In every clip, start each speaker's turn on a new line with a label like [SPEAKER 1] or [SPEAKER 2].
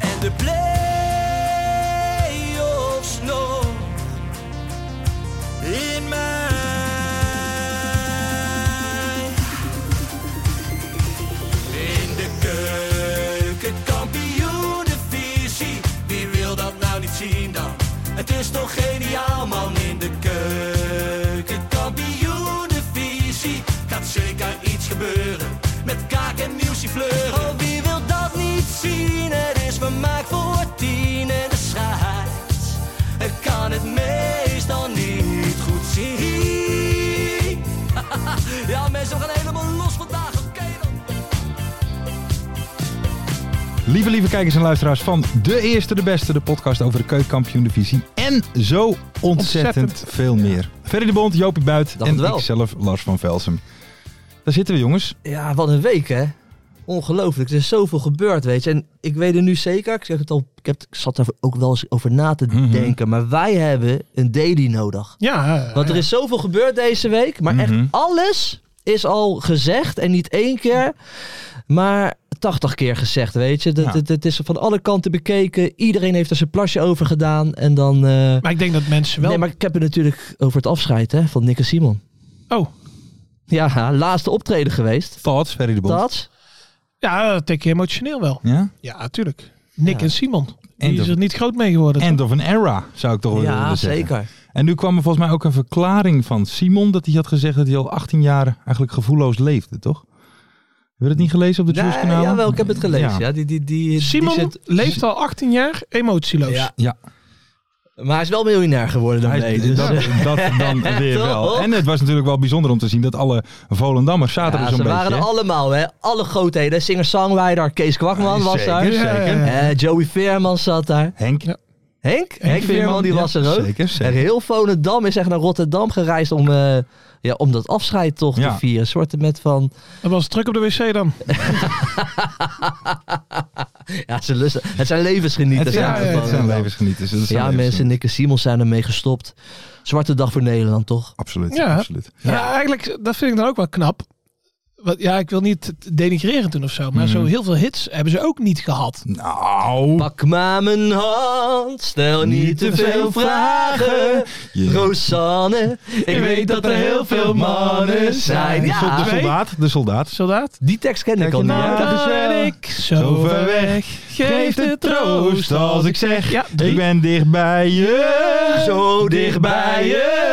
[SPEAKER 1] En de play-offs nog.
[SPEAKER 2] In mij.
[SPEAKER 1] In de keuken, kampioenenvisie. Wie wil dat nou niet zien dan? Het is toch geniaal man in de keuken, kampioenenvisie. Gaat zeker iets gebeuren met kaak en nieuwsje fleuren. Oh, wie wil dat niet zien? Het is vermaakt voor tien en de scheids. Ik kan het meestal niet goed zien. Ja, mensen, we gaan helemaal los vandaag. Oké dan.
[SPEAKER 3] Lieve, lieve kijkers en luisteraars van De Eerste, De Beste, de podcast over de keukenkampioen divisie. En zo ontzettend,
[SPEAKER 4] Ontzettend.
[SPEAKER 3] veel meer. Ferry de Bond, Jopie Buit
[SPEAKER 4] Dacht
[SPEAKER 3] en
[SPEAKER 4] het wel.
[SPEAKER 3] ikzelf, Lars van Velsum. Daar zitten we jongens.
[SPEAKER 4] Ja, wat een week hè. Ongelooflijk. Er is zoveel gebeurd, weet je. En ik weet er nu zeker, ik, zeg het al, ik, heb, ik zat daar ook wel eens over na te
[SPEAKER 3] Mhm.
[SPEAKER 4] denken. Maar wij hebben een daily nodig.
[SPEAKER 5] Ja, eh,
[SPEAKER 4] Want er is zoveel gebeurd deze week. Maar
[SPEAKER 3] Mhm.
[SPEAKER 4] echt alles is al gezegd. En niet één keer, maar tachtig keer gezegd, weet je. Dat,
[SPEAKER 3] Ja.
[SPEAKER 4] dat- dat is van alle kanten bekeken. Iedereen heeft er zijn plasje over gedaan. En dan... eh,
[SPEAKER 5] maar ik denk dat mensen wel.
[SPEAKER 4] Nee, maar ik heb het natuurlijk over het afscheid hè, van Nick en Simon.
[SPEAKER 5] Oh,
[SPEAKER 4] Ja, laatste optreden geweest.
[SPEAKER 3] Thoughts, Ferry de Bond.
[SPEAKER 4] Dat?
[SPEAKER 5] ja, dat denk je emotioneel wel.
[SPEAKER 3] Ja?
[SPEAKER 5] Ja, natuurlijk. Nick
[SPEAKER 4] Ja.
[SPEAKER 5] en Simon. Die is
[SPEAKER 3] of-
[SPEAKER 5] er niet groot mee geworden.
[SPEAKER 3] End
[SPEAKER 5] toch?
[SPEAKER 3] of an era, zou ik toch wel
[SPEAKER 4] Ja,
[SPEAKER 3] willen zeggen.
[SPEAKER 4] zeker.
[SPEAKER 3] En nu kwam er volgens mij ook een verklaring van Simon dat hij had gezegd dat hij al 18 jaar eigenlijk gevoelloos leefde, toch? Heb je dat niet gelezen op de
[SPEAKER 4] Ja,
[SPEAKER 3] Juice kanaal?
[SPEAKER 4] jawel, ik heb het gelezen. Ja.
[SPEAKER 3] Ja.
[SPEAKER 4] die, die, die, die
[SPEAKER 5] Simon
[SPEAKER 4] zit-
[SPEAKER 5] leeft al 18 jaar emotieloos.
[SPEAKER 4] Ja.
[SPEAKER 3] Ja.
[SPEAKER 4] Maar hij is wel miljonair geworden dan
[SPEAKER 3] Hij-
[SPEAKER 4] nee. Dus,
[SPEAKER 3] dat, dat dan weer wel.
[SPEAKER 4] Toch?
[SPEAKER 3] En het was natuurlijk wel bijzonder om te zien dat alle Volendammers zaten
[SPEAKER 4] Ja,
[SPEAKER 3] er
[SPEAKER 4] ze
[SPEAKER 3] zo'n beetje.
[SPEAKER 4] waren er
[SPEAKER 3] hè?
[SPEAKER 4] allemaal, hè. Alle grootheden. Singer-songwriter Kees Kwakman was
[SPEAKER 3] Zeker,
[SPEAKER 4] daar.
[SPEAKER 3] zeker.
[SPEAKER 5] Ja, ja,
[SPEAKER 4] Eh, Joey Veerman zat daar.
[SPEAKER 3] Henk.
[SPEAKER 5] Ja.
[SPEAKER 4] Henk? Henk Veerman, die
[SPEAKER 3] ja,
[SPEAKER 4] was er ook.
[SPEAKER 3] Zeker,
[SPEAKER 4] En
[SPEAKER 3] zeker.
[SPEAKER 4] heel Volendam is echt naar Rotterdam gereisd om, eh, ja, om dat afscheid toch
[SPEAKER 3] Ja.
[SPEAKER 4] te vieren. Een soort met van...
[SPEAKER 5] Dat was druk op de wc dan.
[SPEAKER 4] Ja, ze lusten. Het zijn levensgenieters.
[SPEAKER 3] Het,
[SPEAKER 5] ja,
[SPEAKER 3] zijn-
[SPEAKER 4] hè,
[SPEAKER 3] het
[SPEAKER 4] van-
[SPEAKER 3] zijn levensgenieters. dat zijn
[SPEAKER 4] Ja, mensen,
[SPEAKER 3] levensgenieters.
[SPEAKER 4] Nick en Simons zijn ermee gestopt. Zwarte dag voor Nederland, toch?
[SPEAKER 3] Absoluut,
[SPEAKER 5] Ja.
[SPEAKER 3] absoluut.
[SPEAKER 5] Ja. eigenlijk, dat vind ik dan ook wel knap. Want, ja, ik wil niet denigreren doen of zo. Maar zo heel veel hits hebben ze ook niet gehad.
[SPEAKER 3] Nou,
[SPEAKER 4] Pak maar mijn hand, stel niet te veel vragen.
[SPEAKER 3] je-
[SPEAKER 4] Rosanne, ik weet dat er heel veel mannen zijn.
[SPEAKER 3] De sol-
[SPEAKER 4] Ja,
[SPEAKER 3] de soldaat, de soldaat.
[SPEAKER 5] Soldaat.
[SPEAKER 4] die tekst ken ik
[SPEAKER 3] Kijk
[SPEAKER 4] al niet.
[SPEAKER 3] je nou,
[SPEAKER 4] hè?
[SPEAKER 3] dat is wel-
[SPEAKER 5] ben ik zo ver weg. Geef de troost als ik zeg. Ja,
[SPEAKER 3] Ik ben dicht bij je,
[SPEAKER 4] Zo dicht bij
[SPEAKER 3] je.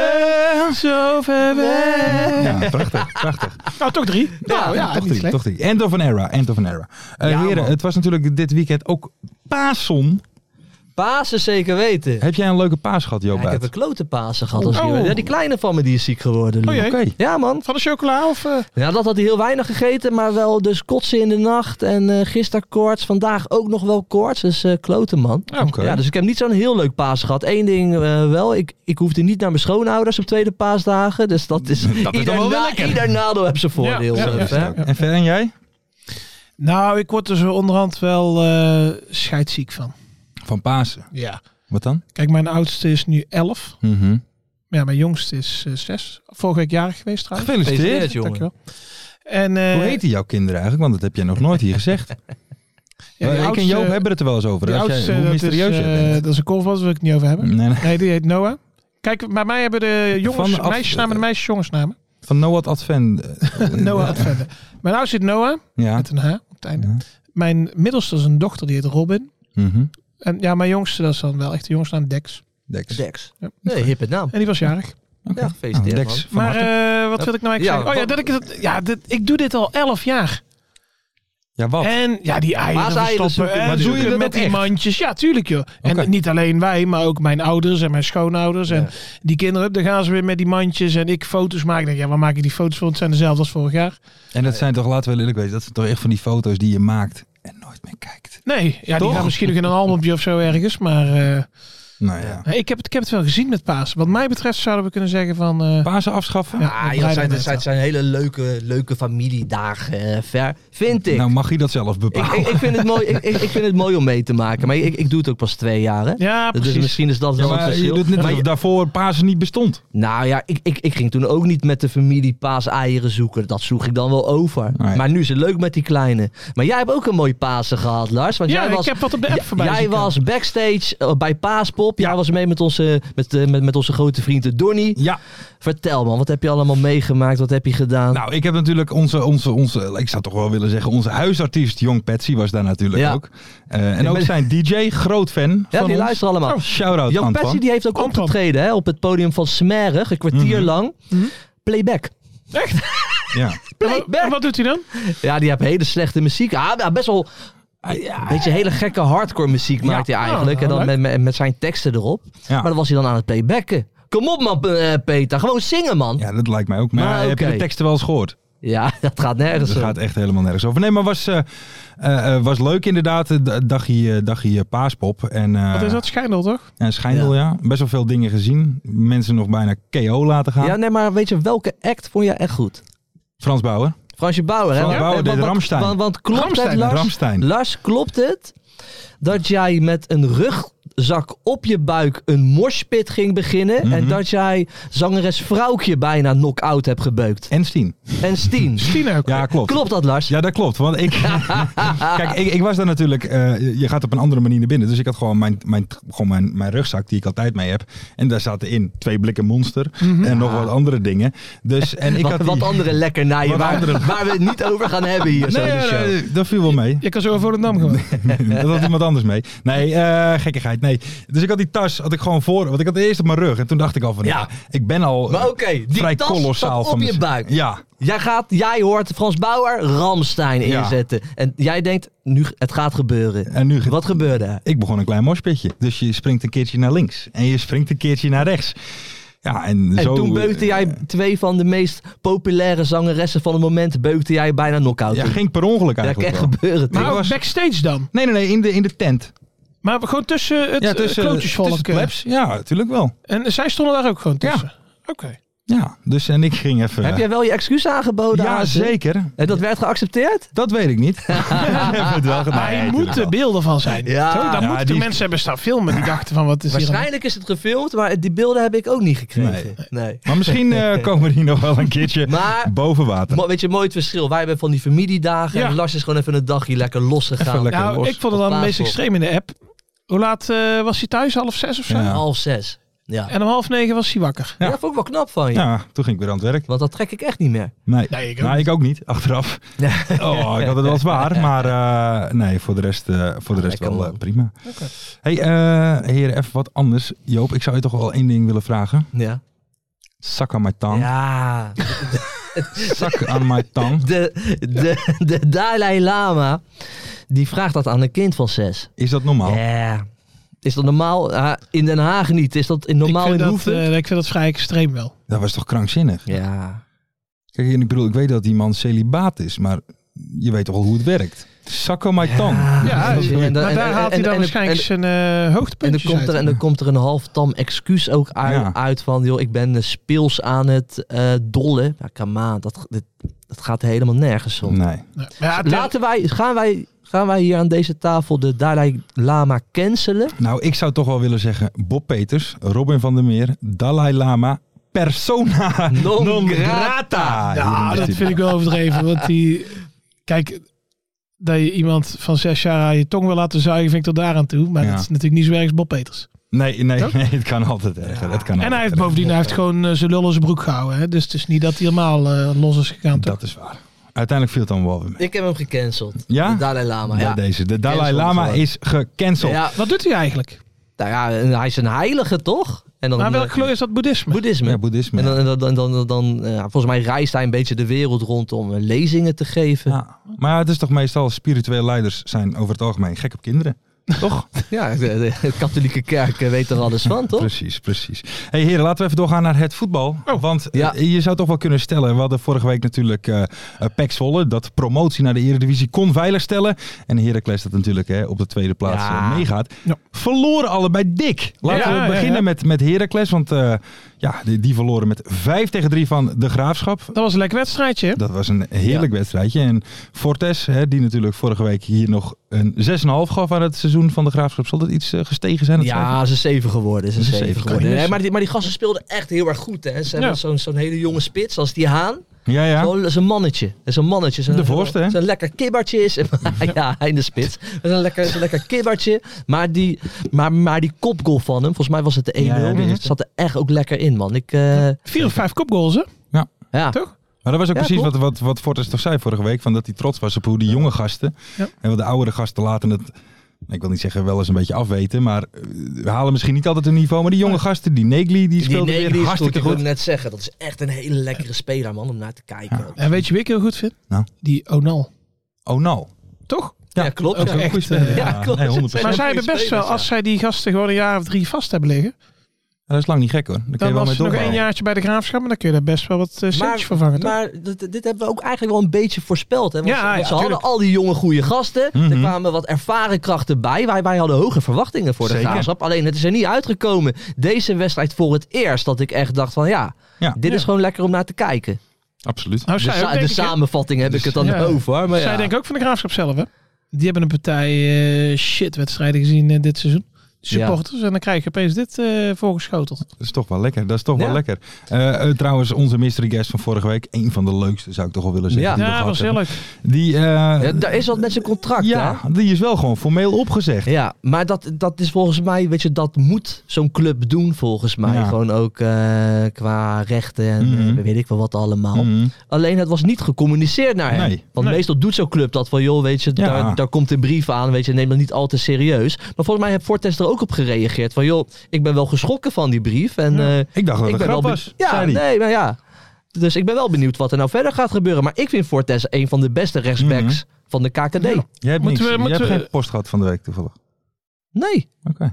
[SPEAKER 5] zo ver weg.
[SPEAKER 3] Ja, prachtig, prachtig.
[SPEAKER 5] Nou, toch drie. nou ja,
[SPEAKER 3] toch
[SPEAKER 5] niet
[SPEAKER 3] drie,
[SPEAKER 5] slecht.
[SPEAKER 3] toch drie. End of an era, end of an era. Eh,
[SPEAKER 4] Ja,
[SPEAKER 3] heren,
[SPEAKER 4] man.
[SPEAKER 3] het was natuurlijk dit weekend ook Pasen.
[SPEAKER 4] Pasen zeker weten.
[SPEAKER 3] Heb jij een leuke paas gehad,
[SPEAKER 4] Ja,
[SPEAKER 3] Joop?
[SPEAKER 4] ik heb
[SPEAKER 3] Buit?
[SPEAKER 4] een klote Pasen gehad. Als ik-
[SPEAKER 5] Oh.
[SPEAKER 4] ja, die kleine van me die is ziek geworden. Lou.
[SPEAKER 5] Oh jee.
[SPEAKER 3] Oké.
[SPEAKER 4] Ja man.
[SPEAKER 5] Van de chocola of... eh,
[SPEAKER 4] Ja, dat had hij heel weinig gegeten, maar wel dus kotsen in de nacht. En eh gisteren koorts, vandaag ook nog wel koorts. Dus eh klote man.
[SPEAKER 3] Oké.
[SPEAKER 4] Ja, dus ik heb niet zo'n heel leuk paas gehad. Eén ding eh, wel, ik, ik hoefde niet naar mijn schoonouders op tweede paasdagen. Dus dat is, ieder,
[SPEAKER 5] dan wel
[SPEAKER 4] na-
[SPEAKER 5] lekker.
[SPEAKER 4] ieder nadeel heeft zijn voordeel.
[SPEAKER 5] Ja,
[SPEAKER 4] zelf,
[SPEAKER 5] ja,
[SPEAKER 4] hè.
[SPEAKER 5] ja.
[SPEAKER 3] En Fer en jij?
[SPEAKER 5] Nou, ik word er zo onderhand wel eh scheidziek van.
[SPEAKER 3] Van Pasen.
[SPEAKER 5] Ja.
[SPEAKER 3] Wat dan?
[SPEAKER 5] Kijk, mijn oudste is nu 11.
[SPEAKER 3] Mhm.
[SPEAKER 5] Maar ja, mijn jongste is eh, 6. Vorige week jarig geweest trouwens.
[SPEAKER 3] Gefeliciteerd.
[SPEAKER 4] Gefeliciteerd, jongen.
[SPEAKER 5] Dankjewel. En, eh
[SPEAKER 3] Hoe heten jouw kinderen eigenlijk? Want dat heb jij nog nooit hier gezegd. Eh,
[SPEAKER 5] ja, die
[SPEAKER 3] ik
[SPEAKER 5] oudste-
[SPEAKER 3] en Joop hebben het er wel eens over.
[SPEAKER 5] die
[SPEAKER 3] Als jij,
[SPEAKER 5] oudste,
[SPEAKER 3] hoe
[SPEAKER 5] dat
[SPEAKER 3] mysterieus
[SPEAKER 5] is,
[SPEAKER 3] jij
[SPEAKER 5] eh,
[SPEAKER 3] bent.
[SPEAKER 5] Dat is een korfbal, daar wil ik het niet over hebben.
[SPEAKER 3] Nee, nee.
[SPEAKER 5] Nee, die heet Noah. Kijk, bij mij hebben de jongens
[SPEAKER 3] Van af-
[SPEAKER 5] meisjesnamen en de meisjes jongensnamen.
[SPEAKER 3] Van Noah Advent. eh,
[SPEAKER 5] Noah Advende. Mijn oudste heet Noah,
[SPEAKER 3] Ja.
[SPEAKER 5] met een H op het einde.
[SPEAKER 3] Ja.
[SPEAKER 5] Mijn middelste is een dochter, die heet Robin.
[SPEAKER 3] Mhm.
[SPEAKER 5] En ja, mijn jongste, dat is dan wel echt de jongensnaam Dex.
[SPEAKER 3] Dex.
[SPEAKER 4] Dex.
[SPEAKER 5] Ja.
[SPEAKER 4] Nee, hippe naam.
[SPEAKER 5] En die was jarig.
[SPEAKER 3] Oké.
[SPEAKER 4] Ja, gefeliciteerd,
[SPEAKER 3] Nou, Dex, van
[SPEAKER 5] Maar
[SPEAKER 3] harte.
[SPEAKER 5] eh, wat wil ik nou eigenlijk
[SPEAKER 4] Ja,
[SPEAKER 5] zeggen? Oh ja,
[SPEAKER 4] wat-
[SPEAKER 5] dat ik, het- ja dit, ik doe dit al elf jaar.
[SPEAKER 3] ja, wat?
[SPEAKER 5] En ja, die eieren
[SPEAKER 4] Paaseieren
[SPEAKER 5] verstoppen.
[SPEAKER 4] zoeken.
[SPEAKER 5] en
[SPEAKER 3] Maar doe je
[SPEAKER 5] zoeken
[SPEAKER 3] dat
[SPEAKER 5] met
[SPEAKER 3] ook
[SPEAKER 5] die
[SPEAKER 3] echt?
[SPEAKER 5] mandjes? Ja, tuurlijk joh.
[SPEAKER 3] Oké.
[SPEAKER 5] En niet alleen wij, maar ook mijn ouders en mijn schoonouders. En
[SPEAKER 4] Ja.
[SPEAKER 5] die kinderen, dan gaan ze weer met die mandjes. En ik foto's maken. Ik denk, ja, waar maak ik die foto's van? Het zijn dezelfde als vorig jaar.
[SPEAKER 3] En dat zijn toch, laten we eerlijk wezen, dat zijn toch echt van die foto's die je maakt en nooit meer kijkt.
[SPEAKER 5] Nee, ja,
[SPEAKER 3] Toch?
[SPEAKER 5] die gaan misschien nog in een albumpje of zo ergens. Maar eh,
[SPEAKER 3] Nou ja.
[SPEAKER 5] nee, ik, heb het, ik heb het wel gezien met Paas. Wat mij betreft zouden we kunnen zeggen van... eh,
[SPEAKER 3] Pasen afschaffen?
[SPEAKER 5] ja,
[SPEAKER 4] Ah,
[SPEAKER 5] we
[SPEAKER 4] joh,
[SPEAKER 5] breiden
[SPEAKER 4] het zijn,
[SPEAKER 5] het
[SPEAKER 4] het zijn, het zijn hele leuke, leuke familiedagen. eh, ver, vind ik.
[SPEAKER 3] Nou mag hij dat zelf
[SPEAKER 4] ik,
[SPEAKER 3] bepalen.
[SPEAKER 4] ik, ik vind het mooi, ik, ik ik vind het mooi om mee te maken. Maar ik, ik doe het ook pas twee jaar. Hè?
[SPEAKER 5] Ja,
[SPEAKER 4] dus
[SPEAKER 5] precies.
[SPEAKER 4] misschien is dat
[SPEAKER 3] Ja,
[SPEAKER 4] wel een
[SPEAKER 3] maar je
[SPEAKER 4] verschil.
[SPEAKER 3] doet net
[SPEAKER 4] Maar
[SPEAKER 3] alsof
[SPEAKER 4] je-
[SPEAKER 3] daarvoor Pasen niet bestond.
[SPEAKER 4] nou ja, ik, ik, ik ging toen ook niet met de familie paaseieren zoeken. Dat zoeg ik dan wel over.
[SPEAKER 3] Nee.
[SPEAKER 4] Maar nu is het leuk met die kleine. Maar jij hebt ook een mooi Pasen gehad, Lars. Want
[SPEAKER 5] ja,
[SPEAKER 4] jij was,
[SPEAKER 5] ik heb wat op de app voorbij
[SPEAKER 4] jij
[SPEAKER 5] zien komen.
[SPEAKER 4] was backstage eh, bij Paaspop. Jij
[SPEAKER 5] Ja.
[SPEAKER 4] was mee met onze, met, eh, met, met onze grote vriend Donny.
[SPEAKER 3] Ja,
[SPEAKER 4] Vertel man, wat heb je allemaal meegemaakt? Wat heb je gedaan?
[SPEAKER 3] nou ik heb natuurlijk onze, onze, onze, ik zou toch wel willen zeggen, onze huisartiest Jong Patsy was daar natuurlijk
[SPEAKER 4] Ja.
[SPEAKER 3] ook. Eh, en ook
[SPEAKER 4] ben-
[SPEAKER 3] zijn DJ, groot fan
[SPEAKER 4] ja,
[SPEAKER 3] van
[SPEAKER 4] die
[SPEAKER 3] ons.
[SPEAKER 4] luisteren allemaal.
[SPEAKER 3] Oh, shout-out
[SPEAKER 4] Jan
[SPEAKER 3] Antoine.
[SPEAKER 4] Pessie die heeft ook
[SPEAKER 5] Antoine.
[SPEAKER 4] opgetreden hè, op het podium van Smerig, een kwartier
[SPEAKER 3] Mhm.
[SPEAKER 4] lang.
[SPEAKER 5] Mhm.
[SPEAKER 4] Playback.
[SPEAKER 3] Ja.
[SPEAKER 5] En wa-
[SPEAKER 4] Playback.
[SPEAKER 5] en wat doet hij dan?
[SPEAKER 4] Ja, die heeft hele slechte muziek. Ah, ja, best wel een beetje hele gekke hardcore muziek maakt hij eigenlijk.
[SPEAKER 5] Ja,
[SPEAKER 4] en dan
[SPEAKER 5] leuk.
[SPEAKER 4] met, met, met zijn teksten erop.
[SPEAKER 3] Ja.
[SPEAKER 4] Maar dan was hij dan aan het playbacken. Kom op man, eh, Peter. Gewoon zingen man. Ja,
[SPEAKER 3] ja, dat lijkt mij ook. Maar, eh,
[SPEAKER 4] Maar
[SPEAKER 3] heb je
[SPEAKER 4] oké.
[SPEAKER 3] de teksten wel eens gehoord?
[SPEAKER 4] dat gaat nergens
[SPEAKER 3] Dat
[SPEAKER 4] om.
[SPEAKER 3] gaat echt helemaal nergens over. Nee, maar was, eh, eh, eh, was leuk inderdaad. eh, d- Dagje, dagje paaspop. En, eh,
[SPEAKER 5] Wat is dat? Schijndel, toch?
[SPEAKER 3] En Schijndel, ja. Best wel veel dingen gezien. Mensen nog bijna KO laten gaan.
[SPEAKER 4] Ja, nee, maar weet je, welke act vond je echt goed?
[SPEAKER 3] Frans Bauer.
[SPEAKER 4] Fransje Bauer, hè?
[SPEAKER 3] Frans
[SPEAKER 4] Ja?
[SPEAKER 3] Bauer
[SPEAKER 4] Eh,
[SPEAKER 3] deed
[SPEAKER 4] want-
[SPEAKER 3] Rammstein.
[SPEAKER 4] Want, want klopt het,
[SPEAKER 5] Rammstein,
[SPEAKER 4] Lars?
[SPEAKER 3] Ramstein.
[SPEAKER 4] Lars, klopt het dat jij met een rugzak op je buik een morspit ging beginnen en
[SPEAKER 3] Mhm.
[SPEAKER 4] dat jij zangeres Vrouwkje bijna knock-out hebt gebeukt?
[SPEAKER 3] En Steen.
[SPEAKER 4] En Stien.
[SPEAKER 5] Tien ook.
[SPEAKER 3] Ja, klopt.
[SPEAKER 4] Klopt dat, Lars?
[SPEAKER 3] Ja, dat klopt. Want ik. Kijk, ik, ik was daar natuurlijk. eh, je gaat op een andere manier naar binnen. Dus ik had gewoon, mijn, mijn, gewoon mijn, mijn rugzak die ik altijd mee heb. En daar zaten in twee blikken monster. En nog wat andere dingen. Dus, en ik
[SPEAKER 4] Mhm. Ah. wat,
[SPEAKER 3] had die-
[SPEAKER 4] wat andere lekkernijen
[SPEAKER 3] Wat
[SPEAKER 4] waar,
[SPEAKER 3] andere-
[SPEAKER 4] waar we het niet over gaan hebben hier zo
[SPEAKER 3] Nee,
[SPEAKER 4] in de
[SPEAKER 3] nee,
[SPEAKER 4] show.
[SPEAKER 3] nee, dat viel wel mee.
[SPEAKER 5] Je kan zo voor de dam gaan.
[SPEAKER 3] dat had iemand anders mee. Nee, eh, gekkigheid. Nee. Dus ik had die tas had ik gewoon voor. Want ik had eerst op mijn rug. En toen dacht ik al van. Ja,
[SPEAKER 4] Ja.
[SPEAKER 3] ik ben al.
[SPEAKER 4] Maar
[SPEAKER 3] eh,
[SPEAKER 4] oké, die
[SPEAKER 3] vrij
[SPEAKER 4] tas
[SPEAKER 3] kolossaal
[SPEAKER 4] staat
[SPEAKER 3] van
[SPEAKER 4] op je
[SPEAKER 3] mijn-
[SPEAKER 4] buik.
[SPEAKER 3] Ja,
[SPEAKER 4] Jij, gaat, jij hoort Frans Bauer Ramstein
[SPEAKER 3] Ja.
[SPEAKER 4] inzetten. En jij denkt, nu, het gaat gebeuren.
[SPEAKER 3] en nu. ge-
[SPEAKER 4] Wat gebeurde er?
[SPEAKER 3] Ik begon een klein mospitje. Dus je springt een keertje naar links. En je springt een keertje naar rechts. Ja, en,
[SPEAKER 4] En
[SPEAKER 3] zo,
[SPEAKER 4] toen beukte
[SPEAKER 3] eh,
[SPEAKER 4] jij twee van de meest populaire zangeressen van het moment, beukte jij bijna knock-out.
[SPEAKER 3] Ja,
[SPEAKER 4] in.
[SPEAKER 3] ging per ongeluk
[SPEAKER 4] dat
[SPEAKER 3] eigenlijk.
[SPEAKER 4] kan
[SPEAKER 3] wel.
[SPEAKER 4] gebeuren.
[SPEAKER 5] Maar
[SPEAKER 4] toch?
[SPEAKER 5] ook backstage dan.
[SPEAKER 3] Nee, nee, nee, in de, in de tent.
[SPEAKER 5] Maar gewoon tussen het
[SPEAKER 3] Ja,
[SPEAKER 5] ja,
[SPEAKER 4] eh,
[SPEAKER 3] tussen, tussen
[SPEAKER 5] klootjesvolk.
[SPEAKER 3] de plebs. Ja, natuurlijk wel.
[SPEAKER 5] eh, en zij stonden daar ook gewoon
[SPEAKER 3] Ja.
[SPEAKER 5] tussen. Oké.
[SPEAKER 4] Ah,
[SPEAKER 3] Ja, dus en ik ging even...
[SPEAKER 4] Heb jij wel je excuus aangeboden?
[SPEAKER 3] ja,
[SPEAKER 4] aan ze?
[SPEAKER 3] zeker.
[SPEAKER 4] En dat werd geaccepteerd?
[SPEAKER 3] Dat weet ik niet. Ik heb het wel gedaan. Nee,
[SPEAKER 5] Maar hier
[SPEAKER 3] tuurlijk
[SPEAKER 5] moeten
[SPEAKER 3] wel.
[SPEAKER 5] beelden van zijn.
[SPEAKER 4] Ja.
[SPEAKER 5] toch? Daar
[SPEAKER 3] Ja,
[SPEAKER 5] moeten
[SPEAKER 3] die-
[SPEAKER 5] de mensen hebben staan filmen. Die dachten van wat is hier aan-
[SPEAKER 4] Waarschijnlijk is het gefilmd, maar die beelden heb ik ook niet gekregen. Nee.
[SPEAKER 3] Maar misschien eh, komen die nog wel een keertje
[SPEAKER 4] Maar,
[SPEAKER 3] boven water.
[SPEAKER 4] mo- weet je, mooi het verschil. Wij hebben van die familiedagen
[SPEAKER 5] Ja.
[SPEAKER 4] en Lars is gewoon even een dagje lekker losgegaan.
[SPEAKER 3] Even lekker.
[SPEAKER 5] Nou,
[SPEAKER 3] los.
[SPEAKER 5] ik vond het
[SPEAKER 4] Op
[SPEAKER 5] dan het meest
[SPEAKER 4] Paashop.
[SPEAKER 5] extreem in de app. Hoe laat eh, was hij thuis? Half zes of zo?
[SPEAKER 3] Ja.
[SPEAKER 4] Half zes. Ja.
[SPEAKER 5] En om half negen was hij wakker.
[SPEAKER 4] Ja, vond ik wel knap van je.
[SPEAKER 3] Ja, toen ging ik weer aan het werk.
[SPEAKER 4] Want dat trek ik echt niet meer.
[SPEAKER 3] Nee,
[SPEAKER 5] Nee, ik ook
[SPEAKER 3] Nou, ik ook niet, achteraf. Oh, ik had het wel zwaar, maar eh, nee, voor de rest, eh, voor de rest
[SPEAKER 4] lekker,
[SPEAKER 3] wel
[SPEAKER 4] man.
[SPEAKER 3] eh, prima. Hey, eh heren, even wat anders. Joop, ik zou je toch wel één ding willen vragen.
[SPEAKER 4] Ja.
[SPEAKER 3] Zak aan mijn tang.
[SPEAKER 4] Ja.
[SPEAKER 3] Zak aan mijn tang.
[SPEAKER 4] De, de, de Dalai Lama, die vraagt dat aan een kind van zes.
[SPEAKER 3] Is dat normaal?
[SPEAKER 5] Oh.
[SPEAKER 4] Ja. Is dat normaal? Ah, in Den Haag niet. Is dat in- normaal
[SPEAKER 5] ik
[SPEAKER 4] in
[SPEAKER 5] vind, dat,
[SPEAKER 4] Hoeven?
[SPEAKER 5] eh, ik vind dat vrij extreem wel.
[SPEAKER 3] Dat was toch krankzinnig?
[SPEAKER 4] ja.
[SPEAKER 3] Kijk, en ik bedoel, ik weet dat die man celibaat is, maar je weet toch wel hoe het werkt. Zak aan mijn tang.
[SPEAKER 5] Ja,
[SPEAKER 4] dat is- en- en-
[SPEAKER 5] maar daar
[SPEAKER 4] en-
[SPEAKER 5] haalt hij
[SPEAKER 4] en-
[SPEAKER 5] dan
[SPEAKER 4] en-
[SPEAKER 5] waarschijnlijk
[SPEAKER 4] en-
[SPEAKER 5] zijn eh
[SPEAKER 4] En dan,
[SPEAKER 5] hoogtepuntjes
[SPEAKER 4] komt er,
[SPEAKER 5] uit.
[SPEAKER 4] en dan komt er een halftam excuus ook uit,
[SPEAKER 3] Ja.
[SPEAKER 4] uit van, joh, ik ben eh, speels aan het eh, dollen. Ja, come on, dat, dit- dat gaat helemaal nergens om.
[SPEAKER 3] Nee.
[SPEAKER 5] Ja, maar ja, ter-
[SPEAKER 4] Laten wij, gaan, wij, gaan wij hier aan deze tafel de Dalai Lama cancelen?
[SPEAKER 3] Nou, ik zou toch wel willen zeggen Bob Peters, Robin van der Meer, Dalai Lama, persona
[SPEAKER 4] Non
[SPEAKER 3] grata.
[SPEAKER 5] Ja, dat vind ik wel overdreven. Want die... Kijk, dat je iemand van zes jaar aan je tong wil laten zuigen, vind ik tot daar aan toe. Maar
[SPEAKER 3] Ja.
[SPEAKER 5] dat is natuurlijk niet zo erg als Bob Peters.
[SPEAKER 3] Nee, nee, nee, het kan altijd erger. Het kan
[SPEAKER 5] en hij
[SPEAKER 3] altijd
[SPEAKER 5] heeft
[SPEAKER 3] erger.
[SPEAKER 5] bovendien hij heeft gewoon eh, zijn lul in zijn broek gehouden. Hè? Dus het is niet dat hij helemaal eh, los is gegaan. toch?
[SPEAKER 3] Dat is waar. Uiteindelijk viel het dan wel weer mee.
[SPEAKER 4] Ik heb hem gecanceld.
[SPEAKER 3] Ja?
[SPEAKER 4] De Dalai Lama.
[SPEAKER 3] Bij
[SPEAKER 4] Ja.
[SPEAKER 3] deze. De Dalai
[SPEAKER 4] Cancel
[SPEAKER 3] Lama
[SPEAKER 4] gewoon.
[SPEAKER 3] is gecanceld.
[SPEAKER 4] Ja,
[SPEAKER 5] Wat doet hij eigenlijk?
[SPEAKER 4] nou ja, en hij is een heilige, toch? En
[SPEAKER 3] Oh,
[SPEAKER 4] dan,
[SPEAKER 5] Maar welk
[SPEAKER 4] eh,
[SPEAKER 5] geloof is dat boeddhisme?
[SPEAKER 4] Boeddhisme.
[SPEAKER 3] Ja, boeddhisme.
[SPEAKER 4] en dan, en dan, dan, dan, dan, eh, volgens mij reist hij een beetje de wereld rond om eh, lezingen te geven.
[SPEAKER 3] Ja. Maar het is toch meestal spirituele leiders zijn over het algemeen gek op kinderen. Toch?
[SPEAKER 4] Ja, de, de katholieke kerk eh, weet er alles van, toch? Oh,
[SPEAKER 3] Precies, precies. hey, heren, laten we even doorgaan naar het voetbal. Want eh,
[SPEAKER 4] Ja.
[SPEAKER 3] je zou toch wel kunnen stellen, we hadden vorige week natuurlijk eh eh, PEC Zwolle, dat promotie naar de Eredivisie kon veiligstellen. En Heracles dat natuurlijk hè, op de tweede plaats
[SPEAKER 4] Ja.
[SPEAKER 3] eh, meegaat.
[SPEAKER 5] Ja.
[SPEAKER 3] Verloren allebei dik. Laten
[SPEAKER 5] Ja,
[SPEAKER 3] we
[SPEAKER 5] ja,
[SPEAKER 3] beginnen
[SPEAKER 5] ja.
[SPEAKER 3] met, met Heracles, want eh, ja, die, die verloren met 5 tegen 3 van de Graafschap.
[SPEAKER 5] Dat was een lekker wedstrijdje. hè?
[SPEAKER 3] Dat was een heerlijk wedstrijdje. En Fortes, hè, die natuurlijk vorige week hier nog een 6,5 gaf aan het seizoen van de Graafschap. Zal dat iets eh, gestegen zijn? het cijfer?
[SPEAKER 4] Ja, ze is zeven geworden. Ze is
[SPEAKER 3] Ze is
[SPEAKER 4] zeven
[SPEAKER 3] zeven
[SPEAKER 4] geworden.
[SPEAKER 3] geworden.
[SPEAKER 4] Nee, maar, die, maar die gasten speelden echt heel erg goed. Hè. Ze
[SPEAKER 5] Ja.
[SPEAKER 4] hebben zo'n zo'n hele jonge spits als die Haan.
[SPEAKER 3] ja, ja.
[SPEAKER 4] Gewoon, dat is een mannetje. Dat is een mannetje. Zo'n-
[SPEAKER 3] De Vorst, hè?
[SPEAKER 4] Zo'n lekker kibbertje is. ja, in de spits. Dat is een lekker, zo'n lekker kibbertje. Maar die, maar, maar die kopgoal van hem, volgens mij was het de 1-0.
[SPEAKER 3] Ja, ja, die is-
[SPEAKER 4] zat er echt ook lekker in, man. Ik, eh,
[SPEAKER 5] Vier of vijf kopgoals, hè?
[SPEAKER 4] ja.
[SPEAKER 5] Toch?
[SPEAKER 3] Maar dat was ook
[SPEAKER 4] Ja,
[SPEAKER 3] precies
[SPEAKER 4] klopt.
[SPEAKER 3] wat, wat, wat Fortes toch zei vorige week. Van dat hij trots was op hoe die jonge gasten.
[SPEAKER 5] Ja.
[SPEAKER 3] En wat de oudere gasten laten het. Ik wil niet zeggen wel eens een beetje afweten. Maar eh, we halen misschien niet altijd een niveau. Maar die jonge gasten, die Negli, die speelde
[SPEAKER 4] Negri is
[SPEAKER 3] weer
[SPEAKER 4] goed,
[SPEAKER 3] hartstikke
[SPEAKER 4] ik
[SPEAKER 3] goed.
[SPEAKER 4] wilde net zeggen, dat is echt een hele lekkere speler, man, om naar te kijken. ook.
[SPEAKER 5] En weet je wie ik heel goed vind?
[SPEAKER 3] Nou.
[SPEAKER 5] Die Onal.
[SPEAKER 3] Oh no.
[SPEAKER 5] Toch?
[SPEAKER 4] Ja, klopt.
[SPEAKER 5] ook
[SPEAKER 4] ja.
[SPEAKER 5] een echt,
[SPEAKER 3] goed.
[SPEAKER 5] eh,
[SPEAKER 4] ja, klopt.
[SPEAKER 3] Nee, 100%.
[SPEAKER 5] Maar
[SPEAKER 4] Ja,
[SPEAKER 5] zij hebben
[SPEAKER 4] goede
[SPEAKER 5] best wel,
[SPEAKER 4] spelers,
[SPEAKER 5] als zij die gasten gewoon een jaar of drie vast hebben liggen,
[SPEAKER 3] Dat is lang niet gek hoor. Daar kun je
[SPEAKER 5] dan
[SPEAKER 3] wel
[SPEAKER 5] was
[SPEAKER 3] mee
[SPEAKER 5] ze nog
[SPEAKER 3] doorbouwen.
[SPEAKER 5] één jaartje bij de graafschap, maar dan kun je daar best wel wat eh centjes voor vangen. toch?
[SPEAKER 4] maar dit, dit hebben we ook eigenlijk wel een beetje voorspeld. Hè? Want,
[SPEAKER 5] Ja,
[SPEAKER 4] ze- want
[SPEAKER 5] ja,
[SPEAKER 4] ze hadden
[SPEAKER 5] tuurlijk.
[SPEAKER 4] al die jonge goede gasten. Er
[SPEAKER 3] Mhm.
[SPEAKER 4] kwamen wat ervaren krachten bij. Wij, wij hadden hoge verwachtingen voor de
[SPEAKER 3] Zeker.
[SPEAKER 4] graafschap. Alleen het is er niet uitgekomen. Deze wedstrijd voor het eerst dat ik echt dacht van ja,
[SPEAKER 3] Ja.
[SPEAKER 4] dit is
[SPEAKER 5] Ja.
[SPEAKER 4] gewoon lekker om naar te kijken.
[SPEAKER 3] Absoluut.
[SPEAKER 5] nou,
[SPEAKER 4] De,
[SPEAKER 5] zij
[SPEAKER 4] sa-
[SPEAKER 5] ook,
[SPEAKER 4] de
[SPEAKER 5] denk ik, hè?
[SPEAKER 4] samenvatting heb
[SPEAKER 3] Dus-
[SPEAKER 4] ik het dan
[SPEAKER 5] ja.
[SPEAKER 4] over. hoor, Maar
[SPEAKER 5] Zij
[SPEAKER 4] ja.
[SPEAKER 5] denken ook van de graafschap zelf, hè? Die hebben een partij eh, shitwedstrijden gezien eh, dit seizoen. Supporters. En dan krijg je opeens dit eh, voorgeschoteld.
[SPEAKER 3] Dat is toch wel lekker. Dat is toch
[SPEAKER 4] Ja.
[SPEAKER 3] wel lekker. Eh, eh, trouwens, onze mystery guest van vorige week. Een van de leukste zou ik toch wel willen zeggen.
[SPEAKER 4] Ja.
[SPEAKER 3] die we
[SPEAKER 5] Ja,
[SPEAKER 3] gehad
[SPEAKER 5] was heel
[SPEAKER 3] hebben.
[SPEAKER 5] leuk.
[SPEAKER 3] Die, eh,
[SPEAKER 4] Ja, daar is wat met zijn contract. hè?
[SPEAKER 3] ja, die is wel gewoon formeel opgezegd.
[SPEAKER 4] Ja, maar dat, dat is volgens mij, weet je, dat moet zo'n club doen volgens mij.
[SPEAKER 3] Ja.
[SPEAKER 4] Gewoon ook eh, qua rechten en
[SPEAKER 3] Mhm.
[SPEAKER 4] eh, weet ik wel wat allemaal.
[SPEAKER 3] Mhm.
[SPEAKER 4] Alleen het was niet gecommuniceerd naar hem.
[SPEAKER 3] Nee.
[SPEAKER 4] Want
[SPEAKER 5] Nee.
[SPEAKER 4] meestal doet zo'n club dat van, joh, weet je,
[SPEAKER 3] Ja.
[SPEAKER 4] daar, daar komt een brief aan, weet je, neem dat niet al te serieus. Maar volgens mij heeft Fortes er ook op gereageerd van, joh, ik ben wel geschrokken van die brief. En, eh,
[SPEAKER 3] Ik dacht dat
[SPEAKER 4] ik
[SPEAKER 3] het een
[SPEAKER 4] ben wel
[SPEAKER 3] grap
[SPEAKER 4] be-
[SPEAKER 3] was.
[SPEAKER 4] Ja,
[SPEAKER 3] zei die.
[SPEAKER 4] nee, maar ja. Dus ik ben wel benieuwd wat er nou verder gaat gebeuren. Maar ik vind Fortes een van de beste rechtsbacks
[SPEAKER 3] Mhm.
[SPEAKER 4] van de KKD.
[SPEAKER 3] Jij hebt,
[SPEAKER 5] Moeten
[SPEAKER 3] niks,
[SPEAKER 5] we-
[SPEAKER 3] Jij
[SPEAKER 5] moeten
[SPEAKER 3] hebt
[SPEAKER 5] we-
[SPEAKER 3] geen post gehad van de week toevallig. Oké.
[SPEAKER 4] Nee,
[SPEAKER 3] Nou,
[SPEAKER 4] van,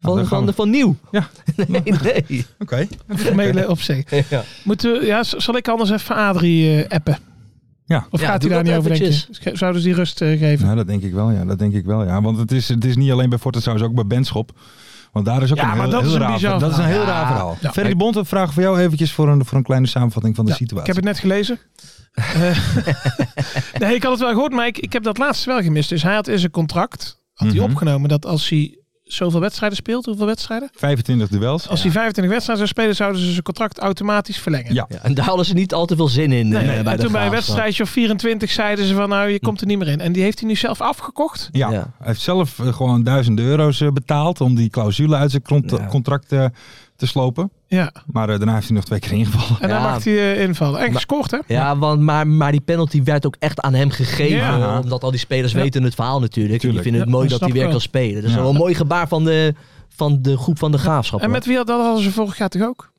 [SPEAKER 3] dan gaan
[SPEAKER 4] van,
[SPEAKER 3] we-
[SPEAKER 4] van, nieuw.
[SPEAKER 3] Ja.
[SPEAKER 4] Nee, nee.
[SPEAKER 3] Oké.
[SPEAKER 5] Een formele opzicht. Moeten we, ja, z- zal ik anders even Adrie eh, appen?
[SPEAKER 3] Ja.
[SPEAKER 5] Of
[SPEAKER 4] Ja,
[SPEAKER 5] gaat
[SPEAKER 4] doe
[SPEAKER 5] hij daar
[SPEAKER 4] dat
[SPEAKER 5] niet over denken?
[SPEAKER 4] eventjes.
[SPEAKER 5] Sch- Zouden ze die rust eh, geven?
[SPEAKER 3] Nou, dat denk ik wel, ja. Dat denk ik wel, ja. Want het is, het is niet alleen bij Fortis, trouwens ook bij Benschop. Want daar is ook
[SPEAKER 5] Ja,
[SPEAKER 3] een heel,
[SPEAKER 5] maar dat
[SPEAKER 3] heel
[SPEAKER 5] is een
[SPEAKER 3] raar
[SPEAKER 5] bizar
[SPEAKER 3] Dat is een heel
[SPEAKER 4] verhaal.
[SPEAKER 3] raar verhaal.
[SPEAKER 5] Ja.
[SPEAKER 3] Ferry de Bond, een vraag voor jou eventjes voor een, voor een kleine samenvatting van de
[SPEAKER 5] Ja, Ik
[SPEAKER 3] situatie.
[SPEAKER 5] heb het net gelezen. Eh, nee, ik had het wel gehoord, maar ik, ik heb dat laatste wel gemist. Dus hij had in zijn contract had hij
[SPEAKER 3] Mhm.
[SPEAKER 5] opgenomen dat als hij zoveel wedstrijden speelt, hoeveel wedstrijden?
[SPEAKER 3] 25 duels.
[SPEAKER 5] Als hij 25 wedstrijden zou spelen, zouden ze zijn contract automatisch verlengen.
[SPEAKER 3] Ja.
[SPEAKER 4] Ja, en daar hadden ze niet al te veel zin in. eh,
[SPEAKER 5] Nee,
[SPEAKER 4] bij de
[SPEAKER 5] en toen bij een
[SPEAKER 4] Graafschap.
[SPEAKER 5] wedstrijdje of 24 zeiden ze van nou, je komt er niet meer in. En die heeft hij nu zelf afgekocht.
[SPEAKER 3] Ja.
[SPEAKER 4] Ja.
[SPEAKER 3] hij heeft zelf eh, gewoon 1000 euro's eh, betaald om die clausule uit zijn cont-
[SPEAKER 4] Ja.
[SPEAKER 3] contract eh, te slopen.
[SPEAKER 5] Ja.
[SPEAKER 3] Maar eh, daarna heeft hij nog twee keer ingevallen.
[SPEAKER 5] En
[SPEAKER 4] Ja.
[SPEAKER 5] daar mag hij eh, invallen. En
[SPEAKER 4] Maar-
[SPEAKER 5] gescoord hè?
[SPEAKER 4] Ja, want, maar, maar die penalty werd ook echt aan hem gegeven.
[SPEAKER 5] Ja.
[SPEAKER 4] hoor, Omdat al die spelers
[SPEAKER 5] Ja.
[SPEAKER 4] weten het verhaal natuurlijk. En die
[SPEAKER 3] Tuurlijk.
[SPEAKER 4] vinden het
[SPEAKER 5] Ja,
[SPEAKER 4] mooi
[SPEAKER 5] dat
[SPEAKER 4] dat hij
[SPEAKER 5] snap
[SPEAKER 4] weer
[SPEAKER 5] ik
[SPEAKER 4] kan
[SPEAKER 5] wel.
[SPEAKER 4] spelen. Dat is
[SPEAKER 3] Ja.
[SPEAKER 4] wel een mooi gebaar van de, van de groep van de graafschap.
[SPEAKER 5] En
[SPEAKER 4] hoor.
[SPEAKER 5] met wie had- dat hadden ze vorig jaar toch ook?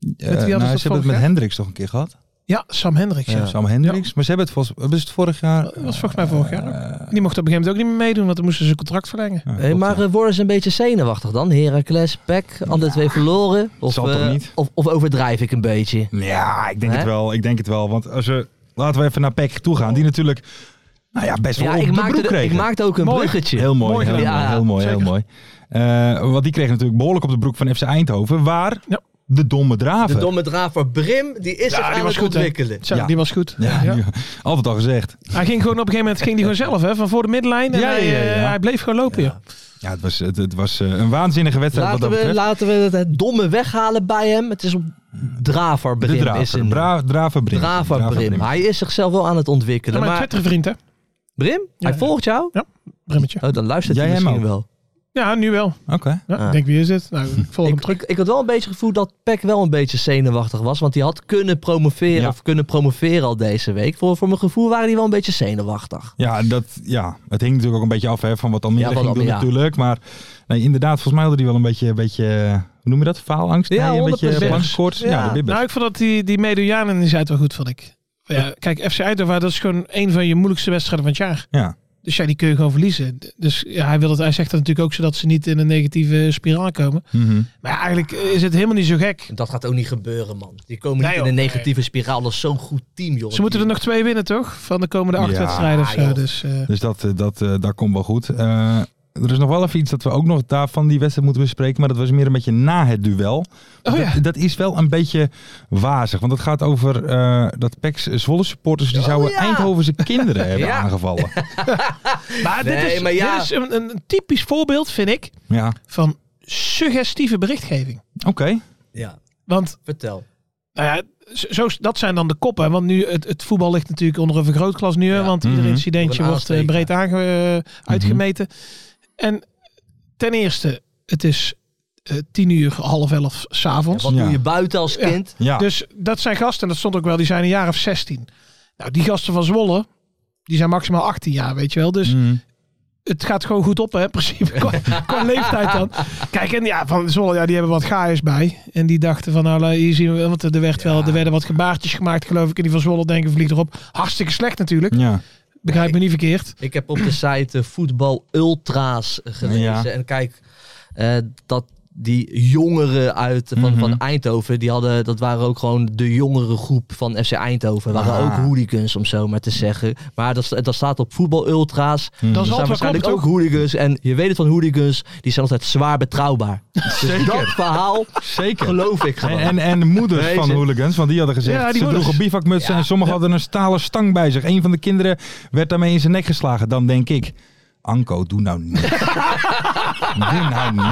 [SPEAKER 3] Eh,
[SPEAKER 5] hadden ze
[SPEAKER 3] nou,
[SPEAKER 5] dat
[SPEAKER 3] ze hebben
[SPEAKER 5] vorig
[SPEAKER 3] het met
[SPEAKER 5] jaar?
[SPEAKER 3] Hendricks toch een keer gehad?
[SPEAKER 5] Ja, Sam Hendricks. Ja.
[SPEAKER 3] Sam Hendricks. Maar ze hebben het, volgens, hebben ze het vorig jaar...
[SPEAKER 5] Dat was volgens mij vorig jaar. ook.
[SPEAKER 3] eh,
[SPEAKER 5] Die mocht op een gegeven moment ook niet meer meedoen, want dan moesten ze zijn contract verlengen.
[SPEAKER 3] ja,
[SPEAKER 4] Hé,
[SPEAKER 3] klopt,
[SPEAKER 4] maar
[SPEAKER 3] ja.
[SPEAKER 4] eh, worden ze een beetje zenuwachtig dan? Heracles, Pek, alle twee verloren? Of,
[SPEAKER 3] Zal toch
[SPEAKER 4] eh,
[SPEAKER 3] niet?
[SPEAKER 4] Of, of overdrijf ik een beetje?
[SPEAKER 3] Ja, ik denk
[SPEAKER 4] Hè?
[SPEAKER 3] het wel. Ik denk het wel. Want als we, laten we even naar Peck toe gaan. Die natuurlijk nou ja, best wel
[SPEAKER 4] Oh. Ja,
[SPEAKER 3] op
[SPEAKER 4] ik
[SPEAKER 3] de broek
[SPEAKER 4] maakte, de-
[SPEAKER 3] kreeg.
[SPEAKER 4] ik maakte ook een
[SPEAKER 5] Mooi.
[SPEAKER 4] bruggetje.
[SPEAKER 3] Heel mooi,
[SPEAKER 5] Mooi
[SPEAKER 3] heel,
[SPEAKER 4] gedaan.
[SPEAKER 3] mooi,
[SPEAKER 4] Ja,
[SPEAKER 3] heel mooi, heel
[SPEAKER 5] zeker.
[SPEAKER 3] mooi. Eh, want die kreeg natuurlijk behoorlijk op de broek van FC Eindhoven. Waar
[SPEAKER 5] Ja.
[SPEAKER 3] de domme draven.
[SPEAKER 4] De domme draver Brim, die is zich aan het
[SPEAKER 5] goed, hè?
[SPEAKER 4] ontwikkelen.
[SPEAKER 5] Zo,
[SPEAKER 3] Ja.
[SPEAKER 5] die was goed.
[SPEAKER 3] ja,
[SPEAKER 5] Ja.
[SPEAKER 3] die- altijd al gezegd.
[SPEAKER 5] Hij ging gewoon op een gegeven moment ging die gewoon zelf, hè, van voor de middenlijn. En
[SPEAKER 3] Ja,
[SPEAKER 5] hij,
[SPEAKER 3] ja,
[SPEAKER 5] eh,
[SPEAKER 3] ja.
[SPEAKER 5] hij bleef gewoon lopen, joh.
[SPEAKER 3] Ja, het was, het, het was eh, een waanzinnige wedstrijd
[SPEAKER 4] Laten
[SPEAKER 3] wat
[SPEAKER 4] we,
[SPEAKER 3] dat betreft.
[SPEAKER 4] laten we het, het domme weghalen bij hem. Het is op Draver Brim.
[SPEAKER 3] de
[SPEAKER 4] is
[SPEAKER 3] draver.
[SPEAKER 4] een
[SPEAKER 3] Bra, draverbrim.
[SPEAKER 4] Draver Brim. Hij is zichzelf wel aan het
[SPEAKER 5] Ja,
[SPEAKER 4] ontwikkelen.
[SPEAKER 5] mijn
[SPEAKER 4] maar
[SPEAKER 5] Twittervriend, hè?
[SPEAKER 4] Brim, hij
[SPEAKER 5] Ja.
[SPEAKER 4] volgt jou?
[SPEAKER 5] Brimmetje.
[SPEAKER 4] Oh, dan luistert
[SPEAKER 3] Jij
[SPEAKER 4] hij
[SPEAKER 3] hem
[SPEAKER 4] misschien
[SPEAKER 3] ook?
[SPEAKER 4] wel.
[SPEAKER 5] Ja, nu wel.
[SPEAKER 3] Oké.
[SPEAKER 5] Ja,
[SPEAKER 4] Ah.
[SPEAKER 5] Ik denk, wie is dit? Nou, ik volg hem
[SPEAKER 4] Ik,
[SPEAKER 5] terug.
[SPEAKER 4] ik, ik had wel een beetje het gevoel dat Peck wel een beetje zenuwachtig was. Want hij had kunnen promoveren
[SPEAKER 3] Ja.
[SPEAKER 4] of kunnen promoveren al deze week. Voor, voor mijn gevoel waren die wel een beetje zenuwachtig.
[SPEAKER 3] Ja, dat, ja, het hing natuurlijk ook een beetje af hè, van wat Almere
[SPEAKER 4] Ja, wat
[SPEAKER 3] ging doen
[SPEAKER 4] Almere, ja.
[SPEAKER 3] natuurlijk. Maar nee, inderdaad, volgens mij hadden die wel een beetje, een beetje eh, hoe noem je dat? Faalangst?
[SPEAKER 4] Ja,
[SPEAKER 3] Nee, een beetje
[SPEAKER 4] 100%.
[SPEAKER 3] blankkoorts. Ja,
[SPEAKER 4] Ja.
[SPEAKER 3] de bibbers.
[SPEAKER 5] Nou, ik vond dat die, die Medojanen in die zei het wel goed, vond ik. Ja, kijk, FC Eindhoven, dat is gewoon een van je moeilijkste wedstrijden van het jaar.
[SPEAKER 3] ja.
[SPEAKER 5] Dus ja, die kun je gewoon verliezen. D- Dus ja, hij, wil het, hij zegt dat natuurlijk ook zodat ze niet in een negatieve spiraal komen.
[SPEAKER 4] nou.
[SPEAKER 3] Mhm.
[SPEAKER 5] Maar ja, eigenlijk is het helemaal niet zo gek.
[SPEAKER 4] En Dat gaat ook niet gebeuren, man. Die komen
[SPEAKER 5] Nee,
[SPEAKER 4] niet
[SPEAKER 5] joh,
[SPEAKER 4] in een
[SPEAKER 5] nee.
[SPEAKER 4] negatieve spiraal. Dat is zo'n goed team, joh.
[SPEAKER 5] Ze moeten er nog twee winnen, toch? Van de komende acht
[SPEAKER 3] Ja,
[SPEAKER 5] wedstrijden of zo.
[SPEAKER 4] joh.
[SPEAKER 5] Dus, eh,
[SPEAKER 3] Dus dat, eh, dat, eh, dat komt wel goed. Eh, er is nog wel even iets dat we ook nog daarvan die wedstrijd moeten bespreken. Maar dat was meer een beetje na het duel.
[SPEAKER 5] Oh ja.
[SPEAKER 3] dat, dat is wel een beetje wazig. Want het gaat over eh, dat PEC's Zwolle supporters... die zouden
[SPEAKER 4] Oh, ja.
[SPEAKER 3] Eindhovense kinderen hebben
[SPEAKER 4] Ja.
[SPEAKER 3] aangevallen.
[SPEAKER 5] maar Ah, dit
[SPEAKER 4] Nee,
[SPEAKER 5] is,
[SPEAKER 4] maar ja.
[SPEAKER 5] dit is een, een typisch voorbeeld, vind ik,
[SPEAKER 3] Ja,
[SPEAKER 5] van suggestieve berichtgeving.
[SPEAKER 3] oké.
[SPEAKER 4] Ja,
[SPEAKER 5] Want
[SPEAKER 4] vertel.
[SPEAKER 5] nou ja, zo, zo- dat zijn dan de koppen. Want nu, het, het voetbal ligt natuurlijk onder een vergrootglas nu. hè,
[SPEAKER 4] Ja.
[SPEAKER 5] Want ieder
[SPEAKER 3] Mhm.
[SPEAKER 5] incidentje
[SPEAKER 4] Door een
[SPEAKER 5] wordt eh,
[SPEAKER 4] aansteker.
[SPEAKER 5] breed aange, eh, uitgemeten. En ten eerste, het is eh, tien uur, half elf s'avonds.
[SPEAKER 4] Wat
[SPEAKER 3] Ja.
[SPEAKER 4] doe je buiten als
[SPEAKER 5] Ja.
[SPEAKER 4] kind?
[SPEAKER 3] Ja.
[SPEAKER 5] Dus dat zijn gasten, dat stond ook wel, die zijn een jaar of 16. Nou, die gasten van Zwolle, die zijn maximaal 18 jaar, weet je wel. Dus
[SPEAKER 3] Mhm.
[SPEAKER 5] het gaat gewoon goed op, hè, in principe. Qua, qua leeftijd dan. Kijk, en ja, van Zwolle, ja, die hebben wat gaaiers bij. En die dachten van, nou, hier zien we, want er, werd wel, er werden wat gebaartjes gemaakt, geloof ik. En die van Zwolle denken, vliegt erop. Hartstikke slecht natuurlijk.
[SPEAKER 3] Ja.
[SPEAKER 5] Begrijp me niet verkeerd.
[SPEAKER 4] Ik heb op de site eh, voetbal ultra's eh, gelezen.
[SPEAKER 3] Ja.
[SPEAKER 4] En kijk, eh, dat die jongeren uit van,
[SPEAKER 3] Mhm.
[SPEAKER 4] van Eindhoven, die hadden, dat waren ook gewoon de jongere groep van FC Eindhoven. waren
[SPEAKER 3] Ah.
[SPEAKER 4] ook hooligans, om zo maar te zeggen. Maar dat, dat staat op voetbal ultra's.
[SPEAKER 5] Dat
[SPEAKER 4] Er
[SPEAKER 5] is
[SPEAKER 4] zijn
[SPEAKER 5] altijd wel
[SPEAKER 4] waarschijnlijk
[SPEAKER 5] klopt,
[SPEAKER 4] ook
[SPEAKER 5] ook.
[SPEAKER 4] hooligans. En je weet het van hooligans, die zijn altijd zwaar betrouwbaar. Dus dat verhaal
[SPEAKER 3] Zeker.
[SPEAKER 4] geloof ik
[SPEAKER 3] En,
[SPEAKER 4] gewoon.
[SPEAKER 3] en, en de moeders
[SPEAKER 4] Nee,
[SPEAKER 3] van
[SPEAKER 4] ze-
[SPEAKER 3] hooligans, want die hadden gezegd,
[SPEAKER 5] Ja, die
[SPEAKER 3] ze
[SPEAKER 5] moeders.
[SPEAKER 3] droegen bivakmutsen en sommigen hadden een stalen stang bij zich. Een van de kinderen werd daarmee in zijn nek geslagen. Dan denk ik, Anko, doe nou niet. doe nou niet.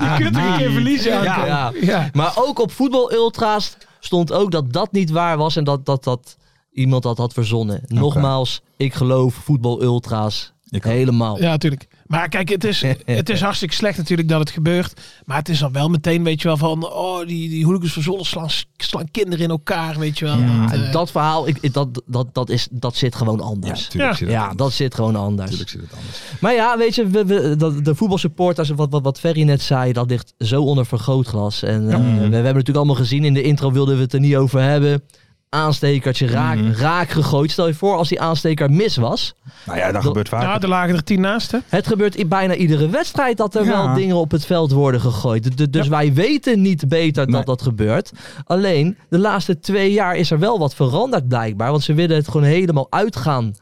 [SPEAKER 3] nou
[SPEAKER 5] Je kunt er een keer verliezen.
[SPEAKER 3] Ja.
[SPEAKER 5] Anko.
[SPEAKER 4] Ja.
[SPEAKER 5] ja.
[SPEAKER 4] Maar ook op voetbal ultra's stond ook dat dat niet waar was en dat, dat, dat iemand dat had verzonnen. Nogmaals, ik geloof voetbal ultra's
[SPEAKER 3] Ik ook.
[SPEAKER 4] helemaal.
[SPEAKER 5] Ja, natuurlijk. Maar kijk, het is, het is hartstikke slecht natuurlijk dat het gebeurt. Maar het is dan wel meteen, weet je wel, van... Oh, die, die hooligans van Zwolle slaan, slaan kinderen in elkaar, weet je wel.
[SPEAKER 3] Ja,
[SPEAKER 5] Dat,
[SPEAKER 4] En
[SPEAKER 5] eh,
[SPEAKER 4] dat verhaal, ik, ik- dat, dat, dat, is, dat zit gewoon anders. Ja,
[SPEAKER 3] Tuurlijk zit het anders.
[SPEAKER 4] dat zit gewoon anders.
[SPEAKER 3] Tuurlijk zit het anders.
[SPEAKER 4] Maar ja, weet je, we, we- dat, de voetbalsupporters, wat, wat, wat Ferry net zei, dat ligt zo onder vergrootglas. En eh,
[SPEAKER 3] Mhm.
[SPEAKER 4] we, we hebben natuurlijk allemaal gezien, in de intro wilden we het er niet over hebben. Aanstekertje raak,
[SPEAKER 3] Mhm.
[SPEAKER 4] raak gegooid. Stel je voor als die aansteker mis was.
[SPEAKER 3] Nou ja, dat,
[SPEAKER 4] Dat-
[SPEAKER 3] gebeurt vaak.
[SPEAKER 5] nou, er lagen er tien naast, hè?
[SPEAKER 4] Het gebeurt in bijna iedere wedstrijd dat er
[SPEAKER 3] Ja.
[SPEAKER 4] wel dingen op het veld worden gegooid. D- d- dus wij weten niet beter dat
[SPEAKER 3] Nee.
[SPEAKER 4] dat gebeurt. Alleen, de laatste twee jaar is er wel wat veranderd blijkbaar. Want ze willen het gewoon helemaal uit gaan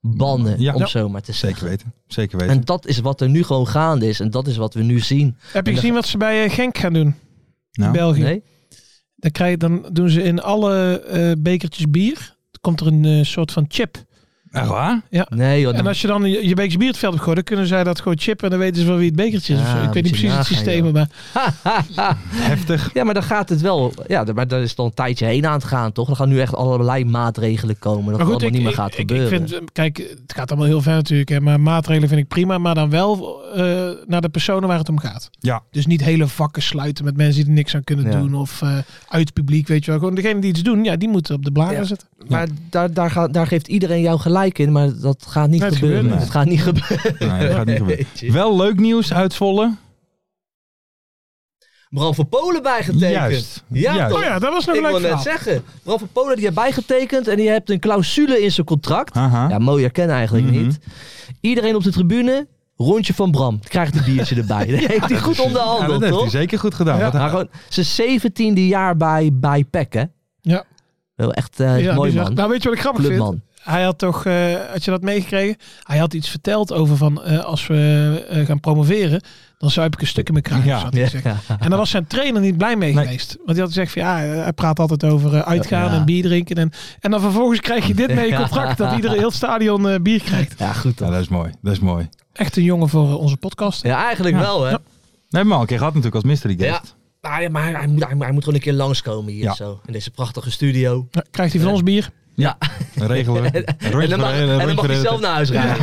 [SPEAKER 4] bannen,
[SPEAKER 3] Ja.
[SPEAKER 4] om
[SPEAKER 3] Ja.
[SPEAKER 4] zo maar te zeggen.
[SPEAKER 3] Zeker weten. Zeker weten.
[SPEAKER 4] En dat is wat er nu gewoon gaande is. En dat is wat we nu zien.
[SPEAKER 5] Heb je
[SPEAKER 4] dat-
[SPEAKER 5] gezien wat ze bij eh, Genk gaan doen?
[SPEAKER 3] Nou,
[SPEAKER 5] België.
[SPEAKER 4] Nee?
[SPEAKER 5] Dan, krijg, je- dan doen ze in alle eh, bekertjes bier... komt er een eh, soort van chip.
[SPEAKER 3] echt waar?
[SPEAKER 4] Nee, joh,
[SPEAKER 5] En
[SPEAKER 4] Oh, dan-
[SPEAKER 5] als je dan je, je bekertje bier het veld op gooit... dan kunnen zij dat gewoon chippen en dan weten ze wel wie het bekertje is.
[SPEAKER 4] Ja,
[SPEAKER 5] of zo. Ik weet
[SPEAKER 4] moet
[SPEAKER 5] niet
[SPEAKER 4] je
[SPEAKER 5] precies
[SPEAKER 4] nagaan,
[SPEAKER 5] het systeem,
[SPEAKER 4] joh.
[SPEAKER 5] maar...
[SPEAKER 3] Heftig.
[SPEAKER 4] ja, maar dan gaat het wel. Ja, d- maar daar is dan een tijdje heen aan het gaan, toch? Er gaan nu echt allerlei maatregelen komen. Dat het allemaal niet meer gaat
[SPEAKER 5] ik,
[SPEAKER 4] gebeuren.
[SPEAKER 5] Ik vind, eh, kijk, het gaat allemaal heel ver natuurlijk. Hè, maar maatregelen vind ik prima. Maar dan wel eh, naar de personen waar het om gaat.
[SPEAKER 3] Ja.
[SPEAKER 5] Dus niet hele vakken sluiten met mensen die er niks aan kunnen
[SPEAKER 4] Ja.
[SPEAKER 5] doen. Of eh, uit het publiek, weet je wel. Gewoon degene die iets doen, ja, die moeten op de blaren
[SPEAKER 4] Ja.
[SPEAKER 5] zitten.
[SPEAKER 4] Maar daar, daar, gaat, daar geeft iedereen jou gelijk in, maar dat gaat niet
[SPEAKER 5] Nee, het
[SPEAKER 4] gebeuren.
[SPEAKER 3] gebeurt niet.
[SPEAKER 4] Het gaat niet gebeuren.
[SPEAKER 3] Nee, dat gaat niet gebeuren.
[SPEAKER 4] Jeetje.
[SPEAKER 3] Wel leuk nieuws uit Zwolle.
[SPEAKER 4] Bram van Polen bijgetekend.
[SPEAKER 3] Juist.
[SPEAKER 4] Ja,
[SPEAKER 3] Juist.
[SPEAKER 4] toch?
[SPEAKER 5] Oh ja, dat was nog
[SPEAKER 4] Ik
[SPEAKER 5] een
[SPEAKER 4] wil
[SPEAKER 5] leuk
[SPEAKER 4] net
[SPEAKER 5] verhaal.
[SPEAKER 4] zeggen, Bram van Polen die heeft bijgetekend en die heeft een clausule in zijn contract.
[SPEAKER 3] Haha.
[SPEAKER 4] Ja, mooier ken eigenlijk
[SPEAKER 3] Ah. Mhm.
[SPEAKER 4] niet. Iedereen op de tribune, rondje van Bram. Krijgt een biertje erbij. Dat heeft hij goed
[SPEAKER 3] Dus, Ja, dat
[SPEAKER 4] onderhandeld,
[SPEAKER 3] heeft hij
[SPEAKER 4] toch?
[SPEAKER 3] zeker goed gedaan.
[SPEAKER 5] Ja.
[SPEAKER 3] Wat-
[SPEAKER 4] Maar gewoon, zijn 17e jaar bij, bij PEC, hè?
[SPEAKER 5] Ja.
[SPEAKER 4] Wel echt eh,
[SPEAKER 5] Ja,
[SPEAKER 4] mooi
[SPEAKER 5] bizar.
[SPEAKER 4] man.
[SPEAKER 5] Nou, weet je wat ik grappig vind?
[SPEAKER 4] Clubman.
[SPEAKER 5] Hij had toch, eh, had je dat meegekregen? Hij had iets verteld over van, eh, als we eh, gaan promoveren, dan zuip ik een stuk in mijn kruis.
[SPEAKER 3] Ja.
[SPEAKER 5] had hij gezegd.
[SPEAKER 4] Ja.
[SPEAKER 5] En daar was zijn trainer niet blij mee
[SPEAKER 3] Nee.
[SPEAKER 5] geweest. Want die had gezegd van ja, eh, hij praat altijd over eh, uitgaan
[SPEAKER 4] Ja.
[SPEAKER 5] en bier drinken. En, en dan vervolgens krijg je dit mee in je contract. Dat iedereen heel het stadion eh, bier krijgt.
[SPEAKER 4] ja, goed
[SPEAKER 3] Ja,
[SPEAKER 4] dan.
[SPEAKER 3] dat is mooi. Dat is mooi.
[SPEAKER 5] Echt een jongen voor eh, onze podcast.
[SPEAKER 4] Ja, eigenlijk wel, hè?
[SPEAKER 3] Nee, maar al een keer gehad natuurlijk als mystery guest.
[SPEAKER 4] Maar, hij- maar hij, hij moet, hij, hij moet gewoon een keer langskomen hier
[SPEAKER 3] Ja.
[SPEAKER 4] zo. In deze prachtige studio.
[SPEAKER 5] Nou, Krijgt hij van ons bier?
[SPEAKER 3] Dan regelen we. Een rondje
[SPEAKER 4] en dan mag,
[SPEAKER 3] voor- een
[SPEAKER 4] en dan
[SPEAKER 3] rondje
[SPEAKER 4] mag
[SPEAKER 3] voor-
[SPEAKER 4] hij zelf naar huis rijden.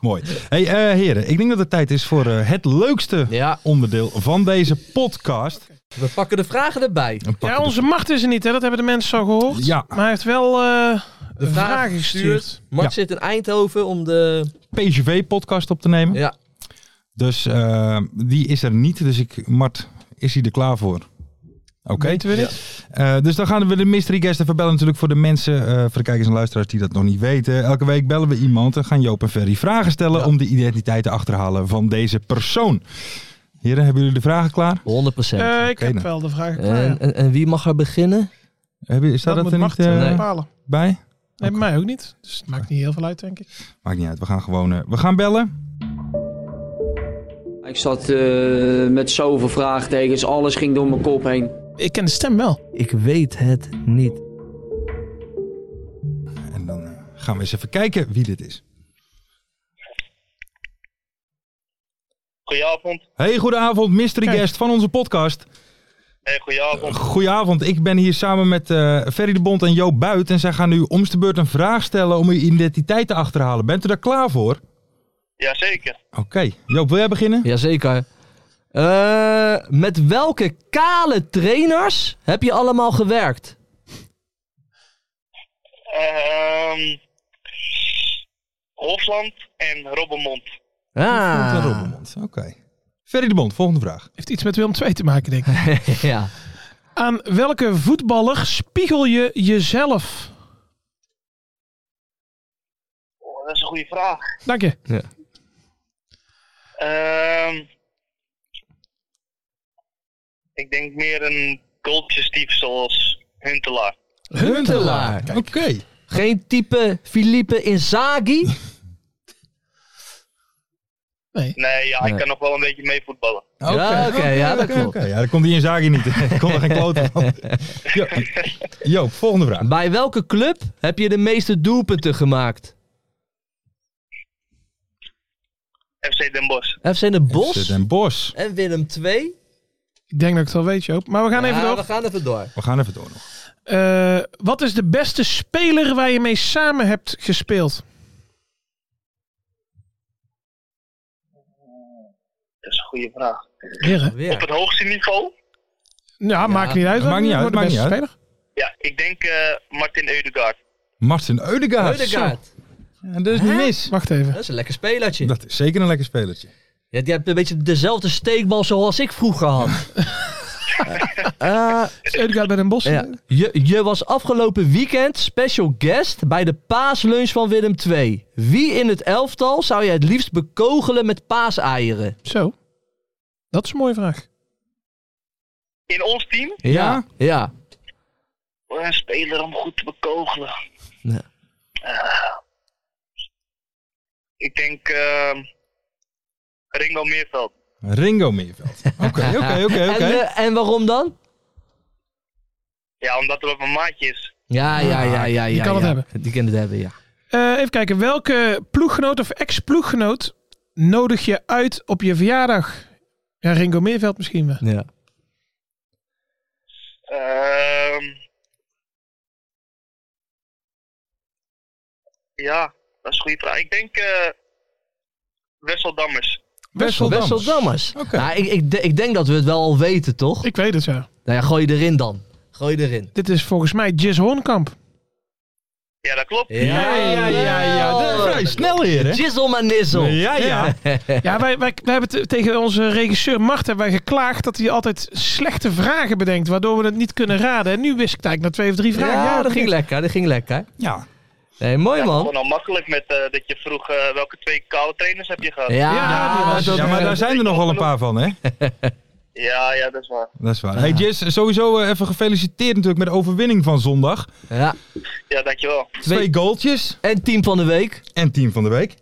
[SPEAKER 3] Mooi. Hey, eh, heren, ik denk dat het tijd is voor eh, het leukste
[SPEAKER 4] Ja.
[SPEAKER 3] onderdeel van deze podcast.
[SPEAKER 4] We pakken de vragen erbij.
[SPEAKER 3] Een pak-
[SPEAKER 5] Ja, onze macht is er niet, hè? dat hebben de mensen al gehoord.
[SPEAKER 3] Ja.
[SPEAKER 5] Maar hij heeft wel eh,
[SPEAKER 4] De vragen
[SPEAKER 5] vragen gestuurd.
[SPEAKER 4] Mart
[SPEAKER 3] Ja.
[SPEAKER 4] zit in Eindhoven om de...
[SPEAKER 3] PGV-podcast op te nemen.
[SPEAKER 4] Ja,
[SPEAKER 3] Dus eh, die is er niet. Dus ik, Mart, is hij er klaar voor? Oké.
[SPEAKER 5] Weten we dit?
[SPEAKER 3] Eh, dus dan gaan we de mystery guest even bellen natuurlijk voor de mensen, eh, voor de kijkers en luisteraars die dat nog niet weten. Elke week bellen we iemand en gaan Joop en Ferry vragen stellen om de identiteit te achterhalen van deze persoon. Heren, hebben jullie de vragen klaar?
[SPEAKER 4] 100 procent.
[SPEAKER 5] Eh, ik
[SPEAKER 3] Oké
[SPEAKER 5] heb
[SPEAKER 3] dan.
[SPEAKER 5] wel de vraag. klaar, ja.
[SPEAKER 4] en, en, en wie mag er beginnen?
[SPEAKER 3] Heb je, staat dat,
[SPEAKER 5] moet
[SPEAKER 3] er
[SPEAKER 5] Mart
[SPEAKER 3] niet eh,
[SPEAKER 4] Nee.
[SPEAKER 5] bepalen.
[SPEAKER 3] bij?
[SPEAKER 5] Nee, bij mij ook niet. Dus het maakt niet heel veel uit, denk ik.
[SPEAKER 3] Maakt niet uit, we gaan gewoon eh, we gaan bellen.
[SPEAKER 6] Ik zat eh, met zoveel vraagtekens, alles ging door mijn kop heen.
[SPEAKER 5] Ik ken de stem wel.
[SPEAKER 4] Ik weet het niet.
[SPEAKER 3] En dan eh, gaan we eens even kijken wie dit is.
[SPEAKER 7] Goedenavond.
[SPEAKER 3] Hey, goedenavond, mystery
[SPEAKER 5] Kijk.
[SPEAKER 3] guest van onze podcast.
[SPEAKER 7] Hey, goedenavond.
[SPEAKER 3] Eh, Goedenavond, ik ben hier samen met eh, Ferry de Bond en Joop Buit. En zij gaan u om de beurt een vraag stellen om uw identiteit te achterhalen. Bent u daar klaar voor?
[SPEAKER 7] Jazeker.
[SPEAKER 3] Oké, Joop, wil jij beginnen?
[SPEAKER 4] Jazeker. Eh, met welke kale trainers heb je allemaal gewerkt?
[SPEAKER 7] Ehm Hofland en Robbenmond.
[SPEAKER 3] Van
[SPEAKER 4] Ah.
[SPEAKER 3] Robbenmond, Oké. Ferry de Bond, volgende vraag.
[SPEAKER 5] Heeft iets met Willem II te maken, denk ik.
[SPEAKER 4] ja.
[SPEAKER 5] Aan welke voetballer spiegel je jezelf?
[SPEAKER 7] Oh, dat is een goede vraag.
[SPEAKER 5] Dank je.
[SPEAKER 7] Ehm ik denk meer een goaltjesdief zoals Huntelaar.
[SPEAKER 4] Huntelaar.
[SPEAKER 3] Oké.
[SPEAKER 4] Geen type Filipe Inzaghi?
[SPEAKER 5] Nee.
[SPEAKER 7] Nee, ja, ik
[SPEAKER 4] Nee.
[SPEAKER 7] kan nog wel een beetje mee voetballen.
[SPEAKER 4] Ja, oké, ja, dat klopt.
[SPEAKER 3] Oké, Ja, dat kon die in Zagi niet. Ik kon er geen klote van. Jo- Joop, volgende vraag.
[SPEAKER 4] Bij welke club heb je de meeste doelpunten gemaakt?
[SPEAKER 7] FC Den Bosch.
[SPEAKER 4] FC Den
[SPEAKER 3] Zit
[SPEAKER 4] Bosch
[SPEAKER 3] Den Bos.
[SPEAKER 4] en Willem II.
[SPEAKER 5] Ik denk dat ik het al weet, Joop. Maar we gaan even
[SPEAKER 4] Ja,
[SPEAKER 5] door.
[SPEAKER 4] we gaan even door.
[SPEAKER 3] We gaan even door nog.
[SPEAKER 5] Eh, wat is de beste speler waar je mee samen hebt gespeeld?
[SPEAKER 7] Dat is een goede vraag.
[SPEAKER 5] Heren.
[SPEAKER 7] Op
[SPEAKER 4] Weer.
[SPEAKER 7] het hoogste niveau?
[SPEAKER 5] Ja, maakt niet uit.
[SPEAKER 3] Maakt niet uit,
[SPEAKER 5] Voor de
[SPEAKER 3] maakt
[SPEAKER 5] beste
[SPEAKER 3] niet uit.
[SPEAKER 5] speler.
[SPEAKER 7] Ja, ik denk eh, Martin Eudegaard.
[SPEAKER 3] Martin
[SPEAKER 4] Ah,
[SPEAKER 3] Eudegaard.
[SPEAKER 4] Eudegaard.
[SPEAKER 3] Zo. Ja, dat is niet mis.
[SPEAKER 5] Wacht even.
[SPEAKER 4] Dat is een lekker spelertje.
[SPEAKER 3] Dat is zeker een lekker spelertje.
[SPEAKER 4] Ja, die hebt een beetje dezelfde steekbal zoals ik vroeger had. Eh,
[SPEAKER 5] Is Eudegaard bij Den Bosch?
[SPEAKER 4] ja. je, je was afgelopen weekend special guest bij de paaslunch van Willem II. Wie in het elftal zou je het liefst bekogelen met paaseieren?
[SPEAKER 5] Zo. Dat is een mooie vraag.
[SPEAKER 7] In ons team?
[SPEAKER 4] Ja? Ja.
[SPEAKER 7] Een speler om goed te bekogelen.
[SPEAKER 4] Ja.
[SPEAKER 7] Eh, ik denk ehm, Ringo Meerveld.
[SPEAKER 3] Ringo Meerveld. Oké, oké, oké,
[SPEAKER 4] En,
[SPEAKER 3] oké.
[SPEAKER 4] eh, en waarom dan?
[SPEAKER 7] Ja, omdat het ook mijn maatje is.
[SPEAKER 4] Ja, ja, ja, ja.
[SPEAKER 5] die
[SPEAKER 4] ja,
[SPEAKER 5] kan het
[SPEAKER 4] ja.
[SPEAKER 5] hebben.
[SPEAKER 4] Die kan het hebben, ja.
[SPEAKER 5] Eh, even kijken. Welke ploeggenoot of ex-ploeggenoot nodig je uit op je verjaardag? Ja, Ringo Meerveld misschien wel.
[SPEAKER 4] ja.
[SPEAKER 7] Ehm, ja, dat is een goede vraag. Ik denk eh Wessel Dammers.
[SPEAKER 3] Wesseldammers.
[SPEAKER 4] Wesseldammers.
[SPEAKER 3] Oké.
[SPEAKER 4] Nou, ik, ik, de- ik denk dat we het wel al weten, toch?
[SPEAKER 5] Ik weet het ja.
[SPEAKER 4] Nou ja, gooi erin dan. Gooi erin.
[SPEAKER 5] Dit is volgens mij Jis Hoornkamp.
[SPEAKER 7] Ja, dat klopt.
[SPEAKER 3] Ja, ja, ja, ja. Dat is vrij snel, heren.
[SPEAKER 4] Jizzle manizzle.
[SPEAKER 3] Ja, ja.
[SPEAKER 5] Ja, wij, wij, wij hebben te- tegen onze regisseur Mart hebben wij geklaagd dat hij altijd slechte vragen bedenkt, waardoor we het niet kunnen raden. En nu wist ik het eigenlijk na twee of drie
[SPEAKER 4] Ja,
[SPEAKER 5] vragen. Ja,
[SPEAKER 4] dat ging lekker, dat ging lekker.
[SPEAKER 3] Ja.
[SPEAKER 4] Nee, mooi man.
[SPEAKER 7] Gewoon al makkelijk met eh, dat je vroeg eh, welke twee koude trainers heb je gehad.
[SPEAKER 4] Ja,
[SPEAKER 5] Ja, die was-
[SPEAKER 4] dat-
[SPEAKER 3] ja, maar daar zijn er nog wel een paar van, hè?
[SPEAKER 7] ja, ja, dat is waar.
[SPEAKER 3] Dat is waar. Hey Jess, sowieso eh, even gefeliciteerd natuurlijk met de overwinning van zondag.
[SPEAKER 4] ja.
[SPEAKER 7] Ja, dankjewel.
[SPEAKER 3] Twee, goaltjes
[SPEAKER 4] En team van de week.
[SPEAKER 3] en team van de week.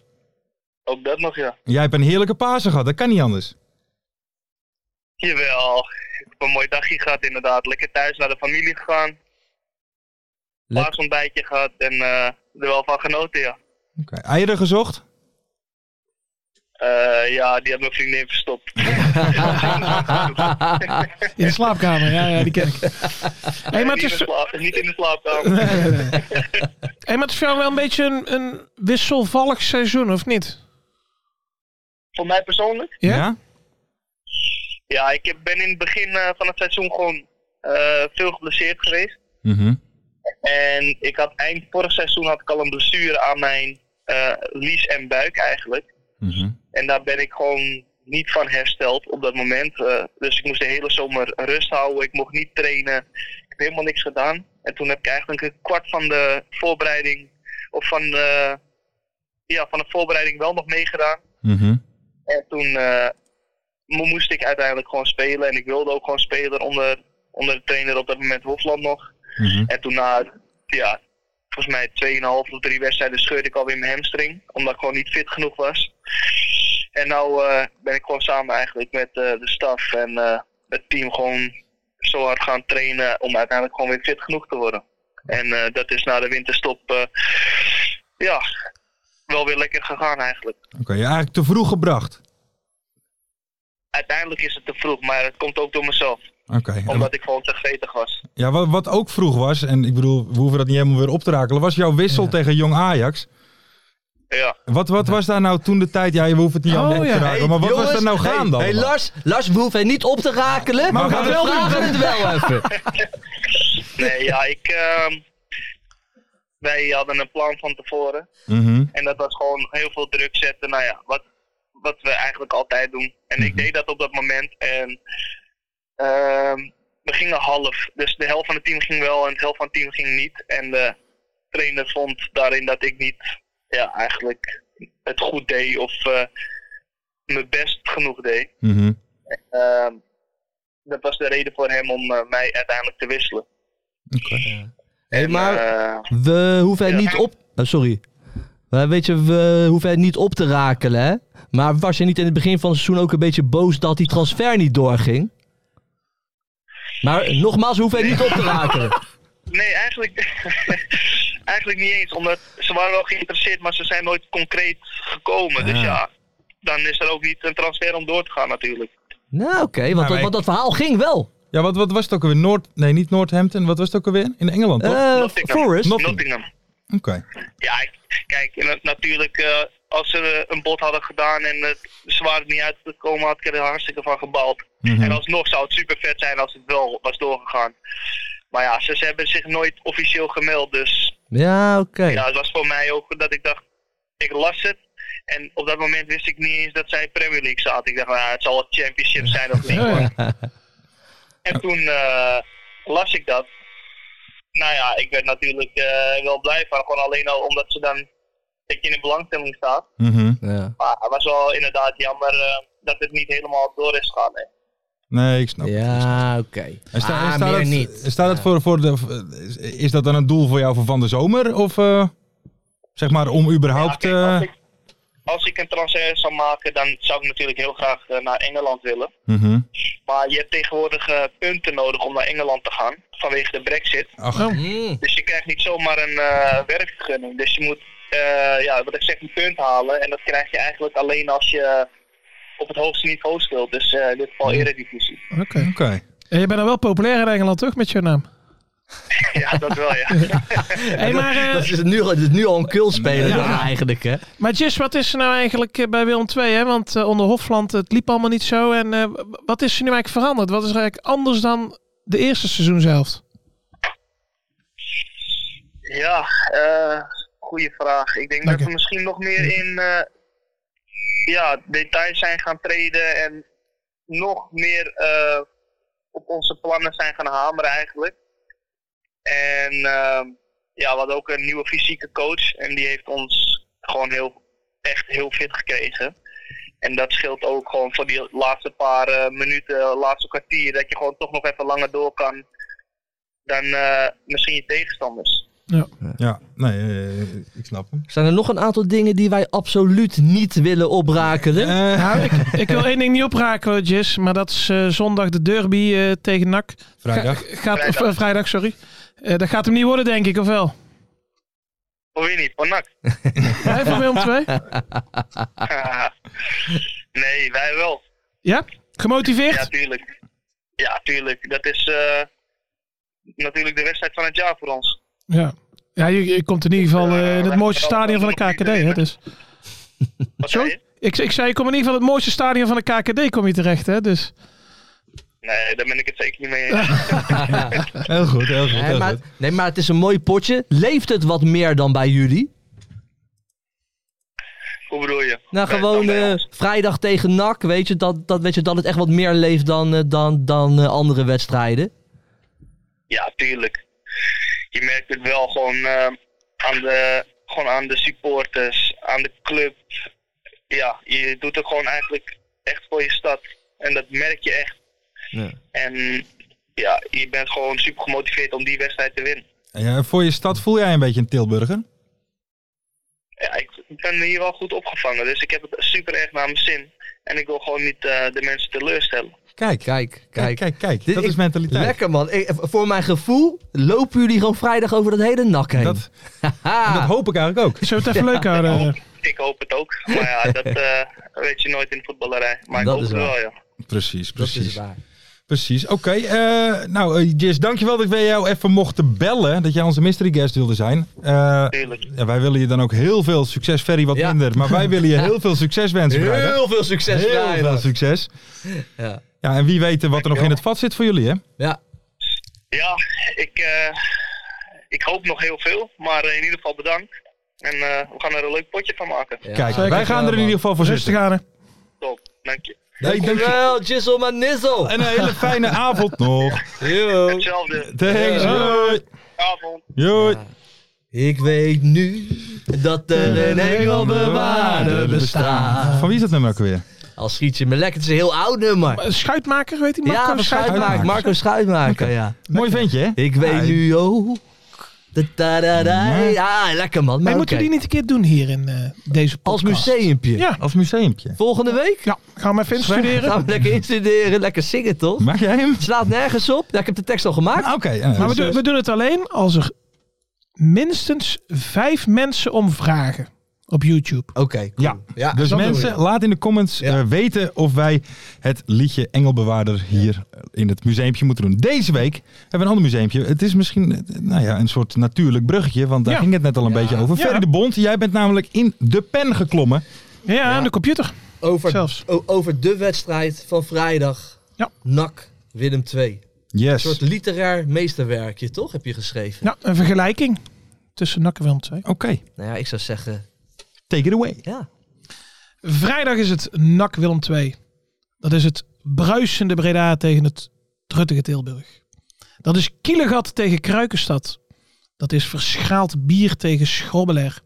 [SPEAKER 7] Ook dat nog, ja.
[SPEAKER 3] Jij hebt een heerlijke Pasen gehad, dat kan niet anders.
[SPEAKER 7] Jawel. Ik heb een mooi dagje gehad inderdaad. Lekker thuis naar de familie gegaan.
[SPEAKER 4] Lek-
[SPEAKER 7] Paasontbijtje gehad en eh, er wel van genoten, ja.
[SPEAKER 3] Oké. Eieren gezocht?
[SPEAKER 7] Eh, ja, die had mijn vriendin verstopt.
[SPEAKER 5] in de slaapkamer. Ja, ja die ken ik. hey, maar het
[SPEAKER 7] niet, in
[SPEAKER 5] is,
[SPEAKER 7] de sla- niet in de slaapkamer.
[SPEAKER 5] hey, maar het is voor jou wel een beetje een, een wisselvallig seizoen, of niet?
[SPEAKER 7] Voor mij persoonlijk?
[SPEAKER 5] Ja?
[SPEAKER 7] Ja, ik heb- ben in het begin eh, van het seizoen gewoon eh, veel geblesseerd geweest.
[SPEAKER 3] Mhm.
[SPEAKER 7] En ik had eind vorig seizoen had ik al een blessure aan mijn eh, lies en buik eigenlijk.
[SPEAKER 3] Mhm.
[SPEAKER 7] En daar ben ik gewoon niet van hersteld op dat moment. Eh, dus ik moest de hele zomer rust houden. Ik mocht niet trainen. Ik heb helemaal niks gedaan. En toen heb ik eigenlijk een kwart van de voorbereiding, of van, eh, ja, van de voorbereiding wel nog meegedaan.
[SPEAKER 3] Mhm.
[SPEAKER 7] En toen eh, mo- moest ik uiteindelijk gewoon spelen. En ik wilde ook gewoon spelen onder, onder de trainer op dat moment Hofland nog.
[SPEAKER 3] Mhm.
[SPEAKER 7] En toen na, ja, volgens mij 2,5 of 3 wedstrijden scheurde ik alweer mijn hamstring. Omdat ik gewoon niet fit genoeg was. En nou eh, ben ik gewoon samen eigenlijk met eh, de staf en eh, het team gewoon zo hard gaan trainen om uiteindelijk gewoon weer fit genoeg te worden. En eh, dat is na de winterstop eh, ja, wel weer lekker gegaan eigenlijk.
[SPEAKER 3] Oké, ja, eigenlijk te vroeg gebracht.
[SPEAKER 7] uiteindelijk is het te vroeg, maar het komt ook door mezelf.
[SPEAKER 3] Oké.
[SPEAKER 7] Omdat ik gewoon te gretig was.
[SPEAKER 3] Ja, wat, wat ook vroeg was, en ik bedoel, we hoeven dat niet helemaal weer op te rakelen, was jouw wissel tegen Jong Ajax.
[SPEAKER 7] Ja.
[SPEAKER 3] Wat, wat was daar nou toen de tijd? Ja, je hoeft het niet
[SPEAKER 5] Oh,
[SPEAKER 3] helemaal op
[SPEAKER 5] ja.
[SPEAKER 3] te rakelen, maar wat was daar nou gaan dan?
[SPEAKER 4] Hey, Lars, Lars, we hoeven niet op te rakelen.
[SPEAKER 3] Maar we gaan het wel
[SPEAKER 4] vragen het wel even.
[SPEAKER 7] Nee, ja, ik. ehm, wij hadden een plan van tevoren.
[SPEAKER 3] Mhm.
[SPEAKER 7] En dat was gewoon heel veel druk zetten. Nou ja, wat, wat we eigenlijk altijd doen. En
[SPEAKER 3] Mhm.
[SPEAKER 7] ik deed dat op dat moment. En ehm, we gingen half. Dus de helft van het team ging wel en de helft van het team ging niet. En de trainer vond daarin dat ik niet ja, eigenlijk het goed deed of eh, mijn best genoeg deed.
[SPEAKER 3] Mhm.
[SPEAKER 7] Ehm, dat was de reden voor hem om eh, mij uiteindelijk te wisselen.
[SPEAKER 4] Hey, maar
[SPEAKER 7] Eh,
[SPEAKER 4] we hoeven het
[SPEAKER 7] Ja.
[SPEAKER 4] niet op... oh, sorry. Maar weet je, we hoeven het niet op te rakelen, hè? Maar was je niet in het begin van het seizoen ook een beetje boos dat die transfer niet doorging? Maar nogmaals, we hoeven het niet op te rakelen.
[SPEAKER 7] nee, eigenlijk, eigenlijk niet eens. Omdat ze waren wel geïnteresseerd, maar ze zijn nooit concreet gekomen.
[SPEAKER 4] Ah.
[SPEAKER 7] Dus ja, dan is er ook niet een transfer om door te gaan natuurlijk.
[SPEAKER 4] Nou, oké, want, dat-
[SPEAKER 3] wij-
[SPEAKER 4] want dat verhaal ging wel.
[SPEAKER 3] Ja, wat, wat was het ook alweer? Noord, nee, niet Noordhampton. Wat was het ook alweer? In Engeland, toch?
[SPEAKER 4] Eh,
[SPEAKER 7] Nottingham.
[SPEAKER 4] Forrest.
[SPEAKER 3] Nottingham.
[SPEAKER 7] Nottingham.
[SPEAKER 3] Oké.
[SPEAKER 7] Ja, ik- kijk, en dat- natuurlijk, eh, als ze eh, een bod hadden gedaan en het ze waren er niet uitgekomen, had ik er hartstikke van gebald.
[SPEAKER 4] Mhm.
[SPEAKER 7] En alsnog zou het super vet zijn als het wel was doorgegaan. Maar ja, ze, ze hebben zich nooit officieel gemeld, dus
[SPEAKER 4] Ja, oké.
[SPEAKER 7] ja, het was voor mij ook dat ik dacht, ik las het. En op dat moment wist ik niet eens dat zij Premier League zaten. Ik dacht, nou, het zal wel championship zijn of niet. hoor. En toen eh, las ik dat. Nou ja, ik werd natuurlijk eh, wel blij van. Gewoon alleen al omdat ze dan ik in de belangstelling staat.
[SPEAKER 3] Mhm.
[SPEAKER 4] Ja.
[SPEAKER 7] Maar het was wel inderdaad jammer eh, dat het niet helemaal door is gegaan. hè.
[SPEAKER 3] Nee, ik snap het.
[SPEAKER 4] Ja, oké.
[SPEAKER 3] En sta- en
[SPEAKER 4] Ah,
[SPEAKER 3] staat
[SPEAKER 4] meer
[SPEAKER 3] het-
[SPEAKER 4] niet.
[SPEAKER 3] en Staat het voor, voor de, is- is dat dan een doel voor jou voor van de zomer? Of eh, zeg maar om überhaupt...
[SPEAKER 7] Ja, kijk,
[SPEAKER 3] eh,
[SPEAKER 7] als, ik, als ik een transfer zou maken, dan zou ik natuurlijk heel graag eh, naar Engeland willen.
[SPEAKER 3] mhm.
[SPEAKER 7] Maar je hebt tegenwoordig eh, punten nodig om naar Engeland te gaan. Vanwege de brexit.
[SPEAKER 3] Ach,
[SPEAKER 4] Mm.
[SPEAKER 7] Dus je krijgt niet zomaar een eh, werkvergunning. Dus je moet, eh, ja, wat ik zeg, een punt halen. En dat krijg je eigenlijk alleen als je op het hoogste niveau speelt. Dus eh, in dit geval Eredivisie.
[SPEAKER 5] Oké.
[SPEAKER 3] Oké.
[SPEAKER 5] En je bent dan wel populair in Engeland, toch? Met je naam.
[SPEAKER 7] Ja, dat wel, ja.
[SPEAKER 5] Hey, maar, eh,
[SPEAKER 4] Dat is nu, dat is nu al een kultspeler dan eigenlijk, hè?
[SPEAKER 5] maar Jis, wat is er nou eigenlijk eh, bij Willem II? Hè? Want eh, onder Hofland, het liep allemaal niet zo. En eh, w- wat is er nu eigenlijk veranderd? Wat is er eigenlijk anders dan de eerste seizoen zelf?
[SPEAKER 7] Ja, eh goede vraag. Ik denk
[SPEAKER 5] Dank
[SPEAKER 7] dat
[SPEAKER 5] je.
[SPEAKER 7] we misschien nog meer in eh, ja, details zijn gaan treden en nog meer eh, op onze plannen zijn gaan hameren eigenlijk. En ehm, ja, we hadden ook een nieuwe fysieke coach en die heeft ons gewoon heel, echt heel fit gekregen. En dat scheelt ook gewoon voor die laatste paar eh, minuten, laatste kwartier, dat je gewoon toch nog even langer door kan dan eh, misschien je tegenstanders.
[SPEAKER 3] Ja, nee, eh, ik snap hem.
[SPEAKER 4] Zijn er nog een aantal dingen die wij absoluut niet willen oprakelen?
[SPEAKER 3] Eh,
[SPEAKER 5] Nou, ik, ik wil één ding niet opraken, Jis. Maar dat is eh, zondag de derby eh, tegen NAC.
[SPEAKER 3] vrijdag.
[SPEAKER 5] Gaat, Of, eh, vrijdag, sorry. Eh, dat gaat hem niet worden, denk ik, of wel?
[SPEAKER 7] Hoor je niet, van NAC.
[SPEAKER 5] Hij van Willem II?
[SPEAKER 7] nee, wij wel.
[SPEAKER 5] Ja?
[SPEAKER 7] Ja,
[SPEAKER 5] Gemotiveerd?
[SPEAKER 7] tuurlijk. Ja, tuurlijk. Dat is eh, natuurlijk de wedstrijd van het jaar voor ons.
[SPEAKER 5] Ja. Ja, je, je komt in ieder geval eh, in het
[SPEAKER 7] Ja,
[SPEAKER 5] mooiste
[SPEAKER 7] wij-
[SPEAKER 5] stadion van de KKD, hè? Dus.
[SPEAKER 7] Wat
[SPEAKER 5] Sorry?
[SPEAKER 7] zei je?
[SPEAKER 5] Ik, ik zei, je komt in ieder geval in het mooiste stadion van de KKD kom je terecht, hè? Dus.
[SPEAKER 7] Nee, daar ben ik het zeker niet mee eens.
[SPEAKER 3] Heel goed, heel goed.
[SPEAKER 4] Nee,
[SPEAKER 3] heel
[SPEAKER 4] maar,
[SPEAKER 3] goed.
[SPEAKER 4] nee, maar het is een mooi potje. Leeft het wat meer dan bij jullie?
[SPEAKER 7] Hoe bedoel je?
[SPEAKER 4] Nou,
[SPEAKER 7] Bij-
[SPEAKER 4] gewoon
[SPEAKER 7] dan bij
[SPEAKER 4] eh,
[SPEAKER 7] ons.
[SPEAKER 4] vrijdag tegen NAC, weet je, dat, dat, weet je, dat het echt wat meer leeft dan, eh, dan, dan eh, andere wedstrijden.
[SPEAKER 7] Ja, tuurlijk. Je merkt het wel gewoon, eh, aan, de, gewoon aan de supporters, aan de club. Ja, je doet het gewoon eigenlijk echt voor je stad. En dat merk je echt.
[SPEAKER 4] Ja.
[SPEAKER 7] En ja, je bent gewoon super gemotiveerd om die wedstrijd te winnen.
[SPEAKER 3] Ja, voor je stad voel jij een beetje een Tilburger?
[SPEAKER 7] Ja, ik ben hier wel goed opgevangen, dus ik heb het super erg naar mijn zin. En ik wil gewoon niet eh, de mensen teleurstellen.
[SPEAKER 3] Kijk, kijk,
[SPEAKER 4] Kijk,
[SPEAKER 3] kijk,
[SPEAKER 4] kijk.
[SPEAKER 3] kijk.
[SPEAKER 4] Dit-
[SPEAKER 3] dat
[SPEAKER 4] ik-
[SPEAKER 3] is mentaliteit.
[SPEAKER 4] Lekker man. Ik- eh, voor mijn gevoel lopen jullie gewoon vrijdag over dat hele NAC heen.
[SPEAKER 3] Dat,
[SPEAKER 4] Haha.
[SPEAKER 3] dat hoop ik eigenlijk ook.
[SPEAKER 5] Zullen we het even leuk houden?
[SPEAKER 7] Oh, Ik hoop het ook, maar ja, dat eh, weet je nooit in de voetballerij. Maar
[SPEAKER 4] Dat
[SPEAKER 7] ik hoop
[SPEAKER 4] is
[SPEAKER 7] het
[SPEAKER 4] waar.
[SPEAKER 7] wel, ja.
[SPEAKER 3] Precies,
[SPEAKER 4] Dat is
[SPEAKER 3] precies.
[SPEAKER 4] waar.
[SPEAKER 3] Precies. Oké. eh, nou, eh, Jis, dankjewel dat wij jou even mochten bellen. Dat jij onze mystery guest wilde zijn. Eh,
[SPEAKER 7] Tuurlijk.
[SPEAKER 3] ja, wij willen je dan ook heel veel succes. Ferry wat
[SPEAKER 4] Ja.
[SPEAKER 3] minder. Maar wij willen je heel veel succes wensen. vrijdag.
[SPEAKER 4] Heel veel succes
[SPEAKER 3] Heel veel
[SPEAKER 4] vrijdag.
[SPEAKER 3] succes.
[SPEAKER 4] Ja.
[SPEAKER 3] Ja, en wie weet eh, wat er nog in het vat zit voor jullie, hè?
[SPEAKER 4] Ja.
[SPEAKER 7] Ja, ik, eh, ik hoop nog heel veel, maar eh, in ieder geval bedankt. En eh, we gaan er een leuk potje van maken.
[SPEAKER 4] Ja.
[SPEAKER 3] Kijk,
[SPEAKER 5] Zeker.
[SPEAKER 3] wij gaan er in ieder geval voor
[SPEAKER 5] Rustig
[SPEAKER 3] zitten.
[SPEAKER 5] aan. hè.
[SPEAKER 7] Top, dank je.
[SPEAKER 3] Hey, dank je.
[SPEAKER 4] Dankjewel, Jizzle maar Nizzle.
[SPEAKER 3] En een hele fijne avond nog.
[SPEAKER 4] Yo.
[SPEAKER 7] Hetzelfde.
[SPEAKER 3] Thanks. Hoi.
[SPEAKER 7] Avond.
[SPEAKER 3] Hoi.
[SPEAKER 4] Ik weet nu dat er een engelbewaarder bestaat.
[SPEAKER 3] Van wie is dat nummer ook weer?
[SPEAKER 4] Al schiet je me lekker, het is een heel oud nummer.
[SPEAKER 5] Een Eh, Schuitmaker, weet hij?
[SPEAKER 4] Ja,
[SPEAKER 5] Marco
[SPEAKER 4] van
[SPEAKER 5] Schuitmaker.
[SPEAKER 4] Schuitmaker, Marco Schuitmaker, ja.
[SPEAKER 3] Mooi ventje, hè?
[SPEAKER 4] Ik weet nu ook. Da, da, da, da.
[SPEAKER 3] Nee.
[SPEAKER 4] Ja, lekker man. Maar
[SPEAKER 5] Maar moeten we
[SPEAKER 4] oké.
[SPEAKER 5] die niet een keer doen hier in eh, deze
[SPEAKER 4] Als
[SPEAKER 5] podcast?
[SPEAKER 4] museumpje.
[SPEAKER 5] Ja.
[SPEAKER 3] Als museumpje.
[SPEAKER 4] Volgende week?
[SPEAKER 5] Ja, gaan we even instuderen.
[SPEAKER 4] Gaan we lekker instuderen, lekker zingen toch?
[SPEAKER 3] Maak jij hem?
[SPEAKER 4] Het slaat nergens op. Ja, ik heb de tekst al gemaakt.
[SPEAKER 3] Ah,
[SPEAKER 5] Nou.
[SPEAKER 3] Oké. eh,
[SPEAKER 5] Maar we,
[SPEAKER 3] dus,
[SPEAKER 5] doen- we doen het alleen als er minstens vijf mensen om vragen op YouTube.
[SPEAKER 4] Oké, cool.
[SPEAKER 3] Ja.
[SPEAKER 4] ja.
[SPEAKER 3] Dus
[SPEAKER 4] Ah, dat doen we.
[SPEAKER 3] mensen, laat in de comments
[SPEAKER 4] Ja.
[SPEAKER 3] eh, weten of wij het liedje Engelbewaarder hier eh, in het museumpje moeten doen. Deze week hebben we een ander museumpje. Het is misschien eh, nou ja, een soort natuurlijk bruggetje, want daar
[SPEAKER 5] Ja.
[SPEAKER 3] ging het net al een beetje over.
[SPEAKER 5] Ja.
[SPEAKER 3] Ferry de Bond, jij bent namelijk in de pen geklommen.
[SPEAKER 5] Ja, aan de computer.
[SPEAKER 4] Over,
[SPEAKER 5] Zelfs.
[SPEAKER 4] o- over de wedstrijd van vrijdag.
[SPEAKER 5] Ja.
[SPEAKER 4] NAC, Willem 2. Een
[SPEAKER 3] Yes.
[SPEAKER 4] soort
[SPEAKER 3] Oké.
[SPEAKER 4] literair meesterwerkje, toch? Heb je geschreven?
[SPEAKER 5] Ja, een vergelijking tussen NAC en Willem II.
[SPEAKER 4] Nou ja, ik zou zeggen,
[SPEAKER 3] Take it away.
[SPEAKER 4] ja.
[SPEAKER 5] Vrijdag is het NAC Willem II. Dat is het bruisende Breda tegen het truttige Tilburg. Dat is Kielegat tegen Kruikenstad. Dat is verschaald bier tegen Schrobbeler.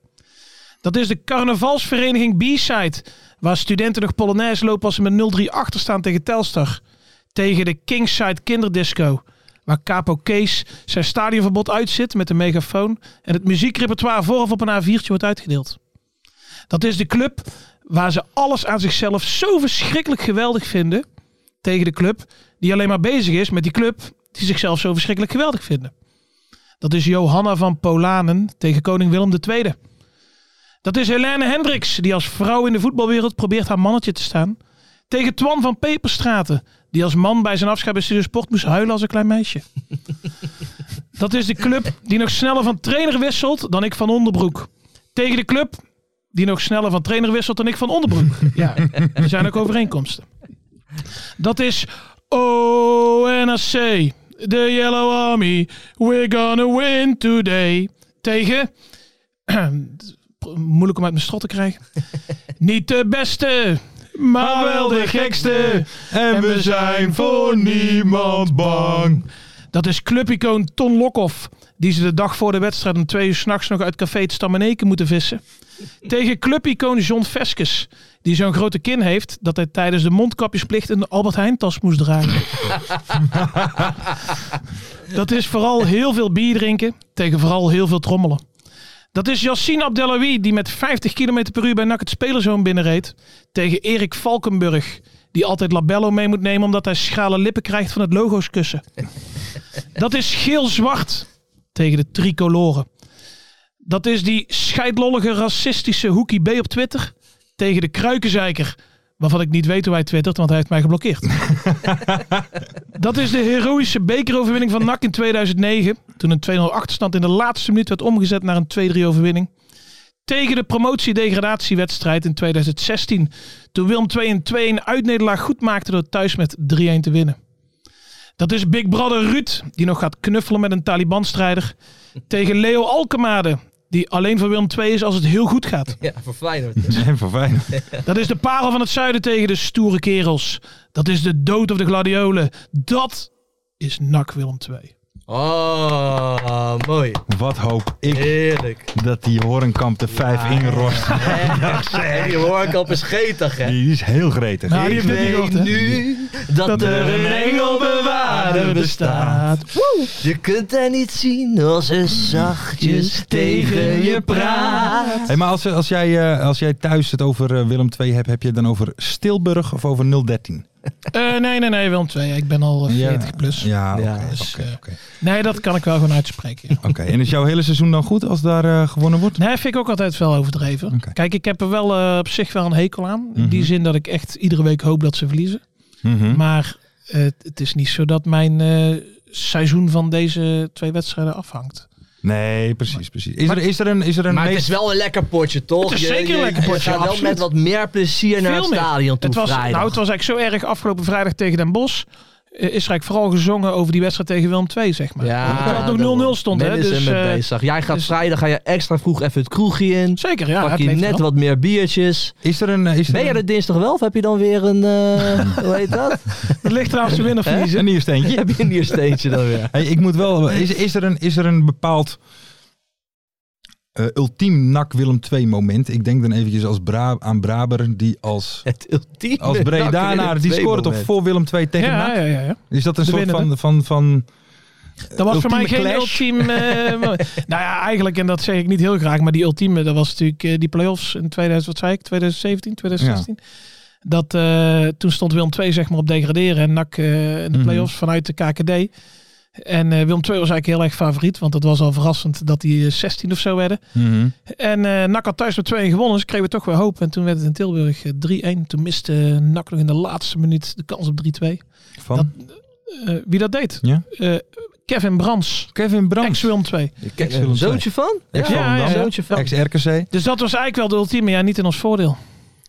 [SPEAKER 5] Dat is de carnavalsvereniging B-side, waar studenten nog Polonaise lopen als ze met 0-3 achterstaan tegen Telstar. Tegen de Kingside Kinderdisco, waar Capo Kees zijn stadionverbod uitzit met een megafoon en het muziekrepertoire vooraf op een A4'tje wordt uitgedeeld. Dat is de club waar ze alles aan zichzelf zo verschrikkelijk geweldig vinden. Tegen de club die alleen maar bezig is met die club die zichzelf zo verschrikkelijk geweldig vinden. Dat is Johanna van Polanen tegen koning Willem II. Dat is Helene Hendricks die als vrouw in de voetbalwereld probeert haar mannetje te staan. Tegen Twan van Peperstraten die als man bij zijn afscheid bij Studio Sport moest huilen als een klein meisje. Dat is de club die nog sneller van trainer wisselt dan ik van onderbroek. Tegen de club die nog sneller van trainer wisselt dan ik van onderbroek. Ja, er zijn ook overeenkomsten. Dat is ONAC, The Yellow Army, we're gonna win today. Tegen, moeilijk om uit mijn strot te krijgen, niet de beste, maar wel de gekste.
[SPEAKER 3] En we zijn voor niemand bang.
[SPEAKER 5] Dat is clubicoon Ton Lokhoff. Die ze de dag voor de wedstrijd om twee uur s'nachts nog uit café het Stammeneken moeten vissen. Tegen clubicoon John Veskes. Die zo'n grote kin heeft dat hij tijdens de mondkapjesplicht een Albert Heijn tas moest dragen. dat is vooral heel veel bier drinken tegen vooral heel veel trommelen. Dat is Yassine Abdellaoui die met 50 km per uur bij NAC het spelerzoon binnenreed. Tegen Erik Valkenburg die altijd labello mee moet nemen omdat hij schrale lippen krijgt van het logo's kussen. Dat is geel-zwart tegen de tricoloren. Dat is die scheidlollige racistische Hoekie B op Twitter tegen de kruikenzeiker. Waarvan ik niet weet hoe hij twittert, want hij heeft mij geblokkeerd. dat is de heroïsche bekeroverwinning van NAC in 2009. Toen een 2-0 achterstand in de laatste minuut werd omgezet naar een 2-3 overwinning. Tegen de promotiedegradatiewedstrijd in 2016. Toen Willem 2 een 2-1 uitnederlaag goed maakte door thuis met 3-1 te winnen. Dat is Big Brother Ruud, die nog gaat knuffelen met een Taliban-strijder. Tegen Leo Alkemade, Die alleen voor Willem II is als het heel goed gaat.
[SPEAKER 4] Ja, voor Feyenoord.
[SPEAKER 3] Ze zijn voor Feyenoord.
[SPEAKER 5] Dat is de parel van het zuiden tegen de stoere kerels. Dat is de dood of de gladiolen. Dat is NAC Willem II.
[SPEAKER 4] Oh, mooi.
[SPEAKER 3] Wat hoop ik
[SPEAKER 4] Heerlijk.
[SPEAKER 3] dat die Horenkamp de vijf inrost.
[SPEAKER 4] En die hoorkamp is getig, hè?
[SPEAKER 3] Die is heel gretig.
[SPEAKER 5] Nou, die heeft dit niet gehoord, hè?
[SPEAKER 4] nu dat, er een engelbewaarder bestaat. Je kunt haar niet zien als ze zachtjes tegen je praat.
[SPEAKER 3] Hey, maar als, als, jij, eh, als jij thuis het over eh, Willem II hebt, heb je het dan over Stilburg of over 013?
[SPEAKER 5] Eh, nee, nee, nee, Willem II. Ik ben al eh, 40 plus.
[SPEAKER 3] Ja, oké.
[SPEAKER 4] Ja,
[SPEAKER 3] oké,
[SPEAKER 5] dus,
[SPEAKER 3] oké,
[SPEAKER 5] eh,
[SPEAKER 3] oké.
[SPEAKER 5] Nee, dat kan ik wel gewoon uitspreken. ja.
[SPEAKER 3] Oké, En is jouw hele seizoen dan goed als daar eh, gewonnen wordt?
[SPEAKER 5] Nee, vind ik ook altijd wel overdreven.
[SPEAKER 3] Oké.
[SPEAKER 5] Kijk, ik heb er wel eh, op zich wel een hekel aan. In die
[SPEAKER 3] Mhm.
[SPEAKER 5] zin dat ik echt iedere week hoop dat ze verliezen.
[SPEAKER 3] Mhm.
[SPEAKER 5] Maar eh, het- het is niet zo dat mijn eh, seizoen van deze twee wedstrijden afhangt.
[SPEAKER 3] Nee, precies, precies. Is, er, is er een, is er een
[SPEAKER 4] Maar het
[SPEAKER 3] meest-
[SPEAKER 4] is wel een lekker potje, toch?
[SPEAKER 5] Het is zeker een lekker potje,
[SPEAKER 4] Je gaat wel
[SPEAKER 5] absoluut.
[SPEAKER 4] met wat meer plezier naar het
[SPEAKER 5] meer.
[SPEAKER 4] stadion toe
[SPEAKER 5] het was,
[SPEAKER 4] vrijdag.
[SPEAKER 5] Nou, het was eigenlijk zo erg afgelopen vrijdag tegen Den Bosch. eh, is er eigenlijk vooral gezongen over die wedstrijd tegen Willem II, zeg maar. Terwijl het
[SPEAKER 4] daarom.
[SPEAKER 5] nog 0-0 stond,
[SPEAKER 4] Men
[SPEAKER 5] hè.
[SPEAKER 4] is er
[SPEAKER 5] Dus,
[SPEAKER 4] met
[SPEAKER 5] eh,
[SPEAKER 4] bezig. Jij gaat
[SPEAKER 5] dus-
[SPEAKER 4] vrijdag ga je extra vroeg even het kroegje in.
[SPEAKER 5] zeker, ja.
[SPEAKER 4] pak
[SPEAKER 5] het
[SPEAKER 4] je
[SPEAKER 5] leeft
[SPEAKER 4] net
[SPEAKER 5] wel.
[SPEAKER 4] wat meer biertjes.
[SPEAKER 3] is er een... eh, Is er
[SPEAKER 4] Ben je
[SPEAKER 3] een-
[SPEAKER 4] er dinsdag wel of heb je dan weer een... eh, hoe heet dat?
[SPEAKER 5] Het ligt eraan of ze winnen of
[SPEAKER 4] Hè?
[SPEAKER 5] verliezen.
[SPEAKER 3] Een niersteentje?
[SPEAKER 4] heb je een niersteentje dan weer?
[SPEAKER 3] Hey, ik moet wel. Is, is, er, een, is er een bepaald. eh, ultiem nak Willem II moment. Ik denk dan eventjes als Bra aan Braber die als,
[SPEAKER 4] Het ultieme.
[SPEAKER 3] als
[SPEAKER 4] NAC
[SPEAKER 3] Bredanaar
[SPEAKER 4] in
[SPEAKER 3] die
[SPEAKER 4] het
[SPEAKER 3] scoort toch
[SPEAKER 4] tweede
[SPEAKER 3] voor Willem II tegen
[SPEAKER 5] Ja,
[SPEAKER 3] NAC?
[SPEAKER 5] ja, ja, ja.
[SPEAKER 3] Is dat een
[SPEAKER 5] De
[SPEAKER 3] soort van,
[SPEAKER 5] winnende.
[SPEAKER 3] van, van
[SPEAKER 5] Dat was voor mij
[SPEAKER 3] Ultieme
[SPEAKER 5] geen
[SPEAKER 3] clash.
[SPEAKER 5] ultiem. eh, mo- nou ja, eigenlijk, en dat zeg ik niet heel graag, maar die ultieme, dat was natuurlijk eh, die play-offs in 2000, wat zei ik, 2017, 2016. Dat eh, toen stond Willem 2 zeg maar op degraderen en NAC eh, in de
[SPEAKER 3] Mhm.
[SPEAKER 5] play-offs vanuit de KKD. En eh, Willem 2 was eigenlijk heel erg favoriet, want het was al verrassend dat die eh, 16 of zo werden.
[SPEAKER 4] Mhm.
[SPEAKER 5] En eh NAC had thuis met 2-1 gewonnen, dus kregen we toch weer hoop. En toen werd het in Tilburg eh, 3-1. Toen miste eh, NAC nog in de laatste minuut de kans op 3-2.
[SPEAKER 3] van
[SPEAKER 5] Dat- Eh, wie dat deed?
[SPEAKER 3] Ja.
[SPEAKER 5] Eh, Kevin Brands.
[SPEAKER 3] Kevin Brands?
[SPEAKER 5] Ex-Willem 2.
[SPEAKER 4] week. Een Zoontje van?
[SPEAKER 3] Ex-
[SPEAKER 5] Ja, ja, ja.
[SPEAKER 4] Zoontje van.
[SPEAKER 3] Ex-RKC.
[SPEAKER 5] Dus dat was eigenlijk wel de ultieme, ja, niet in ons voordeel.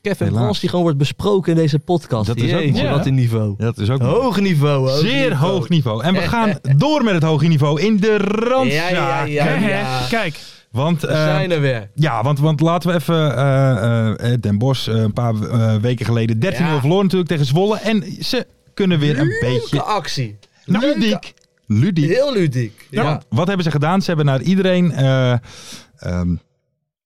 [SPEAKER 4] Kevin
[SPEAKER 3] Helaas.
[SPEAKER 4] Brons die gewoon wordt besproken in deze podcast.
[SPEAKER 3] Dat is ook
[SPEAKER 4] Jeetje,
[SPEAKER 3] mooi,
[SPEAKER 5] hè?
[SPEAKER 4] wat een niveau.
[SPEAKER 3] Dat is ook
[SPEAKER 4] Hoog niveau. Oh, hoog
[SPEAKER 3] zeer
[SPEAKER 4] niveau.
[SPEAKER 3] hoog niveau. En we gaan door met het hoge niveau in de randzaak.
[SPEAKER 4] Ja, ja, ja.
[SPEAKER 5] Hè, hè?
[SPEAKER 4] ja.
[SPEAKER 5] Kijk,
[SPEAKER 3] Want
[SPEAKER 4] We
[SPEAKER 3] eh,
[SPEAKER 4] zijn er weer.
[SPEAKER 3] Ja, want, want laten we even eh, eh, Den Bosch eh, een paar eh, weken geleden 13-0
[SPEAKER 4] Ja.
[SPEAKER 3] verloren natuurlijk tegen Zwolle. En ze kunnen weer een
[SPEAKER 4] De
[SPEAKER 3] beetje
[SPEAKER 4] actie.
[SPEAKER 3] ludiek. Ludiek.
[SPEAKER 4] Heel ludiek. Ja.
[SPEAKER 3] Want wat hebben ze gedaan? Ze hebben naar iedereen eh, ehm,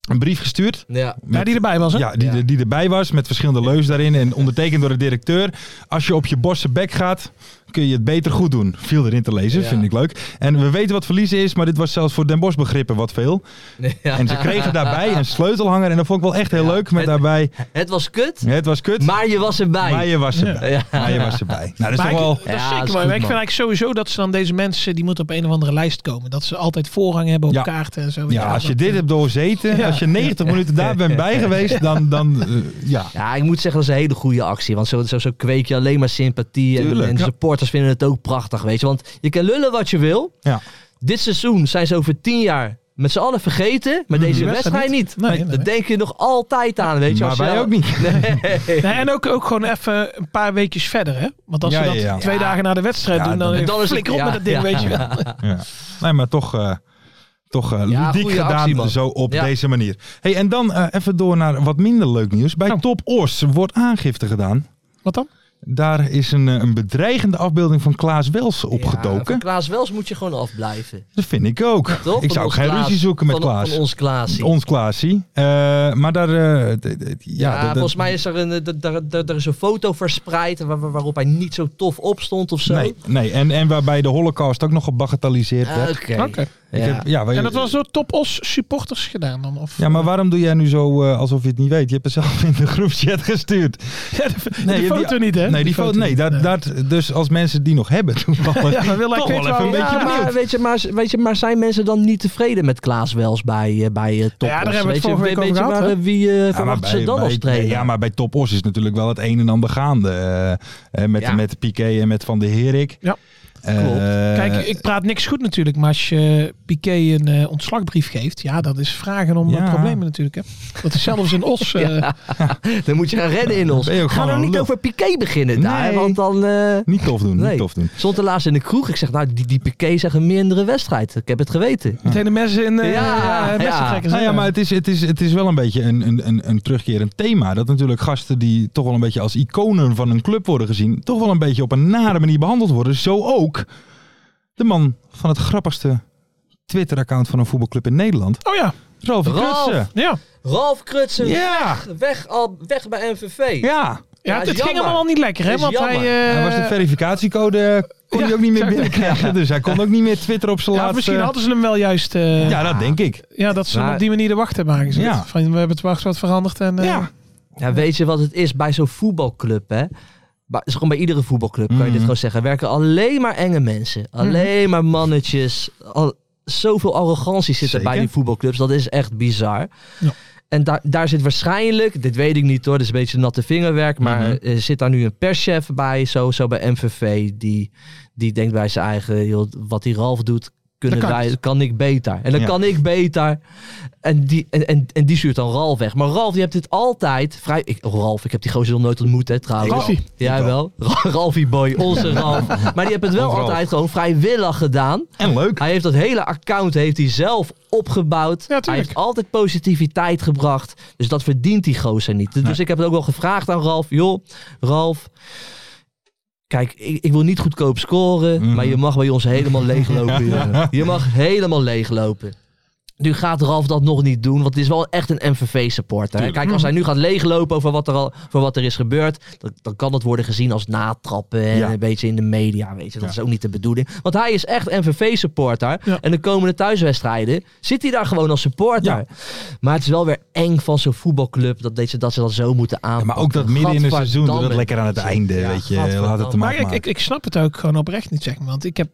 [SPEAKER 3] een brief gestuurd.
[SPEAKER 4] ja.
[SPEAKER 5] ja, die erbij was, hè?
[SPEAKER 3] Ja, die,
[SPEAKER 4] Ja.
[SPEAKER 3] die erbij was met verschillende leus daarin en ondertekend door de directeur. Als je op je bosse bek gaat, kun je het beter goed doen. Viel erin te lezen,
[SPEAKER 4] Ja.
[SPEAKER 3] vind ik leuk. En we weten wat verliezen is, maar dit was zelfs voor Den Bosch begrippen wat veel.
[SPEAKER 4] Ja.
[SPEAKER 3] En ze kregen daarbij een sleutelhanger en dat vond ik wel echt heel
[SPEAKER 4] Ja.
[SPEAKER 3] leuk. Met
[SPEAKER 4] Het-
[SPEAKER 3] daarbij,
[SPEAKER 4] Het was kut,
[SPEAKER 3] het was kut.
[SPEAKER 4] maar je was erbij.
[SPEAKER 3] Maar je was erbij.
[SPEAKER 4] Ja.
[SPEAKER 3] Maar je was erbij. Nou, dat is
[SPEAKER 5] Maar
[SPEAKER 3] toch
[SPEAKER 5] ik-
[SPEAKER 3] wel...
[SPEAKER 5] dat
[SPEAKER 4] Ja, dat
[SPEAKER 5] is zeker
[SPEAKER 4] is
[SPEAKER 5] mooi.
[SPEAKER 4] goed,
[SPEAKER 5] Maar ik vind
[SPEAKER 4] man.
[SPEAKER 5] eigenlijk sowieso dat ze dan deze mensen, die moeten op een of andere lijst komen. Dat ze altijd voorrang hebben op
[SPEAKER 3] Ja.
[SPEAKER 5] kaarten en zo.
[SPEAKER 3] Ja, als je
[SPEAKER 5] dat-
[SPEAKER 3] dit hebt doorzeten, als je 90 minuten daar bent bij geweest, dan... dan eh, ja.
[SPEAKER 4] Ja, ik moet zeggen, dat is een hele goede actie. Want zo, zo, zo kweek je alleen maar sympathie. En,
[SPEAKER 3] Tuurlijk,
[SPEAKER 4] en de
[SPEAKER 3] ja.
[SPEAKER 4] supporters vinden het ook prachtig, weet je. Want je kan lullen wat je wil.
[SPEAKER 3] Ja.
[SPEAKER 4] Dit seizoen zijn ze over tien jaar met z'n allen vergeten. Maar
[SPEAKER 3] Mhm.
[SPEAKER 4] deze
[SPEAKER 5] Die
[SPEAKER 4] wedstrijd niet.
[SPEAKER 5] Nee, nee,
[SPEAKER 4] Dat denk je nog altijd aan, weet je.
[SPEAKER 3] Maar
[SPEAKER 4] als je
[SPEAKER 3] wij
[SPEAKER 4] wel-
[SPEAKER 3] ook niet.
[SPEAKER 4] Nee.
[SPEAKER 5] Nee, en ook, ook gewoon even een paar weekjes verder, hè? Want als
[SPEAKER 3] Ja,
[SPEAKER 5] ze dat
[SPEAKER 3] ja, ja.
[SPEAKER 5] twee
[SPEAKER 4] Ja.
[SPEAKER 5] dagen na de wedstrijd
[SPEAKER 3] Ja,
[SPEAKER 5] doen, dan,
[SPEAKER 3] dan-
[SPEAKER 4] Dan is het-
[SPEAKER 5] flikker op
[SPEAKER 4] ja,
[SPEAKER 5] met dat ding,
[SPEAKER 4] ja.
[SPEAKER 5] weet je wel.
[SPEAKER 3] Ja. Nee, maar toch, eh, toch eh,
[SPEAKER 4] Ja,
[SPEAKER 3] ludiek
[SPEAKER 4] goeie
[SPEAKER 3] gedaan
[SPEAKER 4] actie, man.
[SPEAKER 3] zo op
[SPEAKER 4] Ja.
[SPEAKER 3] deze manier. Hey, en dan eh, even door naar wat minder leuk nieuws. Bij
[SPEAKER 4] Nou.
[SPEAKER 5] Oh.
[SPEAKER 3] Top Ors wordt aangifte gedaan.
[SPEAKER 5] Wat dan?
[SPEAKER 3] Daar is een, eh, een bedreigende afbeelding van Klaas Wels
[SPEAKER 4] Ja, van
[SPEAKER 3] opgedoken.
[SPEAKER 4] Klaas Wels moet je gewoon afblijven.
[SPEAKER 3] dat vind ik ook.
[SPEAKER 4] Toch?
[SPEAKER 3] ik
[SPEAKER 4] Van
[SPEAKER 3] zou
[SPEAKER 4] ons
[SPEAKER 3] geen
[SPEAKER 4] Klaas-
[SPEAKER 3] ruzie zoeken met
[SPEAKER 4] van,
[SPEAKER 3] Klaas.
[SPEAKER 4] Van ons Klaas.
[SPEAKER 3] Ons Klaasie. Eh, maar daar... eh, d- d- d-
[SPEAKER 4] Ja,
[SPEAKER 3] ja, d- d-
[SPEAKER 4] volgens mij is er een, eh, d- daar- daar- daar is een foto verspreid waar- waar- waarop hij niet zo tof op stond of zo.
[SPEAKER 3] Nee, nee. En, en waarbij de holocaust ook nog gebagatelliseerd
[SPEAKER 4] Ah,
[SPEAKER 3] werd.
[SPEAKER 4] Oké.
[SPEAKER 5] Oké.
[SPEAKER 3] Ik
[SPEAKER 4] Ja.
[SPEAKER 3] heb- ja, wij-
[SPEAKER 5] En dat was door Top Os supporters gedaan dan? Of,
[SPEAKER 3] Ja, maar waarom doe jij nu zo eh, alsof je het niet weet? Je hebt het zelf in de groepchat gestuurd.
[SPEAKER 5] Ja, de,
[SPEAKER 3] Nee,
[SPEAKER 5] de
[SPEAKER 3] die-
[SPEAKER 5] foto niet, hè?
[SPEAKER 3] Nee, die foto, nee, dat, dat, dus als mensen die nog hebben toevallig,
[SPEAKER 5] Ja, maar wil ik
[SPEAKER 3] toch wel
[SPEAKER 5] weten
[SPEAKER 3] even een
[SPEAKER 5] waarom-
[SPEAKER 3] beetje
[SPEAKER 4] Ja, maar,
[SPEAKER 3] benieuwd.
[SPEAKER 4] weet je, maar, weet je, maar zijn mensen dan niet tevreden met Klaas Wels bij, eh bij eh Top
[SPEAKER 5] Nou Ja, daar
[SPEAKER 4] Os?
[SPEAKER 5] hebben we het
[SPEAKER 4] weet je,
[SPEAKER 5] vorige week
[SPEAKER 4] weet je
[SPEAKER 5] over
[SPEAKER 4] maar,
[SPEAKER 5] gehad,
[SPEAKER 4] eh, wie eh
[SPEAKER 3] Ja, maar
[SPEAKER 4] verwacht ze
[SPEAKER 3] bij-
[SPEAKER 4] dan
[SPEAKER 3] bij-
[SPEAKER 4] als trainer?
[SPEAKER 3] nee, Ja, maar bij Top Os is natuurlijk wel het een en ander gaande. eh, eh, met,
[SPEAKER 4] Ja.
[SPEAKER 3] met Piqué en met Van de Herik. Eh,
[SPEAKER 5] Ja.
[SPEAKER 3] Klopt.
[SPEAKER 5] Kijk, ik praat niks goed natuurlijk, maar als je Piqué een eh, ontslagbrief geeft, ja, dat is vragen om eh,
[SPEAKER 3] Ja.
[SPEAKER 5] problemen natuurlijk. Hè. Dat is zelfs een os. eh,
[SPEAKER 4] Dan moet je gaan redden in ons.
[SPEAKER 3] Ben je ook
[SPEAKER 4] Ga
[SPEAKER 3] gewoon
[SPEAKER 4] nou
[SPEAKER 3] een
[SPEAKER 4] niet
[SPEAKER 3] lul.
[SPEAKER 4] over Piqué beginnen daar,
[SPEAKER 3] Nee.
[SPEAKER 4] want dan... eh,
[SPEAKER 3] Niet tof doen,
[SPEAKER 4] Nee.
[SPEAKER 3] niet tof doen.
[SPEAKER 4] Stond er laatst in de kroeg. Ik zeg, nou, die, die Piqué zegt een mindere wedstrijd. Ik heb het geweten.
[SPEAKER 5] meteen de messen in eh,
[SPEAKER 4] Ja,
[SPEAKER 5] ja,
[SPEAKER 4] ja.
[SPEAKER 5] messentrekkers,
[SPEAKER 3] Nou
[SPEAKER 5] hè.
[SPEAKER 3] ja, maar het is, het is, het is wel een beetje een, een, een, een terugkerend thema. Dat natuurlijk gasten die toch wel een beetje als iconen van een club worden gezien, toch wel een beetje op een nare manier behandeld worden. Zo ook de man van het grappigste Twitter-account van een voetbalclub in Nederland,
[SPEAKER 5] Oh ja,
[SPEAKER 3] Ralf
[SPEAKER 4] Ralf.
[SPEAKER 3] Krutsen.
[SPEAKER 5] ja.
[SPEAKER 4] Ralf Krutsen,
[SPEAKER 3] Ja,
[SPEAKER 4] weg, al, weg bij MVV.
[SPEAKER 3] ja.
[SPEAKER 5] ja,
[SPEAKER 4] Ja, is
[SPEAKER 5] het, het ging
[SPEAKER 4] jammer.
[SPEAKER 5] allemaal niet lekker, hè?
[SPEAKER 4] Is
[SPEAKER 5] Want hij,
[SPEAKER 4] jammer.
[SPEAKER 5] eh,
[SPEAKER 3] Hij was de verificatiecode, kon hij
[SPEAKER 5] ja,
[SPEAKER 3] ook niet meer
[SPEAKER 5] zou ik
[SPEAKER 3] binnenkrijgen. Dus hij kon ook niet meer Twitter op zijn
[SPEAKER 5] ja,
[SPEAKER 3] laatste...
[SPEAKER 5] misschien hadden ze hem wel juist. eh, ja.
[SPEAKER 3] Ja, dat denk ik.
[SPEAKER 5] dat ze hem
[SPEAKER 4] Maar-
[SPEAKER 5] op die manier de wacht hebben aangezet.
[SPEAKER 3] Ja.
[SPEAKER 5] Van, we hebben het wacht wat veranderd. En, eh,
[SPEAKER 3] Ja.
[SPEAKER 4] Ja, weet je wat het is bij zo'n voetbalclub, hè? Maar het is gewoon bij iedere voetbalclub, kan je dit
[SPEAKER 3] Mhm.
[SPEAKER 4] gewoon zeggen. Er werken alleen maar enge mensen. Alleen maar mannetjes. Al, zoveel arrogantie zit er bij
[SPEAKER 3] Zeker.
[SPEAKER 4] die voetbalclubs. Dat is echt bizar.
[SPEAKER 5] Ja.
[SPEAKER 4] En daar daar zit waarschijnlijk, dit weet ik niet hoor, dit is een beetje natte vingerwerk. Maar
[SPEAKER 3] Mhm.
[SPEAKER 4] eh, zit daar nu een perschef bij, zo, zo bij MVV. Die, die denkt bij zijn eigen, joh, wat die Ralf doet, kunnen
[SPEAKER 5] Dat kan
[SPEAKER 4] wij,
[SPEAKER 5] niet.
[SPEAKER 4] kan ik beter. En dan
[SPEAKER 3] Ja.
[SPEAKER 4] kan ik beter. En die, en, en, en die stuurt dan Ralf weg. Maar Ralf, die hebt dit altijd vrij... Ik, oh, Ralf, ik heb die gozer nog nooit ontmoet, hè, trouwens.
[SPEAKER 5] Ralfie.
[SPEAKER 4] Jij wel. Ra- Ralfie boy, onze Ralf. Maar die hebt het wel
[SPEAKER 3] Onze Ralf.
[SPEAKER 4] altijd gewoon vrijwillig gedaan.
[SPEAKER 3] En leuk.
[SPEAKER 4] Hij heeft dat hele account heeft hij zelf opgebouwd.
[SPEAKER 5] tuurlijk.
[SPEAKER 4] hij heeft altijd positiviteit gebracht. Dus dat verdient die gozer niet. Dus ik heb het ook wel gevraagd aan Ralf. Joh, Ralf... Kijk, ik, ik wil niet goedkoop scoren,
[SPEAKER 3] Mhm.
[SPEAKER 4] maar je mag bij ons helemaal leeglopen. jongen. Je mag helemaal leeglopen. Nu gaat Ralf dat nog niet doen, want het is wel echt een MVV-supporter. Kijk, als hij nu gaat leeglopen over wat er, al, voor wat er is gebeurd, dan, dan kan dat worden gezien als natrappen en
[SPEAKER 3] Ja.
[SPEAKER 4] een beetje in de media, weet je. Dat
[SPEAKER 3] Ja.
[SPEAKER 4] is ook niet de bedoeling. Want hij is echt MVV-supporter
[SPEAKER 5] Ja.
[SPEAKER 4] en de komende thuiswedstrijden zit hij daar gewoon als supporter.
[SPEAKER 3] Ja.
[SPEAKER 4] Maar het is wel weer eng van zo'n voetbalclub dat, deze, dat ze dat zo moeten
[SPEAKER 3] Ja,
[SPEAKER 4] aanpakken.
[SPEAKER 3] maar ook dat midden in het
[SPEAKER 4] Gadverdamme.
[SPEAKER 3] seizoen, dat het lekker aan het einde,
[SPEAKER 4] Ja,
[SPEAKER 3] weet je. Laat het te
[SPEAKER 5] Maar
[SPEAKER 3] maken
[SPEAKER 5] ik, ik, ik snap het ook gewoon oprecht niet, zeg maar. Want ik heb,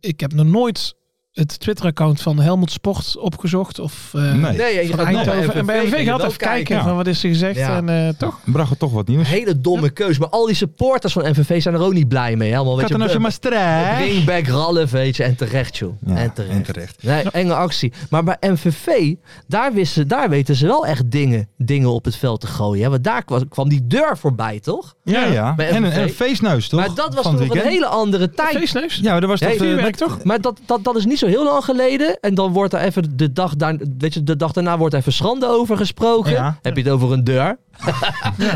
[SPEAKER 5] ik heb nog nooit het Twitter-account van Helmond Sport opgezocht. Of eh,
[SPEAKER 3] Nee.
[SPEAKER 4] Nee, je
[SPEAKER 5] van
[SPEAKER 4] gaat
[SPEAKER 5] Eindhoven. en bij MV
[SPEAKER 4] ga je
[SPEAKER 5] gaat
[SPEAKER 4] wel
[SPEAKER 5] even kijken
[SPEAKER 3] kijken.
[SPEAKER 5] van wat is er gezegd.
[SPEAKER 4] Ja.
[SPEAKER 5] En eh, toch?
[SPEAKER 3] bracht het toch wat nieuws.
[SPEAKER 4] Hele domme keus. Maar al die supporters van MVV zijn er ook niet blij mee. hè? Allemaal, weet je, eh,
[SPEAKER 3] Kattenasje Maastricht.
[SPEAKER 4] Ringback Ralf, weet je. En terecht, joh.
[SPEAKER 3] Ja,
[SPEAKER 4] en
[SPEAKER 3] en
[SPEAKER 4] terecht.
[SPEAKER 3] terecht.
[SPEAKER 4] Nee, enge actie. Maar bij MVV, daar, wisten, daar weten ze wel echt dingen, dingen op het veld te gooien. Hè? Want daar kwam, kwam die deur voorbij, toch?
[SPEAKER 3] Ja, ja.
[SPEAKER 4] Bij
[SPEAKER 3] En een,
[SPEAKER 4] FNV.
[SPEAKER 3] een feestneus, toch?
[SPEAKER 4] maar dat was
[SPEAKER 3] Van het
[SPEAKER 4] toch een
[SPEAKER 3] weekend?
[SPEAKER 4] hele andere tijd.
[SPEAKER 5] Feestneus?
[SPEAKER 3] Ja, maar dat was
[SPEAKER 4] Nee,
[SPEAKER 3] toch... eh,
[SPEAKER 5] Vuurwerk, toch?
[SPEAKER 4] Maar dat, dat, dat is niet zo heel lang geleden. En dan wordt er even de dag, daar, weet je, de dag daarna wordt er even schande over gesproken.
[SPEAKER 3] Ja.
[SPEAKER 4] Heb je het over een deur?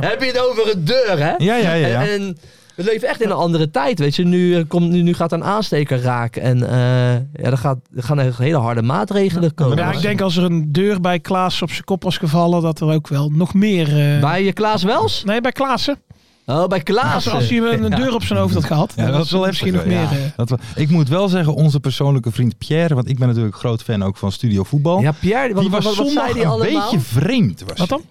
[SPEAKER 4] Heb je het over een deur, hè?
[SPEAKER 3] ja, ja, ja. ja.
[SPEAKER 4] En, en we leven echt in een andere tijd, weet je. Nu, eh, komt, nu, nu gaat er een aansteker raken. En eh, ja, er, gaat, er gaan echt hele harde maatregelen komen.
[SPEAKER 5] Ja, ik denk als er een deur bij Klaas op zijn kop was gevallen, dat er ook wel nog meer... eh,
[SPEAKER 4] Bij je Klaas Wels?
[SPEAKER 5] Nee, bij Klaassen.
[SPEAKER 4] Oh, bij Klaas.
[SPEAKER 5] Als, als hij een een deur op zijn hoofd had gehad,
[SPEAKER 3] Ja,
[SPEAKER 5] dan
[SPEAKER 3] dat
[SPEAKER 5] was
[SPEAKER 3] is wel
[SPEAKER 5] er
[SPEAKER 3] heftig,
[SPEAKER 5] misschien nog
[SPEAKER 3] ja.
[SPEAKER 5] meer... eh,
[SPEAKER 3] Dat we- ik moet wel zeggen, onze persoonlijke vriend Pierre, want ik ben natuurlijk groot fan ook van Studio Voetbal.
[SPEAKER 4] Ja, Pierre, wat,
[SPEAKER 3] die was
[SPEAKER 4] wat, wat
[SPEAKER 3] zondag
[SPEAKER 4] zei die
[SPEAKER 3] een
[SPEAKER 4] allemaal?
[SPEAKER 3] beetje vreemd. Was
[SPEAKER 5] Wat
[SPEAKER 3] hij.
[SPEAKER 5] dan?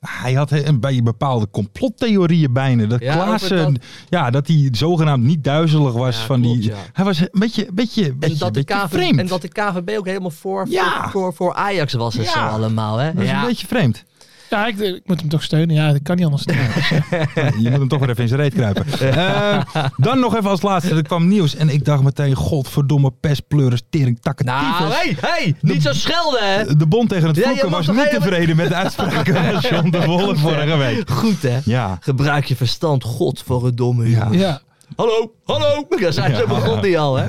[SPEAKER 3] Hij had he- een, bij bepaalde complottheorieën bijna. Dat
[SPEAKER 4] Ja,
[SPEAKER 3] Klaassen,
[SPEAKER 4] over dat-
[SPEAKER 3] ja, dat hij zogenaamd niet duizelig was
[SPEAKER 4] Ja,
[SPEAKER 3] van die...
[SPEAKER 4] klopt, ja.
[SPEAKER 3] Hij was een beetje, beetje, beetje,
[SPEAKER 4] En dat, de
[SPEAKER 3] beetje
[SPEAKER 4] KV,
[SPEAKER 3] vreemd.
[SPEAKER 4] en dat de KVB ook helemaal voor,
[SPEAKER 3] Ja.
[SPEAKER 4] voor, voor, voor Ajax was en
[SPEAKER 3] Ja.
[SPEAKER 4] zo allemaal. Hè?
[SPEAKER 3] Dat is een beetje vreemd.
[SPEAKER 5] Ja, ik, eh, ik moet hem toch steunen. Ja, dat kan niet anders.
[SPEAKER 3] Je moet hem toch weer even in zijn reet kruipen. Eh, dan nog even als laatste. Er kwam nieuws en ik dacht meteen... Godverdomme pestpleuris, tering, takken,
[SPEAKER 4] Nou,
[SPEAKER 3] tyfus.
[SPEAKER 4] hey, hey, niet zo schelden, hè?
[SPEAKER 3] De bond tegen het
[SPEAKER 4] Ja, je
[SPEAKER 3] vloeken
[SPEAKER 4] mag
[SPEAKER 3] was
[SPEAKER 4] toch
[SPEAKER 3] niet
[SPEAKER 4] helemaal-
[SPEAKER 3] tevreden met de uitspraken van John de Wolf vorige week.
[SPEAKER 4] Goed, hè?
[SPEAKER 3] Ja.
[SPEAKER 4] Gebruik je verstand, god voor een domme
[SPEAKER 3] Ja.
[SPEAKER 4] jongen.
[SPEAKER 5] Ja.
[SPEAKER 4] Hallo, hallo. Daar zijn ze
[SPEAKER 3] Ja.
[SPEAKER 4] begon die al, hè?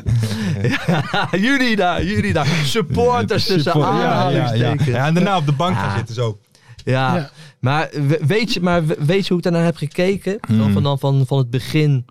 [SPEAKER 4] Ja, jullie daar, jullie daar. Supporters tussen
[SPEAKER 3] Super. ja, ja, ja.
[SPEAKER 4] aanhalingstekens.
[SPEAKER 3] ja, en daarna op de bank gaan
[SPEAKER 4] Ja.
[SPEAKER 3] zitten zo.
[SPEAKER 4] Ja,
[SPEAKER 5] Ja.
[SPEAKER 4] Maar, we- weet je, maar we- weet je hoe ik daarnaar heb gekeken?
[SPEAKER 3] Hmm.
[SPEAKER 4] Zo Van, dan- van, van het begin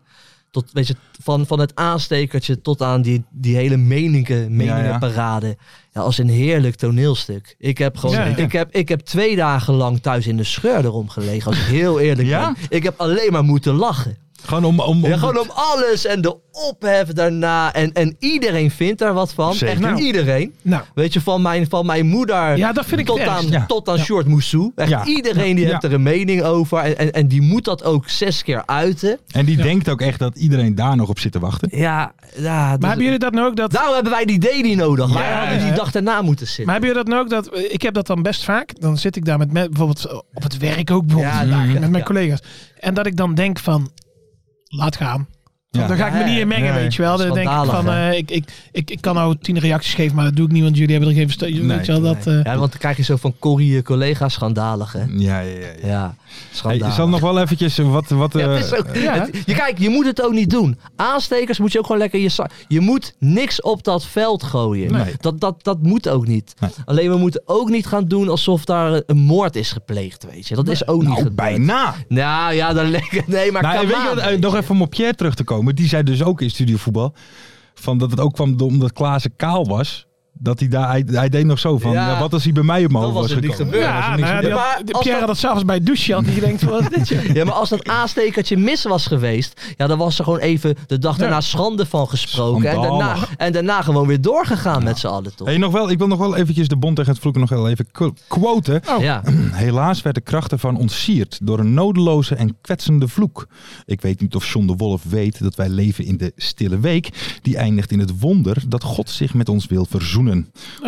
[SPEAKER 4] tot, weet je, van, van het aanstekertje tot aan die, die hele meningen, meningenparade. Ja, als een heerlijk toneelstuk. Ik heb gewoon,
[SPEAKER 5] Ja, ja.
[SPEAKER 4] Ik, heb, ik heb twee dagen lang thuis in de scheur erom gelegen, als ik heel eerlijk
[SPEAKER 3] Ja?
[SPEAKER 4] ben. Ik heb alleen maar moeten lachen.
[SPEAKER 3] Gewoon om... om, om
[SPEAKER 4] Ja, gewoon om alles en de ophef daarna. En, en iedereen vindt daar wat van.
[SPEAKER 3] Zeker.
[SPEAKER 4] Echt
[SPEAKER 3] Nou.
[SPEAKER 4] iedereen.
[SPEAKER 5] Nou,
[SPEAKER 4] Weet je, van mijn, van mijn moeder
[SPEAKER 5] ja, dat vind ik
[SPEAKER 4] tot,
[SPEAKER 5] het
[SPEAKER 4] aan,
[SPEAKER 5] ergst.
[SPEAKER 3] Ja.
[SPEAKER 4] tot aan Short Moussou. Echt
[SPEAKER 3] Ja.
[SPEAKER 4] iedereen die
[SPEAKER 3] Ja.
[SPEAKER 4] heeft er een mening over. En, en, en die moet dat ook zes keer uiten.
[SPEAKER 3] En die denkt ook echt dat iedereen daar nog op zit te wachten.
[SPEAKER 4] Ja, ja dat-
[SPEAKER 5] Maar hebben jullie dat nou ook? Dat,
[SPEAKER 4] daarom hebben wij die daily nodig. wij
[SPEAKER 5] Ja,
[SPEAKER 4] hadden die
[SPEAKER 5] hè?
[SPEAKER 4] dag daarna moeten zitten.
[SPEAKER 5] maar hebben jullie dat nou ook? Dat, ik heb dat dan best vaak. Dan zit ik daar met, me- bijvoorbeeld op het werk ook bijvoorbeeld,
[SPEAKER 4] Ja, daar-
[SPEAKER 5] met mijn
[SPEAKER 4] ja.
[SPEAKER 5] collega's. En dat ik dan denk van, laat gaan.
[SPEAKER 3] Ja.
[SPEAKER 5] Dan ga ik me
[SPEAKER 4] Nee,
[SPEAKER 5] niet in mengen,
[SPEAKER 3] nee.
[SPEAKER 5] weet je wel. Dan denk ik
[SPEAKER 4] Schandalig,
[SPEAKER 5] van,
[SPEAKER 4] hè?
[SPEAKER 5] eh, ik, ik, ik, ik kan nou tien reacties geven, maar dat doe ik niet, want jullie hebben er geen verstand.
[SPEAKER 3] Nee,
[SPEAKER 5] weet je wel, dat... eh,
[SPEAKER 4] ja, want dan krijg je zo van Corrie eh, collega schandalig, hè?
[SPEAKER 3] Ja, ja, ja. ja.
[SPEAKER 4] Ja,
[SPEAKER 3] Hey,
[SPEAKER 4] schandalig.
[SPEAKER 3] je zal nog wel eventjes eh, wat... wat
[SPEAKER 4] Ja,
[SPEAKER 3] eh,
[SPEAKER 4] het is ook-
[SPEAKER 5] ja.
[SPEAKER 4] het- je, kijk, je moet het ook niet doen. Aanstekers moet je ook gewoon lekker je za- Je moet niks op dat veld gooien.
[SPEAKER 3] Nee.
[SPEAKER 4] Dat, dat, dat moet ook niet.
[SPEAKER 3] Nee.
[SPEAKER 4] Alleen we moeten ook niet gaan doen alsof daar een moord is gepleegd, weet je. Dat is ook niet
[SPEAKER 3] nou,
[SPEAKER 4] gebeurd.
[SPEAKER 3] bijna.
[SPEAKER 4] Nou ja, dan lekker. Nee, maar
[SPEAKER 3] Nou, en
[SPEAKER 4] come
[SPEAKER 3] weet je
[SPEAKER 4] on,
[SPEAKER 3] wat, eh,
[SPEAKER 4] weet
[SPEAKER 3] nog
[SPEAKER 4] je.
[SPEAKER 3] even om op Pierre terug te komen. Die zei dus ook in Studio Voetbal... Van dat het ook kwam door- omdat Klaassen kaal was. Dat hij daar... Hij, hij deed nog zo van...
[SPEAKER 4] Ja.
[SPEAKER 3] ja, wat als hij bij mij omhoog
[SPEAKER 4] Dan was
[SPEAKER 3] was
[SPEAKER 4] het niet
[SPEAKER 3] gekomen?
[SPEAKER 4] gebeurd.
[SPEAKER 5] ja,
[SPEAKER 3] dat is
[SPEAKER 5] nou ja,
[SPEAKER 3] niks
[SPEAKER 5] die
[SPEAKER 4] aan.
[SPEAKER 5] had-
[SPEAKER 4] Maar als
[SPEAKER 5] Pierre
[SPEAKER 4] dat-
[SPEAKER 5] had dat s'avonds bij het douchen, had hij denkt, wat is dit? joh?
[SPEAKER 4] Ja, maar als dat aanstekertje mis was geweest, ja, dan was er gewoon even de dag daarna schande van gesproken. En daarna,
[SPEAKER 3] Schandalig.
[SPEAKER 4] en daarna gewoon weer doorgegaan met z'n allen, toch?
[SPEAKER 3] Hey, nog wel, ik wil nog wel eventjes de bond tegen het vloeken nog wel even qu- quoten.
[SPEAKER 4] Ja.
[SPEAKER 3] Helaas werd de kracht ervan ontsierd door een nodeloze en kwetsende vloek. Ik weet niet of John de Wolf weet dat wij leven in de stille week. Die eindigt in het wonder dat God zich met ons wil verzoenen.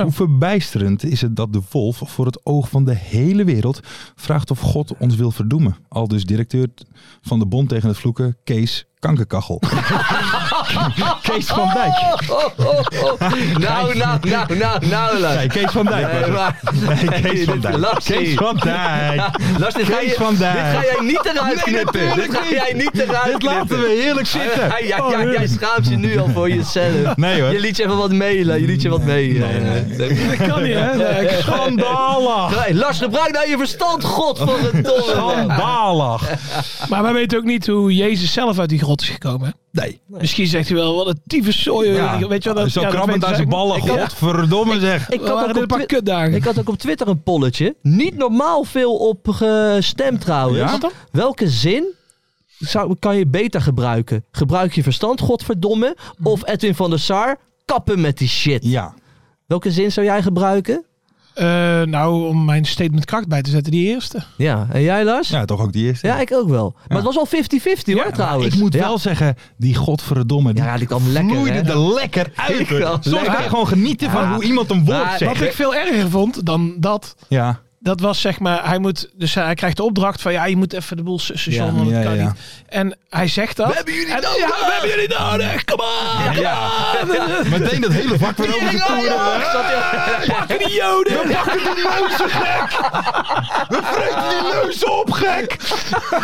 [SPEAKER 3] Hoe verbijsterend is het dat de wolf voor het oog van de hele wereld vraagt of God ons wil verdoemen. Al dus directeur van de bond tegen het vloeken, Kees Kankerkachel. Kees van Dijk.
[SPEAKER 4] Oh, oh, oh. Nou, nou, nou, nou, nou, Lars.
[SPEAKER 3] Nee, Kees van Dijk. was
[SPEAKER 4] Nee,
[SPEAKER 3] het.
[SPEAKER 4] maar-
[SPEAKER 3] Nee, Kees van
[SPEAKER 4] Dit-
[SPEAKER 3] Dijk.
[SPEAKER 4] Lars,
[SPEAKER 3] Kees
[SPEAKER 4] hey.
[SPEAKER 3] van Dijk.
[SPEAKER 4] Lars, dit ga,
[SPEAKER 3] Kees
[SPEAKER 4] je,
[SPEAKER 3] van Dijk.
[SPEAKER 4] dit ga jij niet eruit
[SPEAKER 3] Nee,
[SPEAKER 4] knippen.
[SPEAKER 3] natuurlijk
[SPEAKER 4] dit ga
[SPEAKER 3] niet.
[SPEAKER 4] jij niet eruit
[SPEAKER 3] Dit laten
[SPEAKER 4] knippen.
[SPEAKER 3] we heerlijk zitten. Oh,
[SPEAKER 4] Ja, ja, ja, jij schaamt je nu al voor jezelf.
[SPEAKER 3] Nee hoor.
[SPEAKER 4] Je liet je even wat mailen. Je liet je wat mee.
[SPEAKER 3] Nee, nee,
[SPEAKER 5] Dat kan niet, hè? Nee, ik-
[SPEAKER 3] Schandalig.
[SPEAKER 4] Hey, Lars, gebruik nou je verstand, godverdomme. man.
[SPEAKER 3] Schandalig.
[SPEAKER 4] Eh,
[SPEAKER 5] Maar wij weten ook niet hoe Jezus zelf uit die grot is gekomen. hè?
[SPEAKER 3] Nee.
[SPEAKER 5] Misschien zegt hij wel, wat een tyfe zooi. Weet je wel, dat,
[SPEAKER 3] Zo
[SPEAKER 5] ja, dat
[SPEAKER 3] krabbend
[SPEAKER 5] weten
[SPEAKER 3] aan
[SPEAKER 5] ze
[SPEAKER 3] zijn
[SPEAKER 5] ook
[SPEAKER 3] ballen.
[SPEAKER 5] niet. Ik-
[SPEAKER 3] Godverdomme zeg.
[SPEAKER 4] Ik
[SPEAKER 5] Ik had
[SPEAKER 4] had, ook
[SPEAKER 5] een
[SPEAKER 4] op
[SPEAKER 5] paar
[SPEAKER 4] Twi-
[SPEAKER 5] kutdagen.
[SPEAKER 4] ik had ook op Twitter een polletje. Niet normaal veel op gestemd trouwens.
[SPEAKER 3] Ja? Wat
[SPEAKER 5] dan?
[SPEAKER 4] Welke zin zou, kan je beter gebruiken? Gebruik je verstand, godverdomme. Of Edwin van der Sar, kappen met die shit.
[SPEAKER 3] Ja.
[SPEAKER 4] Welke zin zou jij gebruiken?
[SPEAKER 5] Eh, nou, om mijn statement kracht bij te zetten, die eerste.
[SPEAKER 4] Ja, en jij Lars? Ja,
[SPEAKER 3] Ja, toch ook die eerste.
[SPEAKER 4] ik ook wel. Maar het was al 50-50 hoor trouwens.
[SPEAKER 3] Ik moet
[SPEAKER 4] Ja.
[SPEAKER 3] wel zeggen, die godverdomme, die,
[SPEAKER 4] Ja, die kwam lekker,
[SPEAKER 3] vloeide
[SPEAKER 4] hè?
[SPEAKER 3] er lekker uit. hoor.
[SPEAKER 4] Ja,
[SPEAKER 3] Soms
[SPEAKER 4] lekker.
[SPEAKER 3] kan je gewoon genieten van
[SPEAKER 4] Ja.
[SPEAKER 3] hoe iemand een woord
[SPEAKER 4] Maar-
[SPEAKER 5] Wat
[SPEAKER 3] zegt.
[SPEAKER 5] ik veel erger vond dan dat,
[SPEAKER 3] Ja.
[SPEAKER 5] dat was zeg maar, hij moet, dus hij krijgt de opdracht van, ja, je moet even de boel sussen,
[SPEAKER 4] Ja,
[SPEAKER 5] John, want dat
[SPEAKER 3] ja,
[SPEAKER 5] kan
[SPEAKER 3] ja.
[SPEAKER 5] niet. En hij zegt dat. We hebben jullie nodig! we hebben jullie nodig! Kom aan!
[SPEAKER 3] ja. Meteen dat hele vak weer over de toeren.
[SPEAKER 5] Pakken die joden!
[SPEAKER 3] Neus op, gek!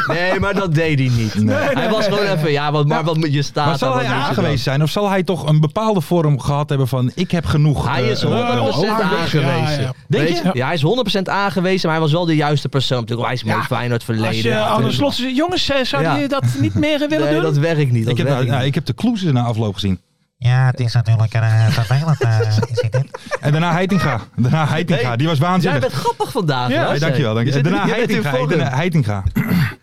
[SPEAKER 4] Nee, maar dat deed hij niet. hij was gewoon even, ja, wat, maar wat moet je staan?
[SPEAKER 3] Maar zal hij aangewezen zijn? Of zal hij toch een bepaalde vorm gehad hebben van... ik heb genoeg...
[SPEAKER 4] Hij
[SPEAKER 3] eh,
[SPEAKER 4] is 100%
[SPEAKER 3] eh,
[SPEAKER 4] aangewezen.
[SPEAKER 5] Ja, ja.
[SPEAKER 3] Denk
[SPEAKER 4] Weet
[SPEAKER 3] je?
[SPEAKER 4] Ja, hij is 100% aangewezen, maar hij was wel de juiste persoon. Natuurlijk, hij is met Feyenoord
[SPEAKER 5] Als
[SPEAKER 4] verleden.
[SPEAKER 5] je Arne Slot zegt, jongens, eh, zouden
[SPEAKER 4] Ja.
[SPEAKER 5] jullie dat niet meer eh, willen
[SPEAKER 4] nee,
[SPEAKER 5] doen?
[SPEAKER 4] dat werkt niet. Dat
[SPEAKER 3] Ik heb,
[SPEAKER 4] werkt
[SPEAKER 3] nou, nou,
[SPEAKER 4] niet.
[SPEAKER 3] ik heb de Kloeze na afloop gezien.
[SPEAKER 8] Ja, het is natuurlijk eh vervelend. eh, is dit, hè?
[SPEAKER 3] En daarna Heitinga. Daarna Heitinga.
[SPEAKER 4] Hey,
[SPEAKER 3] Die was waanzinnig.
[SPEAKER 4] Jij bent grappig vandaag.
[SPEAKER 3] Ja,
[SPEAKER 4] Lars,
[SPEAKER 3] hey, dankjewel.
[SPEAKER 4] hè. Je
[SPEAKER 3] dankjewel.
[SPEAKER 4] zit-
[SPEAKER 3] Daarna
[SPEAKER 4] je bent in
[SPEAKER 3] Heitinga.
[SPEAKER 4] vorm.
[SPEAKER 3] Daarna Heitinga.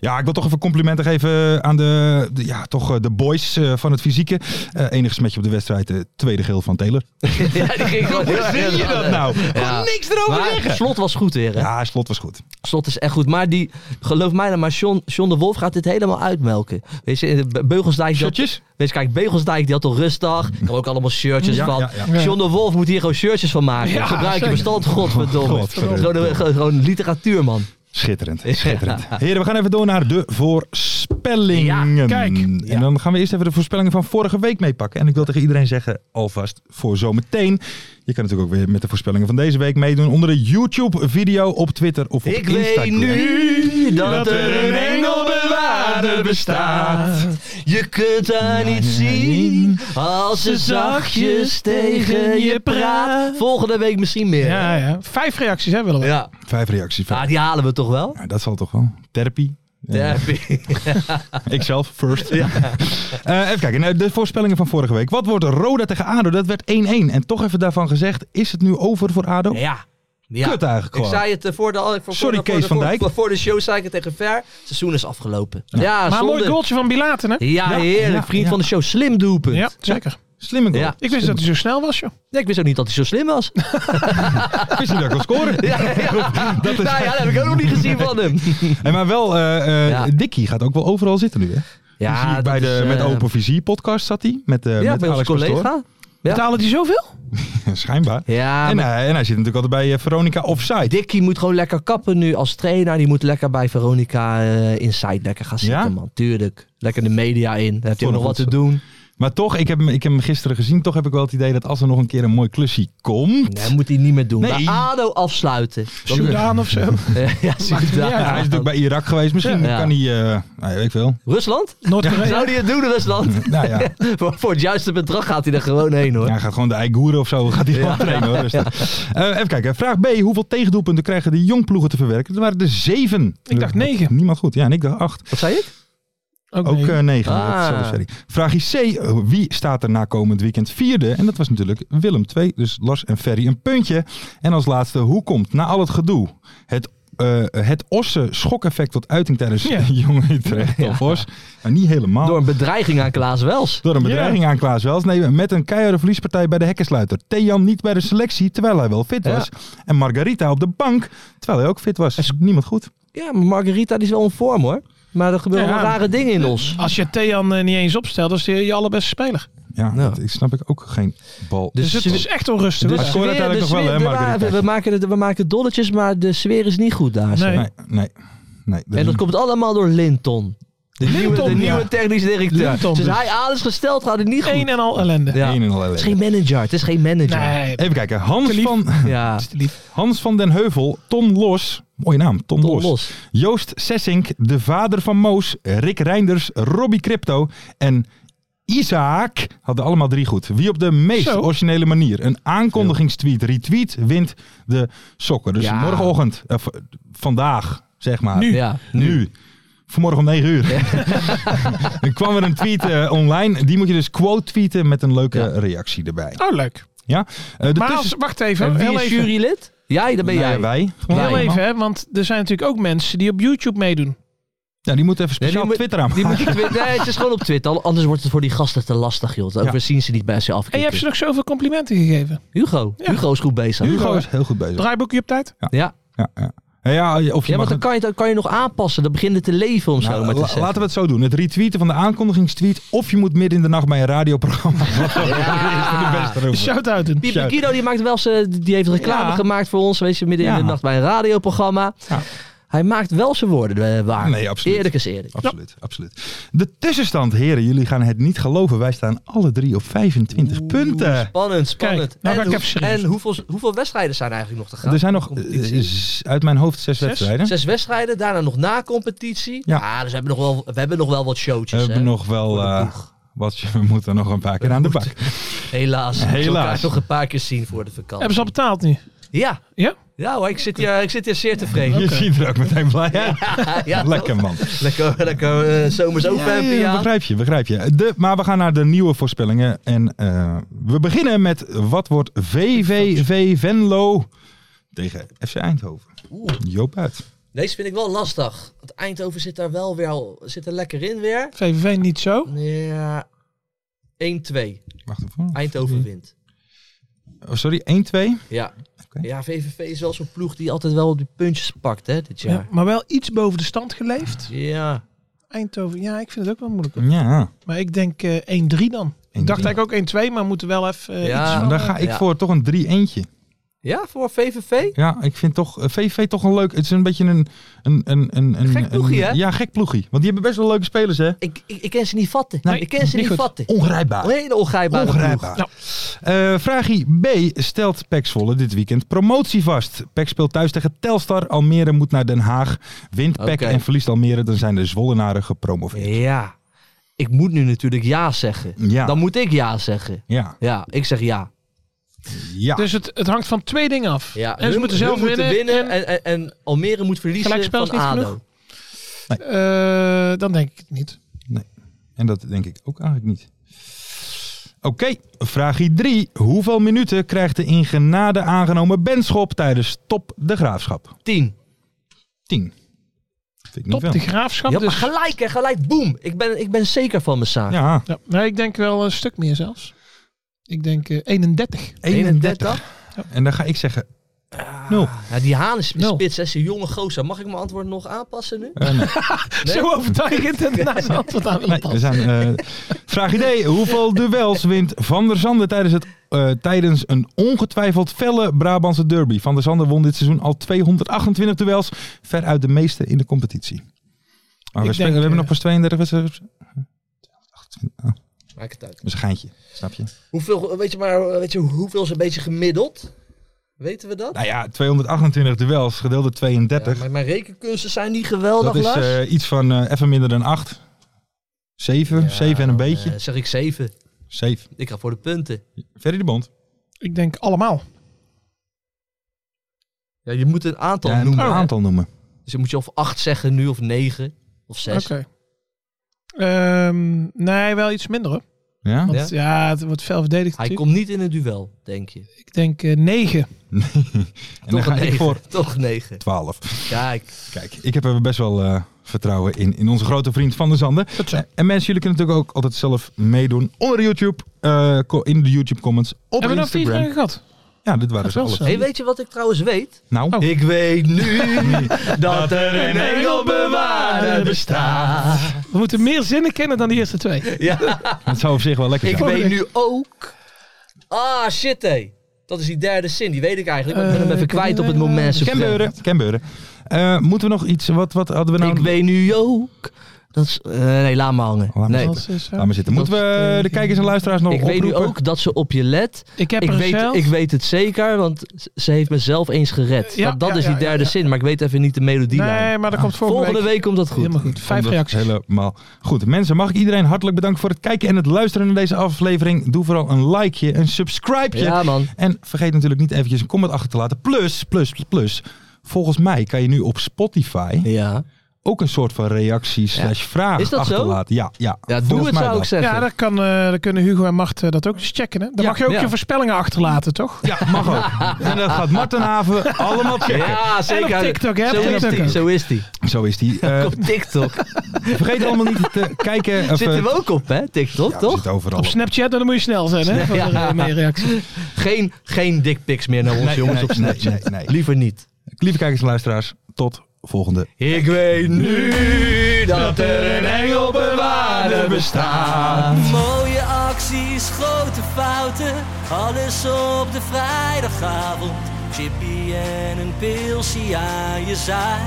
[SPEAKER 3] Ja, ik wil toch even complimenten geven eh, aan de, de- ja, toch, eh, de boys eh, van het fysieke. Eh enig smetje op de wedstrijd, de tweede geel van Taylor.
[SPEAKER 4] Ja, die ging gewoon heel erg
[SPEAKER 3] Zie je
[SPEAKER 4] aan,
[SPEAKER 3] dat
[SPEAKER 4] hè.
[SPEAKER 3] nou?
[SPEAKER 4] Ja.
[SPEAKER 3] Niks erover
[SPEAKER 4] Maar
[SPEAKER 3] zeggen.
[SPEAKER 4] Slot was goed weer. Hè?
[SPEAKER 3] Ja, slot was goed.
[SPEAKER 4] Slot is echt goed. Maar die, geloof mij dan maar, John, John de Wolf gaat dit helemaal uitmelken. Weet je, Be- Beugelsdijk... die had-
[SPEAKER 3] Shirtjes?
[SPEAKER 4] Weet je, kijk, Beugelsdijk die had toch rustdag. Ik heb ook allemaal shirtjes
[SPEAKER 3] Ja,
[SPEAKER 4] van.
[SPEAKER 3] ja, ja.
[SPEAKER 4] John de Wolf moet hier gewoon shirtjes van maken.
[SPEAKER 5] Ja,
[SPEAKER 4] Gebruik
[SPEAKER 5] zeker.
[SPEAKER 4] je bestand, godverdomme.
[SPEAKER 3] Godverdomme.
[SPEAKER 4] Gewoon, een- gewoon, gewoon literatuur, man.
[SPEAKER 3] Schitterend. Schitterend. Heren, we gaan even door naar de voorspellingen.
[SPEAKER 5] Ja, kijk.
[SPEAKER 3] En dan gaan we eerst even de voorspellingen van vorige week meepakken. En ik wil tegen iedereen zeggen, alvast voor zometeen. Je kan natuurlijk ook weer met de voorspellingen van deze week meedoen. Onder de YouTube-video, op Twitter of op
[SPEAKER 4] Ik
[SPEAKER 3] Instagram.
[SPEAKER 4] weet nu dat er een
[SPEAKER 5] engelbewaarder
[SPEAKER 4] engelbewaarder bestaat. Je kunt haar niet zien als ze zachtjes tegen je praat. Volgende week misschien meer.
[SPEAKER 5] Ja, ja. Vijf reacties, hè, willen we.
[SPEAKER 4] ja.
[SPEAKER 3] Vijf reacties.
[SPEAKER 4] Ah, die halen we toch wel?
[SPEAKER 3] Nou, dat zal toch wel. Therapie.
[SPEAKER 4] Ja.
[SPEAKER 3] Ikzelf, first. Eh, even kijken, nou, de voorspellingen van vorige week. Wat wordt Roda tegen ADO? Dat werd 1-1. En toch even daarvan gezegd, is het nu over voor ADO?
[SPEAKER 4] Ja. ja.
[SPEAKER 3] Kut eigenlijk
[SPEAKER 4] Ik
[SPEAKER 3] gewoon.
[SPEAKER 4] zei het eh, voor de, al- voor,
[SPEAKER 3] Sorry,
[SPEAKER 4] voor de-
[SPEAKER 3] Kees
[SPEAKER 4] voor de-
[SPEAKER 3] van Dijk.
[SPEAKER 4] Voor, voor de show zei ik het tegen Ver. Het seizoen is afgelopen. Ja,
[SPEAKER 5] Maar een
[SPEAKER 4] zonde.
[SPEAKER 5] mooi goaltje van Bilaten, hè?
[SPEAKER 4] Ja,
[SPEAKER 3] Ja,
[SPEAKER 4] heerlijk.
[SPEAKER 3] ja,
[SPEAKER 4] Vriend
[SPEAKER 3] ja.
[SPEAKER 4] van de show. Slim doelpunt.
[SPEAKER 5] Ja, zeker.
[SPEAKER 3] Slimme goal.
[SPEAKER 4] Ja.
[SPEAKER 5] Ik wist dat hij zo snel was, joh.
[SPEAKER 4] Nee, ik wist ook niet dat hij zo slim was.
[SPEAKER 3] Ik wist niet dat ik kon scoren.
[SPEAKER 4] ja, ja.
[SPEAKER 3] Dat is-
[SPEAKER 4] Nou ja, dat heb ik ook nog niet gezien van hem.
[SPEAKER 3] En maar wel, eh eh,
[SPEAKER 4] Ja.
[SPEAKER 3] Dickie gaat ook wel overal zitten nu. Hè? Zie ik
[SPEAKER 4] Ja,
[SPEAKER 3] bij
[SPEAKER 4] dat
[SPEAKER 3] de
[SPEAKER 4] is,
[SPEAKER 3] met
[SPEAKER 4] eh,
[SPEAKER 3] Open Vizier podcast zat hij. Met, eh
[SPEAKER 4] Ja,
[SPEAKER 3] met
[SPEAKER 4] bij onze
[SPEAKER 3] Alex Pastoor.
[SPEAKER 4] collega.
[SPEAKER 5] Betalen die zoveel?
[SPEAKER 3] Schijnbaar.
[SPEAKER 4] Ja,
[SPEAKER 3] en,
[SPEAKER 4] maar
[SPEAKER 3] hij, en hij zit natuurlijk altijd bij eh, Veronica Offside.
[SPEAKER 4] Dickie moet gewoon lekker kappen nu als trainer. Die moet lekker bij Veronica eh, Inside lekker gaan zitten,
[SPEAKER 3] Ja?
[SPEAKER 4] man. Tuurlijk. Lekker de media in. Dan heb je
[SPEAKER 3] Voor
[SPEAKER 4] ook nog
[SPEAKER 3] de
[SPEAKER 4] wat te
[SPEAKER 3] goed
[SPEAKER 4] doen.
[SPEAKER 3] Maar toch, ik heb, hem, ik heb hem gisteren gezien. Toch heb ik wel het idee dat als er nog een keer een mooi klusje komt...
[SPEAKER 4] Nee, moet hij niet meer doen.
[SPEAKER 3] Nee.
[SPEAKER 4] Bij ADO afsluiten.
[SPEAKER 5] Soudaan of zo.
[SPEAKER 4] ja, Soudaan.
[SPEAKER 3] Ja, hij is natuurlijk bij Irak geweest. Misschien
[SPEAKER 4] Ja.
[SPEAKER 3] kan hij... eh, nou, weet ik veel.
[SPEAKER 4] Rusland?
[SPEAKER 5] Noord-Korea.
[SPEAKER 4] Zou die het doen, Rusland?
[SPEAKER 3] Nou ja.
[SPEAKER 4] voor, voor het juiste bedrag gaat hij er gewoon heen, hoor.
[SPEAKER 3] Ja, hij gaat gewoon de Eigoeren of zo gaat hij gewoon trainen. Hoor, rustig. Eh, even kijken. Vraag B. Hoeveel tegendoelpunten krijgen de jongploegen te verwerken? Er waren er zeven.
[SPEAKER 5] Ik dacht
[SPEAKER 3] Dat-
[SPEAKER 5] negen.
[SPEAKER 3] Niemand goed. Ja, en ik dacht acht.
[SPEAKER 4] Wat zei ik?
[SPEAKER 5] Ook,
[SPEAKER 3] Ook
[SPEAKER 5] negen.
[SPEAKER 3] eh, negen.
[SPEAKER 4] Ah.
[SPEAKER 3] Dat is zo, sorry. Vraag C. eh, Wie staat er na komend weekend vierde? En dat was natuurlijk Willem II. Dus Lars en Ferry een puntje. En als laatste. Hoe komt na al het gedoe het... eh, het osse schokeffect tot uiting tijdens
[SPEAKER 5] Ja.
[SPEAKER 3] Jong Utrecht of Os. Maar niet helemaal.
[SPEAKER 4] Door een bedreiging aan Klaas Wels.
[SPEAKER 3] Door een
[SPEAKER 5] Ja.
[SPEAKER 3] bedreiging aan Klaas Wels. Nee, met een keiharde verliespartij bij de hekkensluiter. Thean niet bij de selectie, terwijl hij wel fit
[SPEAKER 4] Ja.
[SPEAKER 3] was. En Margarita op de bank, terwijl hij ook fit was. Is niemand goed.
[SPEAKER 4] Ja, maar Margarita die is wel in vorm, hoor. Maar er gebeuren
[SPEAKER 5] Ja.
[SPEAKER 4] wel rare dingen in ons.
[SPEAKER 5] Als je Thean eh, niet eens opstelt, is hij je allerbeste speler.
[SPEAKER 3] Ja,
[SPEAKER 4] Ja.
[SPEAKER 3] dat ik snap ik ook geen bal.
[SPEAKER 5] Dus,
[SPEAKER 4] Dus
[SPEAKER 5] het is echt onrustig.
[SPEAKER 4] De
[SPEAKER 3] Hij scoorde
[SPEAKER 4] sfeer-
[SPEAKER 3] uiteindelijk
[SPEAKER 4] de
[SPEAKER 3] nog wel,
[SPEAKER 4] sfeer-
[SPEAKER 3] hè,
[SPEAKER 4] de-
[SPEAKER 3] Margarita?
[SPEAKER 4] we, maken het- we maken dolletjes, maar de sfeer is niet goed daar. zeg.
[SPEAKER 5] Nee.
[SPEAKER 3] nee, nee. nee.
[SPEAKER 4] En dat komt allemaal door Linton. De, nieuwe, de
[SPEAKER 5] ja.
[SPEAKER 4] nieuwe technisch directeur.
[SPEAKER 5] Linton
[SPEAKER 4] dus
[SPEAKER 5] dus.
[SPEAKER 4] hij aan is gesteld, gaat het niet goed.
[SPEAKER 5] Eén en al ellende.
[SPEAKER 4] Ja.
[SPEAKER 3] Eén en al
[SPEAKER 4] Het is
[SPEAKER 3] ellende.
[SPEAKER 4] geen manager. Het is geen manager.
[SPEAKER 5] Nee,
[SPEAKER 3] Even kijken.
[SPEAKER 5] Te
[SPEAKER 3] Hans
[SPEAKER 5] lief.
[SPEAKER 3] van,
[SPEAKER 4] Ja,
[SPEAKER 3] Hans van den Heuvel, Ton Los. Mooie naam, Ton,
[SPEAKER 4] Tom
[SPEAKER 3] Los.
[SPEAKER 4] los.
[SPEAKER 3] Joost Sessink, de vader van Moos. Rick Reinders, Robbie Crypto en... Isaac hadden allemaal drie goed. Wie op de meest
[SPEAKER 5] Zo.
[SPEAKER 3] originele manier een aankondigingstweet retweet, wint de sokken. Dus
[SPEAKER 4] Ja.
[SPEAKER 3] morgenochtend, eh, v- vandaag zeg maar.
[SPEAKER 5] Nu.
[SPEAKER 4] Ja,
[SPEAKER 3] nu. Vanmorgen om 9 uur. Dan kwam er een tweet eh, online. Die moet je dus quote tweeten met een leuke reactie erbij.
[SPEAKER 5] Oh, leuk.
[SPEAKER 3] Ja? Eh, de
[SPEAKER 5] Maar als,
[SPEAKER 3] tussen-
[SPEAKER 5] wacht
[SPEAKER 4] En
[SPEAKER 5] even.
[SPEAKER 4] wie
[SPEAKER 5] Heel
[SPEAKER 4] is
[SPEAKER 5] even,
[SPEAKER 4] jurylid? Jij, dat ben
[SPEAKER 3] Nou ja,
[SPEAKER 4] jij.
[SPEAKER 3] wij.
[SPEAKER 4] Wij.
[SPEAKER 3] Gewoon
[SPEAKER 5] heel
[SPEAKER 3] allemaal.
[SPEAKER 5] even hè, want er zijn natuurlijk ook mensen die op YouTube meedoen.
[SPEAKER 3] Ja, die moeten even
[SPEAKER 4] Nee, die
[SPEAKER 3] speciaal op
[SPEAKER 4] moet-
[SPEAKER 3] Twitter aan.
[SPEAKER 4] Die moet je twi- nee, het is gewoon op Twitter. al- Anders wordt het voor die gasten te lastig, joh. Dan
[SPEAKER 3] Ja.
[SPEAKER 4] overzien ze niet bij ze
[SPEAKER 5] En je hebt
[SPEAKER 4] afkikken.
[SPEAKER 5] ze nog zoveel complimenten gegeven.
[SPEAKER 4] Hugo.
[SPEAKER 5] Ja.
[SPEAKER 4] Hugo is goed bezig.
[SPEAKER 3] Hugo is heel goed bezig.
[SPEAKER 5] Draaiboekje op tijd?
[SPEAKER 4] Ja.
[SPEAKER 3] Ja, ja. Ja, of je
[SPEAKER 4] ja, want
[SPEAKER 3] mag
[SPEAKER 4] dan
[SPEAKER 3] het-
[SPEAKER 4] kan je, dan kan je nog aanpassen. Dan begint het te leven om zo
[SPEAKER 3] Nou,
[SPEAKER 4] maar te
[SPEAKER 3] la-
[SPEAKER 4] zeggen.
[SPEAKER 3] laten we het zo doen. Het retweeten van de aankondigingstweet. Of je moet midden in de nacht bij een radioprogramma.
[SPEAKER 4] Ja.
[SPEAKER 3] de beste route.
[SPEAKER 5] Shout-outen.
[SPEAKER 4] Piep de Guido Ah. die maakt wel ze, die heeft reclame
[SPEAKER 3] Ja.
[SPEAKER 4] gemaakt voor ons, weet je, midden in
[SPEAKER 3] Ja.
[SPEAKER 4] de nacht bij een radioprogramma.
[SPEAKER 3] Ja.
[SPEAKER 4] Hij maakt wel zijn woorden eh, waar.
[SPEAKER 3] Nee, absoluut.
[SPEAKER 4] Eerlijk is eerlijk.
[SPEAKER 3] Absoluut, absoluut. De tussenstand, heren. Jullie gaan het niet geloven. Wij staan alle drie op 25 punten.
[SPEAKER 4] Spannend, spannend.
[SPEAKER 5] Kijk, nou ga
[SPEAKER 4] en
[SPEAKER 5] ik even serieus.
[SPEAKER 4] en hoeveel, hoeveel wedstrijden zijn er eigenlijk nog te gaan?
[SPEAKER 3] Er zijn nog eh,
[SPEAKER 4] Competitie.
[SPEAKER 3] z- uit mijn hoofd zes, wedstrijden.
[SPEAKER 4] Zes wedstrijden, daarna nog na competitie.
[SPEAKER 3] Ja.
[SPEAKER 4] Ja, dus we hebben nog wel, we hebben nog wel wat
[SPEAKER 3] We
[SPEAKER 4] showtjes.
[SPEAKER 3] hebben
[SPEAKER 4] hè?
[SPEAKER 3] nog wel
[SPEAKER 4] Voor de
[SPEAKER 3] eh,
[SPEAKER 4] ploeg.
[SPEAKER 3] wat. We moeten nog een paar keer aan de bak.
[SPEAKER 4] Helaas. We
[SPEAKER 3] Helaas.
[SPEAKER 4] zullen elkaar nog een paar keer zien voor de vakantie.
[SPEAKER 5] Hebben ze al betaald nu?
[SPEAKER 4] Ja.
[SPEAKER 5] Ja?
[SPEAKER 4] Ja hoor, ik zit hier, ik zit hier zeer tevreden.
[SPEAKER 3] Je ziet er ook meteen blij uit.
[SPEAKER 4] Ja,
[SPEAKER 3] Lekker man.
[SPEAKER 4] Lekker, lekker eh, zomers overhemdje
[SPEAKER 3] Ja,
[SPEAKER 4] aan.
[SPEAKER 3] begrijp je, begrijp je. De, maar we gaan naar de nieuwe voorspellingen. En eh, we beginnen met wat wordt VVV Venlo tegen FC Eindhoven. Joop uit.
[SPEAKER 4] Deze vind ik wel lastig. Want Eindhoven zit daar wel weer al- zit er lekker in weer. Eh,
[SPEAKER 5] VVV niet zo.
[SPEAKER 4] Ja. 1-2.
[SPEAKER 3] Wacht even.
[SPEAKER 4] Eindhoven wint.
[SPEAKER 3] Oh, sorry, 1-2.
[SPEAKER 4] Ja.
[SPEAKER 3] Oké.
[SPEAKER 4] Ja, VVV is wel zo'n ploeg die altijd wel op die puntjes pakt, hè, dit
[SPEAKER 5] Ja,
[SPEAKER 4] jaar.
[SPEAKER 5] maar wel iets boven de stand geleefd.
[SPEAKER 4] Ja.
[SPEAKER 5] Eindhoven, ja, ik vind het ook wel moeilijk.
[SPEAKER 3] Ja,
[SPEAKER 5] Maar ik denk eh 1-3 dan. Ik dacht eigenlijk ook 1-2, maar we moeten wel even eh,
[SPEAKER 4] Ja.
[SPEAKER 5] iets
[SPEAKER 3] dan
[SPEAKER 5] van, eh,
[SPEAKER 3] ga ik
[SPEAKER 4] Ah, oh, Ja.
[SPEAKER 3] voor toch een 3-eentje.
[SPEAKER 4] Ja, voor VVV?
[SPEAKER 3] Ja, ik vind toch eh, VVV toch een leuk. Het is een beetje een. een, een, een een-
[SPEAKER 4] Gek ploegie,
[SPEAKER 3] een-
[SPEAKER 4] hè?
[SPEAKER 3] Ja, gek ploegie. Want die hebben best wel leuke spelers, hè?
[SPEAKER 4] Ik, ik, ik ken ze niet vatten.
[SPEAKER 3] Nee,
[SPEAKER 4] ik ken ze
[SPEAKER 5] niet
[SPEAKER 4] niet,
[SPEAKER 5] goed.
[SPEAKER 4] vatten.
[SPEAKER 3] Ongrijpbaar.
[SPEAKER 4] Een hele ongrijpbare
[SPEAKER 3] Ongrijpbaar.
[SPEAKER 5] ploeg.
[SPEAKER 3] Eh, vraagie B. Stelt PEC Zwolle dit weekend promotie vast? PEC speelt thuis tegen Telstar. Almere moet naar Den Haag. Wint PEC
[SPEAKER 4] Oké.
[SPEAKER 3] en verliest Almere, dan zijn de Zwollenaren gepromoveerd.
[SPEAKER 4] ploeg. Ja. Ik moet nu natuurlijk ja zeggen.
[SPEAKER 5] Eh,
[SPEAKER 3] Ja.
[SPEAKER 4] Dan moet ik ja zeggen.
[SPEAKER 3] Ja,
[SPEAKER 4] Ja, ik zeg ja.
[SPEAKER 3] ja.
[SPEAKER 5] Dus het, het hangt van twee dingen af.
[SPEAKER 4] ja.
[SPEAKER 5] en ze moeten zelf winnen. en,
[SPEAKER 4] en, en, en Almere moet verliezen
[SPEAKER 5] Gelijkspel is
[SPEAKER 4] van
[SPEAKER 5] niet
[SPEAKER 4] ADO.
[SPEAKER 5] genoeg. eh, dan denk ik het niet.
[SPEAKER 3] En dat denk ik ook eigenlijk niet. Oké, vraagie 3. Hoeveel minuten krijgt de in genade aangenomen Benschop tijdens Top de Graafschap?
[SPEAKER 4] 10.
[SPEAKER 3] 10. Vind ik niet
[SPEAKER 5] Top
[SPEAKER 3] veel.
[SPEAKER 5] de graafschap.
[SPEAKER 4] Ja, maar
[SPEAKER 5] dus,
[SPEAKER 4] gelijk, hè, gelijk, boom. Ik ben, ik ben zeker van mijn zaak.
[SPEAKER 3] Ja,
[SPEAKER 5] ja, maar ik denk wel een stuk meer zelfs. Ik denk eh, 31.
[SPEAKER 3] 31. En dan ga ik zeggen eh, Nul.
[SPEAKER 4] Ja, die Haan is
[SPEAKER 5] Nul.
[SPEAKER 4] spits, hè, is een jonge gozer. Mag ik mijn antwoord nog aanpassen nu?
[SPEAKER 3] Eh,
[SPEAKER 5] Zo overtuigend en daarna zijn antwoord aan
[SPEAKER 3] Nee, we
[SPEAKER 4] dus
[SPEAKER 5] iemand.
[SPEAKER 3] zijn, eh, vraag idee. Hoeveel duels wint Van der Zanden tijdens, het, eh, tijdens een ongetwijfeld felle Brabantse derby? Van der Zanden won dit seizoen al 228 duels. Veruit de meeste in de competitie. Maar we, spelen-
[SPEAKER 5] Ik denk,
[SPEAKER 3] we hebben
[SPEAKER 5] eh,
[SPEAKER 3] nog pas 32 wedstrijden. 228, ah, dat
[SPEAKER 4] Maak het uit.
[SPEAKER 3] is een geintje, snap je?
[SPEAKER 4] Hoeveel, weet je maar, weet je hoeveel is een beetje gemiddeld? Weten we dat?
[SPEAKER 3] Nou ja, 228 duels gedeeld door 32.
[SPEAKER 4] Ja, maar mijn rekenkunsten zijn niet geweldig,
[SPEAKER 3] dat is
[SPEAKER 4] Lars.
[SPEAKER 3] eh, iets van eh, even minder dan 8. 7, 7 en een beetje.
[SPEAKER 4] Eh, zeg ik zeven.
[SPEAKER 3] 7.
[SPEAKER 4] Ik ga voor de punten.
[SPEAKER 3] Ferry de Bond.
[SPEAKER 5] Ik denk allemaal.
[SPEAKER 4] Ja, je moet een aantal
[SPEAKER 3] Ja, een
[SPEAKER 5] Oh,
[SPEAKER 4] noemen. hè?
[SPEAKER 3] aantal noemen.
[SPEAKER 4] Dus dan moet je of acht zeggen nu, of negen, of zes.
[SPEAKER 5] Oké. Ehm, nee, wel iets minder hoor.
[SPEAKER 4] Oh,
[SPEAKER 3] Ja?
[SPEAKER 5] Want ja, het wordt fel verdedigd
[SPEAKER 4] Hij
[SPEAKER 5] natuurlijk.
[SPEAKER 4] komt niet in een duel, denk je.
[SPEAKER 5] Ik denk eh, negen.
[SPEAKER 3] En dan
[SPEAKER 4] Toch
[SPEAKER 3] ga
[SPEAKER 4] negen.
[SPEAKER 3] ik voor
[SPEAKER 4] Toch negen.
[SPEAKER 3] 12.
[SPEAKER 4] Kijk,
[SPEAKER 3] Kijk, ik heb er best wel eh, vertrouwen in, in onze grote vriend Van der Zanden. Eh,
[SPEAKER 5] Eh,
[SPEAKER 3] En mensen, jullie kunnen natuurlijk ook altijd zelf meedoen onder YouTube, eh, ko- in de YouTube comments, op
[SPEAKER 5] Hebben we nou vier
[SPEAKER 3] Instagram.
[SPEAKER 5] vragen gehad?
[SPEAKER 3] ja, dit waren
[SPEAKER 5] Dat
[SPEAKER 3] ze
[SPEAKER 5] is
[SPEAKER 3] alles.
[SPEAKER 5] wel
[SPEAKER 4] hey, weet je wat ik trouwens weet?
[SPEAKER 3] Nou,
[SPEAKER 5] Oh.
[SPEAKER 4] Ik weet nu dat er een engelbewaarder bestaat.
[SPEAKER 5] We moeten meer zinnen kennen dan die eerste twee.
[SPEAKER 4] Ja,
[SPEAKER 3] het zou op zich wel lekker
[SPEAKER 4] ik
[SPEAKER 3] zijn.
[SPEAKER 4] weet nu ook. Ah, shit, hé. Dat is die derde zin, die weet ik eigenlijk. Maar ik ben hem
[SPEAKER 5] Eh,
[SPEAKER 4] even kwijt op het
[SPEAKER 5] eh,
[SPEAKER 4] moment. supreme.
[SPEAKER 3] Kenbeuren, Kenbeuren. Eh, moeten we nog iets, wat, wat hadden we nou?
[SPEAKER 4] Ik weet nu ook. Dat is, eh, nee, laat me hangen.
[SPEAKER 3] Laat me
[SPEAKER 4] nee.
[SPEAKER 5] Dat is, eh,
[SPEAKER 3] Laat maar zitten. Moeten we de kijkers en luisteraars nog
[SPEAKER 4] eh, Ik weet
[SPEAKER 3] oproepen?
[SPEAKER 4] nu ook dat ze op je let.
[SPEAKER 5] Ik heb
[SPEAKER 4] Ik
[SPEAKER 5] er
[SPEAKER 4] weet,
[SPEAKER 5] zelf.
[SPEAKER 4] ik weet het zeker, want ze heeft me zelf eens gered.
[SPEAKER 5] Ja,
[SPEAKER 4] dat dat
[SPEAKER 5] ja,
[SPEAKER 4] is die
[SPEAKER 5] ja, ja,
[SPEAKER 4] derde
[SPEAKER 5] ja.
[SPEAKER 4] zin, maar ik weet even niet de melodie.
[SPEAKER 5] nee, maar dat komt volgende,
[SPEAKER 4] Ah, Volgende week komt dat goed.
[SPEAKER 5] Helemaal goed. Vijf
[SPEAKER 3] Omdat-
[SPEAKER 5] reacties.
[SPEAKER 3] Helemaal goed. Mensen, mag ik iedereen hartelijk bedanken voor het kijken en het luisteren naar deze aflevering. Doe vooral een likeje, een subscribeje.
[SPEAKER 4] Ja, man.
[SPEAKER 3] En vergeet natuurlijk niet eventjes een comment achter te laten. Plus, plus, plus, plus. Volgens mij kan je nu op Spotify
[SPEAKER 4] Ja,
[SPEAKER 3] ook een soort van reactie slash vraag
[SPEAKER 4] Is dat zo?
[SPEAKER 3] achterlaten. Ja, ja.
[SPEAKER 4] ja doe
[SPEAKER 3] volgens
[SPEAKER 4] het
[SPEAKER 3] mij
[SPEAKER 4] zou
[SPEAKER 3] wel.
[SPEAKER 4] ik zeggen.
[SPEAKER 5] Ja, daar, kan, eh, daar kunnen Hugo en Mart eh, dat ook eens checken. Hè? Dan
[SPEAKER 4] Ja,
[SPEAKER 5] mag je ook
[SPEAKER 4] ja.
[SPEAKER 5] je voorspellingen achterlaten, toch?
[SPEAKER 3] Ja, mag ook. en dat gaat Martenhaven allemaal checken.
[SPEAKER 4] Ja,
[SPEAKER 5] En
[SPEAKER 4] zeker.
[SPEAKER 5] op TikTok, hè?
[SPEAKER 4] Zo
[SPEAKER 5] Op
[SPEAKER 4] is
[SPEAKER 5] TikTok
[SPEAKER 4] die.
[SPEAKER 5] ook.
[SPEAKER 4] Zo is die.
[SPEAKER 3] Zo is die. Eh,
[SPEAKER 4] Op TikTok.
[SPEAKER 3] vergeet allemaal niet te kijken. Of, eh,
[SPEAKER 4] Zitten we ook op, hè? TikTok, toch?
[SPEAKER 3] Zit overal.
[SPEAKER 5] Op
[SPEAKER 3] op.
[SPEAKER 5] Snapchat, dan moet je snel zijn, hè? Voor
[SPEAKER 4] Ja.
[SPEAKER 5] de, eh, meer reacties.
[SPEAKER 4] Geen, geen dickpics meer naar ons, jongens,
[SPEAKER 3] nee,
[SPEAKER 4] op Snapchat.
[SPEAKER 3] nee, nee, nee.
[SPEAKER 4] Liever niet.
[SPEAKER 3] Lieve kijkers en luisteraars, tot volgende
[SPEAKER 4] Ik weet nu dat er een engelbewaarder bestaat.
[SPEAKER 1] Mooie acties, grote fouten, alles op de vrijdagavond. Chippy en een pilsie aan je zaai.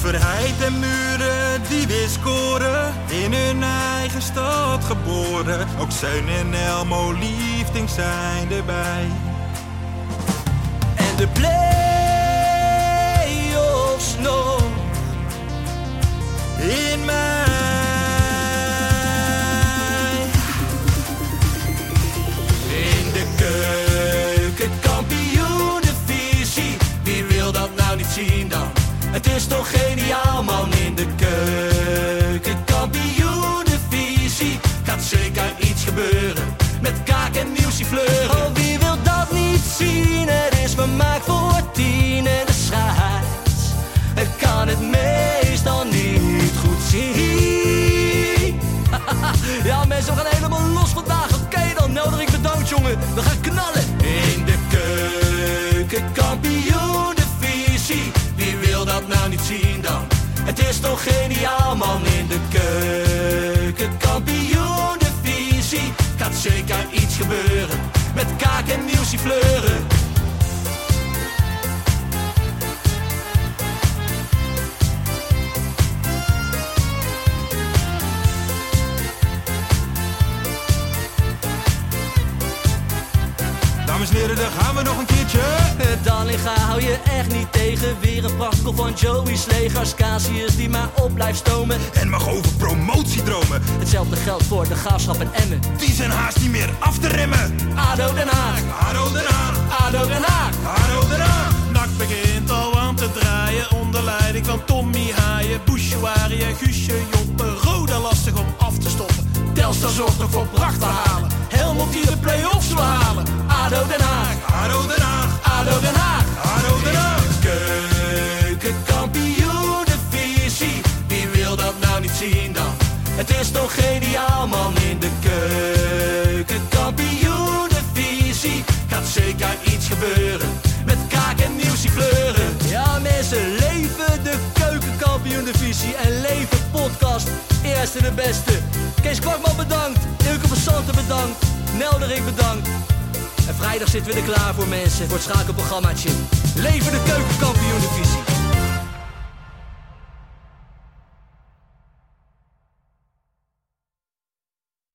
[SPEAKER 2] Verheid en muren die weer scoren, in hun eigen stad geboren. Ook Zeun en Elmo liefding zijn erbij.
[SPEAKER 1] en de play-offs nog in mij. In de keuken, kampioen, de visie. Wie wil dat nou niet zien dan? Het is toch geniaal man in de keuken, kampioen, de visie. Gaat zeker iets gebeuren met kaak en nieuwsie fleuren. Oh, wie wil dat niet zien? Het is vermaakt voor tien en de scheids. Het kan het meestal niet goed zien. Ja, mensen, we gaan helemaal los vandaag. Oké, dan Nelderik bedankt, jongen. We gaan knallen. In de keuken, kampioen, de visie. Wie wil dat nou niet zien dan? Het is toch geniaal, man. In de keuken, kampioen, de visie. Gaat zeker iets gebeuren. Met kaak en nieuwsie fleuren.
[SPEAKER 2] Dames en heren, daar gaan we nog een keertje.
[SPEAKER 1] Dallinga Eh, hou je echt niet tegen. Weer een prachtkel van Joey's legers. Casius die maar op blijft stomen.
[SPEAKER 2] En mag over promotiedromen,
[SPEAKER 1] Hetzelfde geldt voor de graafschap en Emmen.
[SPEAKER 2] die zijn haast niet meer af te remmen.
[SPEAKER 1] ADO Den Haag,
[SPEAKER 2] Haro eraan,
[SPEAKER 1] ADO Den Haag.
[SPEAKER 2] haro eraan.
[SPEAKER 9] Nak begint al aan te draaien onder leiding van Tommy Haaien, Bouchouari en Guusje Joppen. Roda lastig om af te stoppen. Telstar zorgt nog voor pracht te halen. Helmond die de play-offs wil halen.
[SPEAKER 1] ADO Den Haag,
[SPEAKER 2] Haro eraan,
[SPEAKER 1] ADO Den Haag.
[SPEAKER 2] haro eraan.
[SPEAKER 1] Keukenkampioen de visie, wie wil dat nou niet zien dan? Het is toch geniaal man in de keukenkampioen de visie. Gaat zeker iets
[SPEAKER 10] gebeuren. Met kaak en nieuws die fleuren.
[SPEAKER 4] Ja mensen, leven de keukenkampioen-divisie en leven podcast. Eerste de beste. Kees Kwakman bedankt, Ilke van Santen bedankt, Nelderik bedankt.
[SPEAKER 10] En vrijdag zitten we er klaar voor mensen. Voor het schakelprogrammaatje. Leven de keukenkampioen divisie.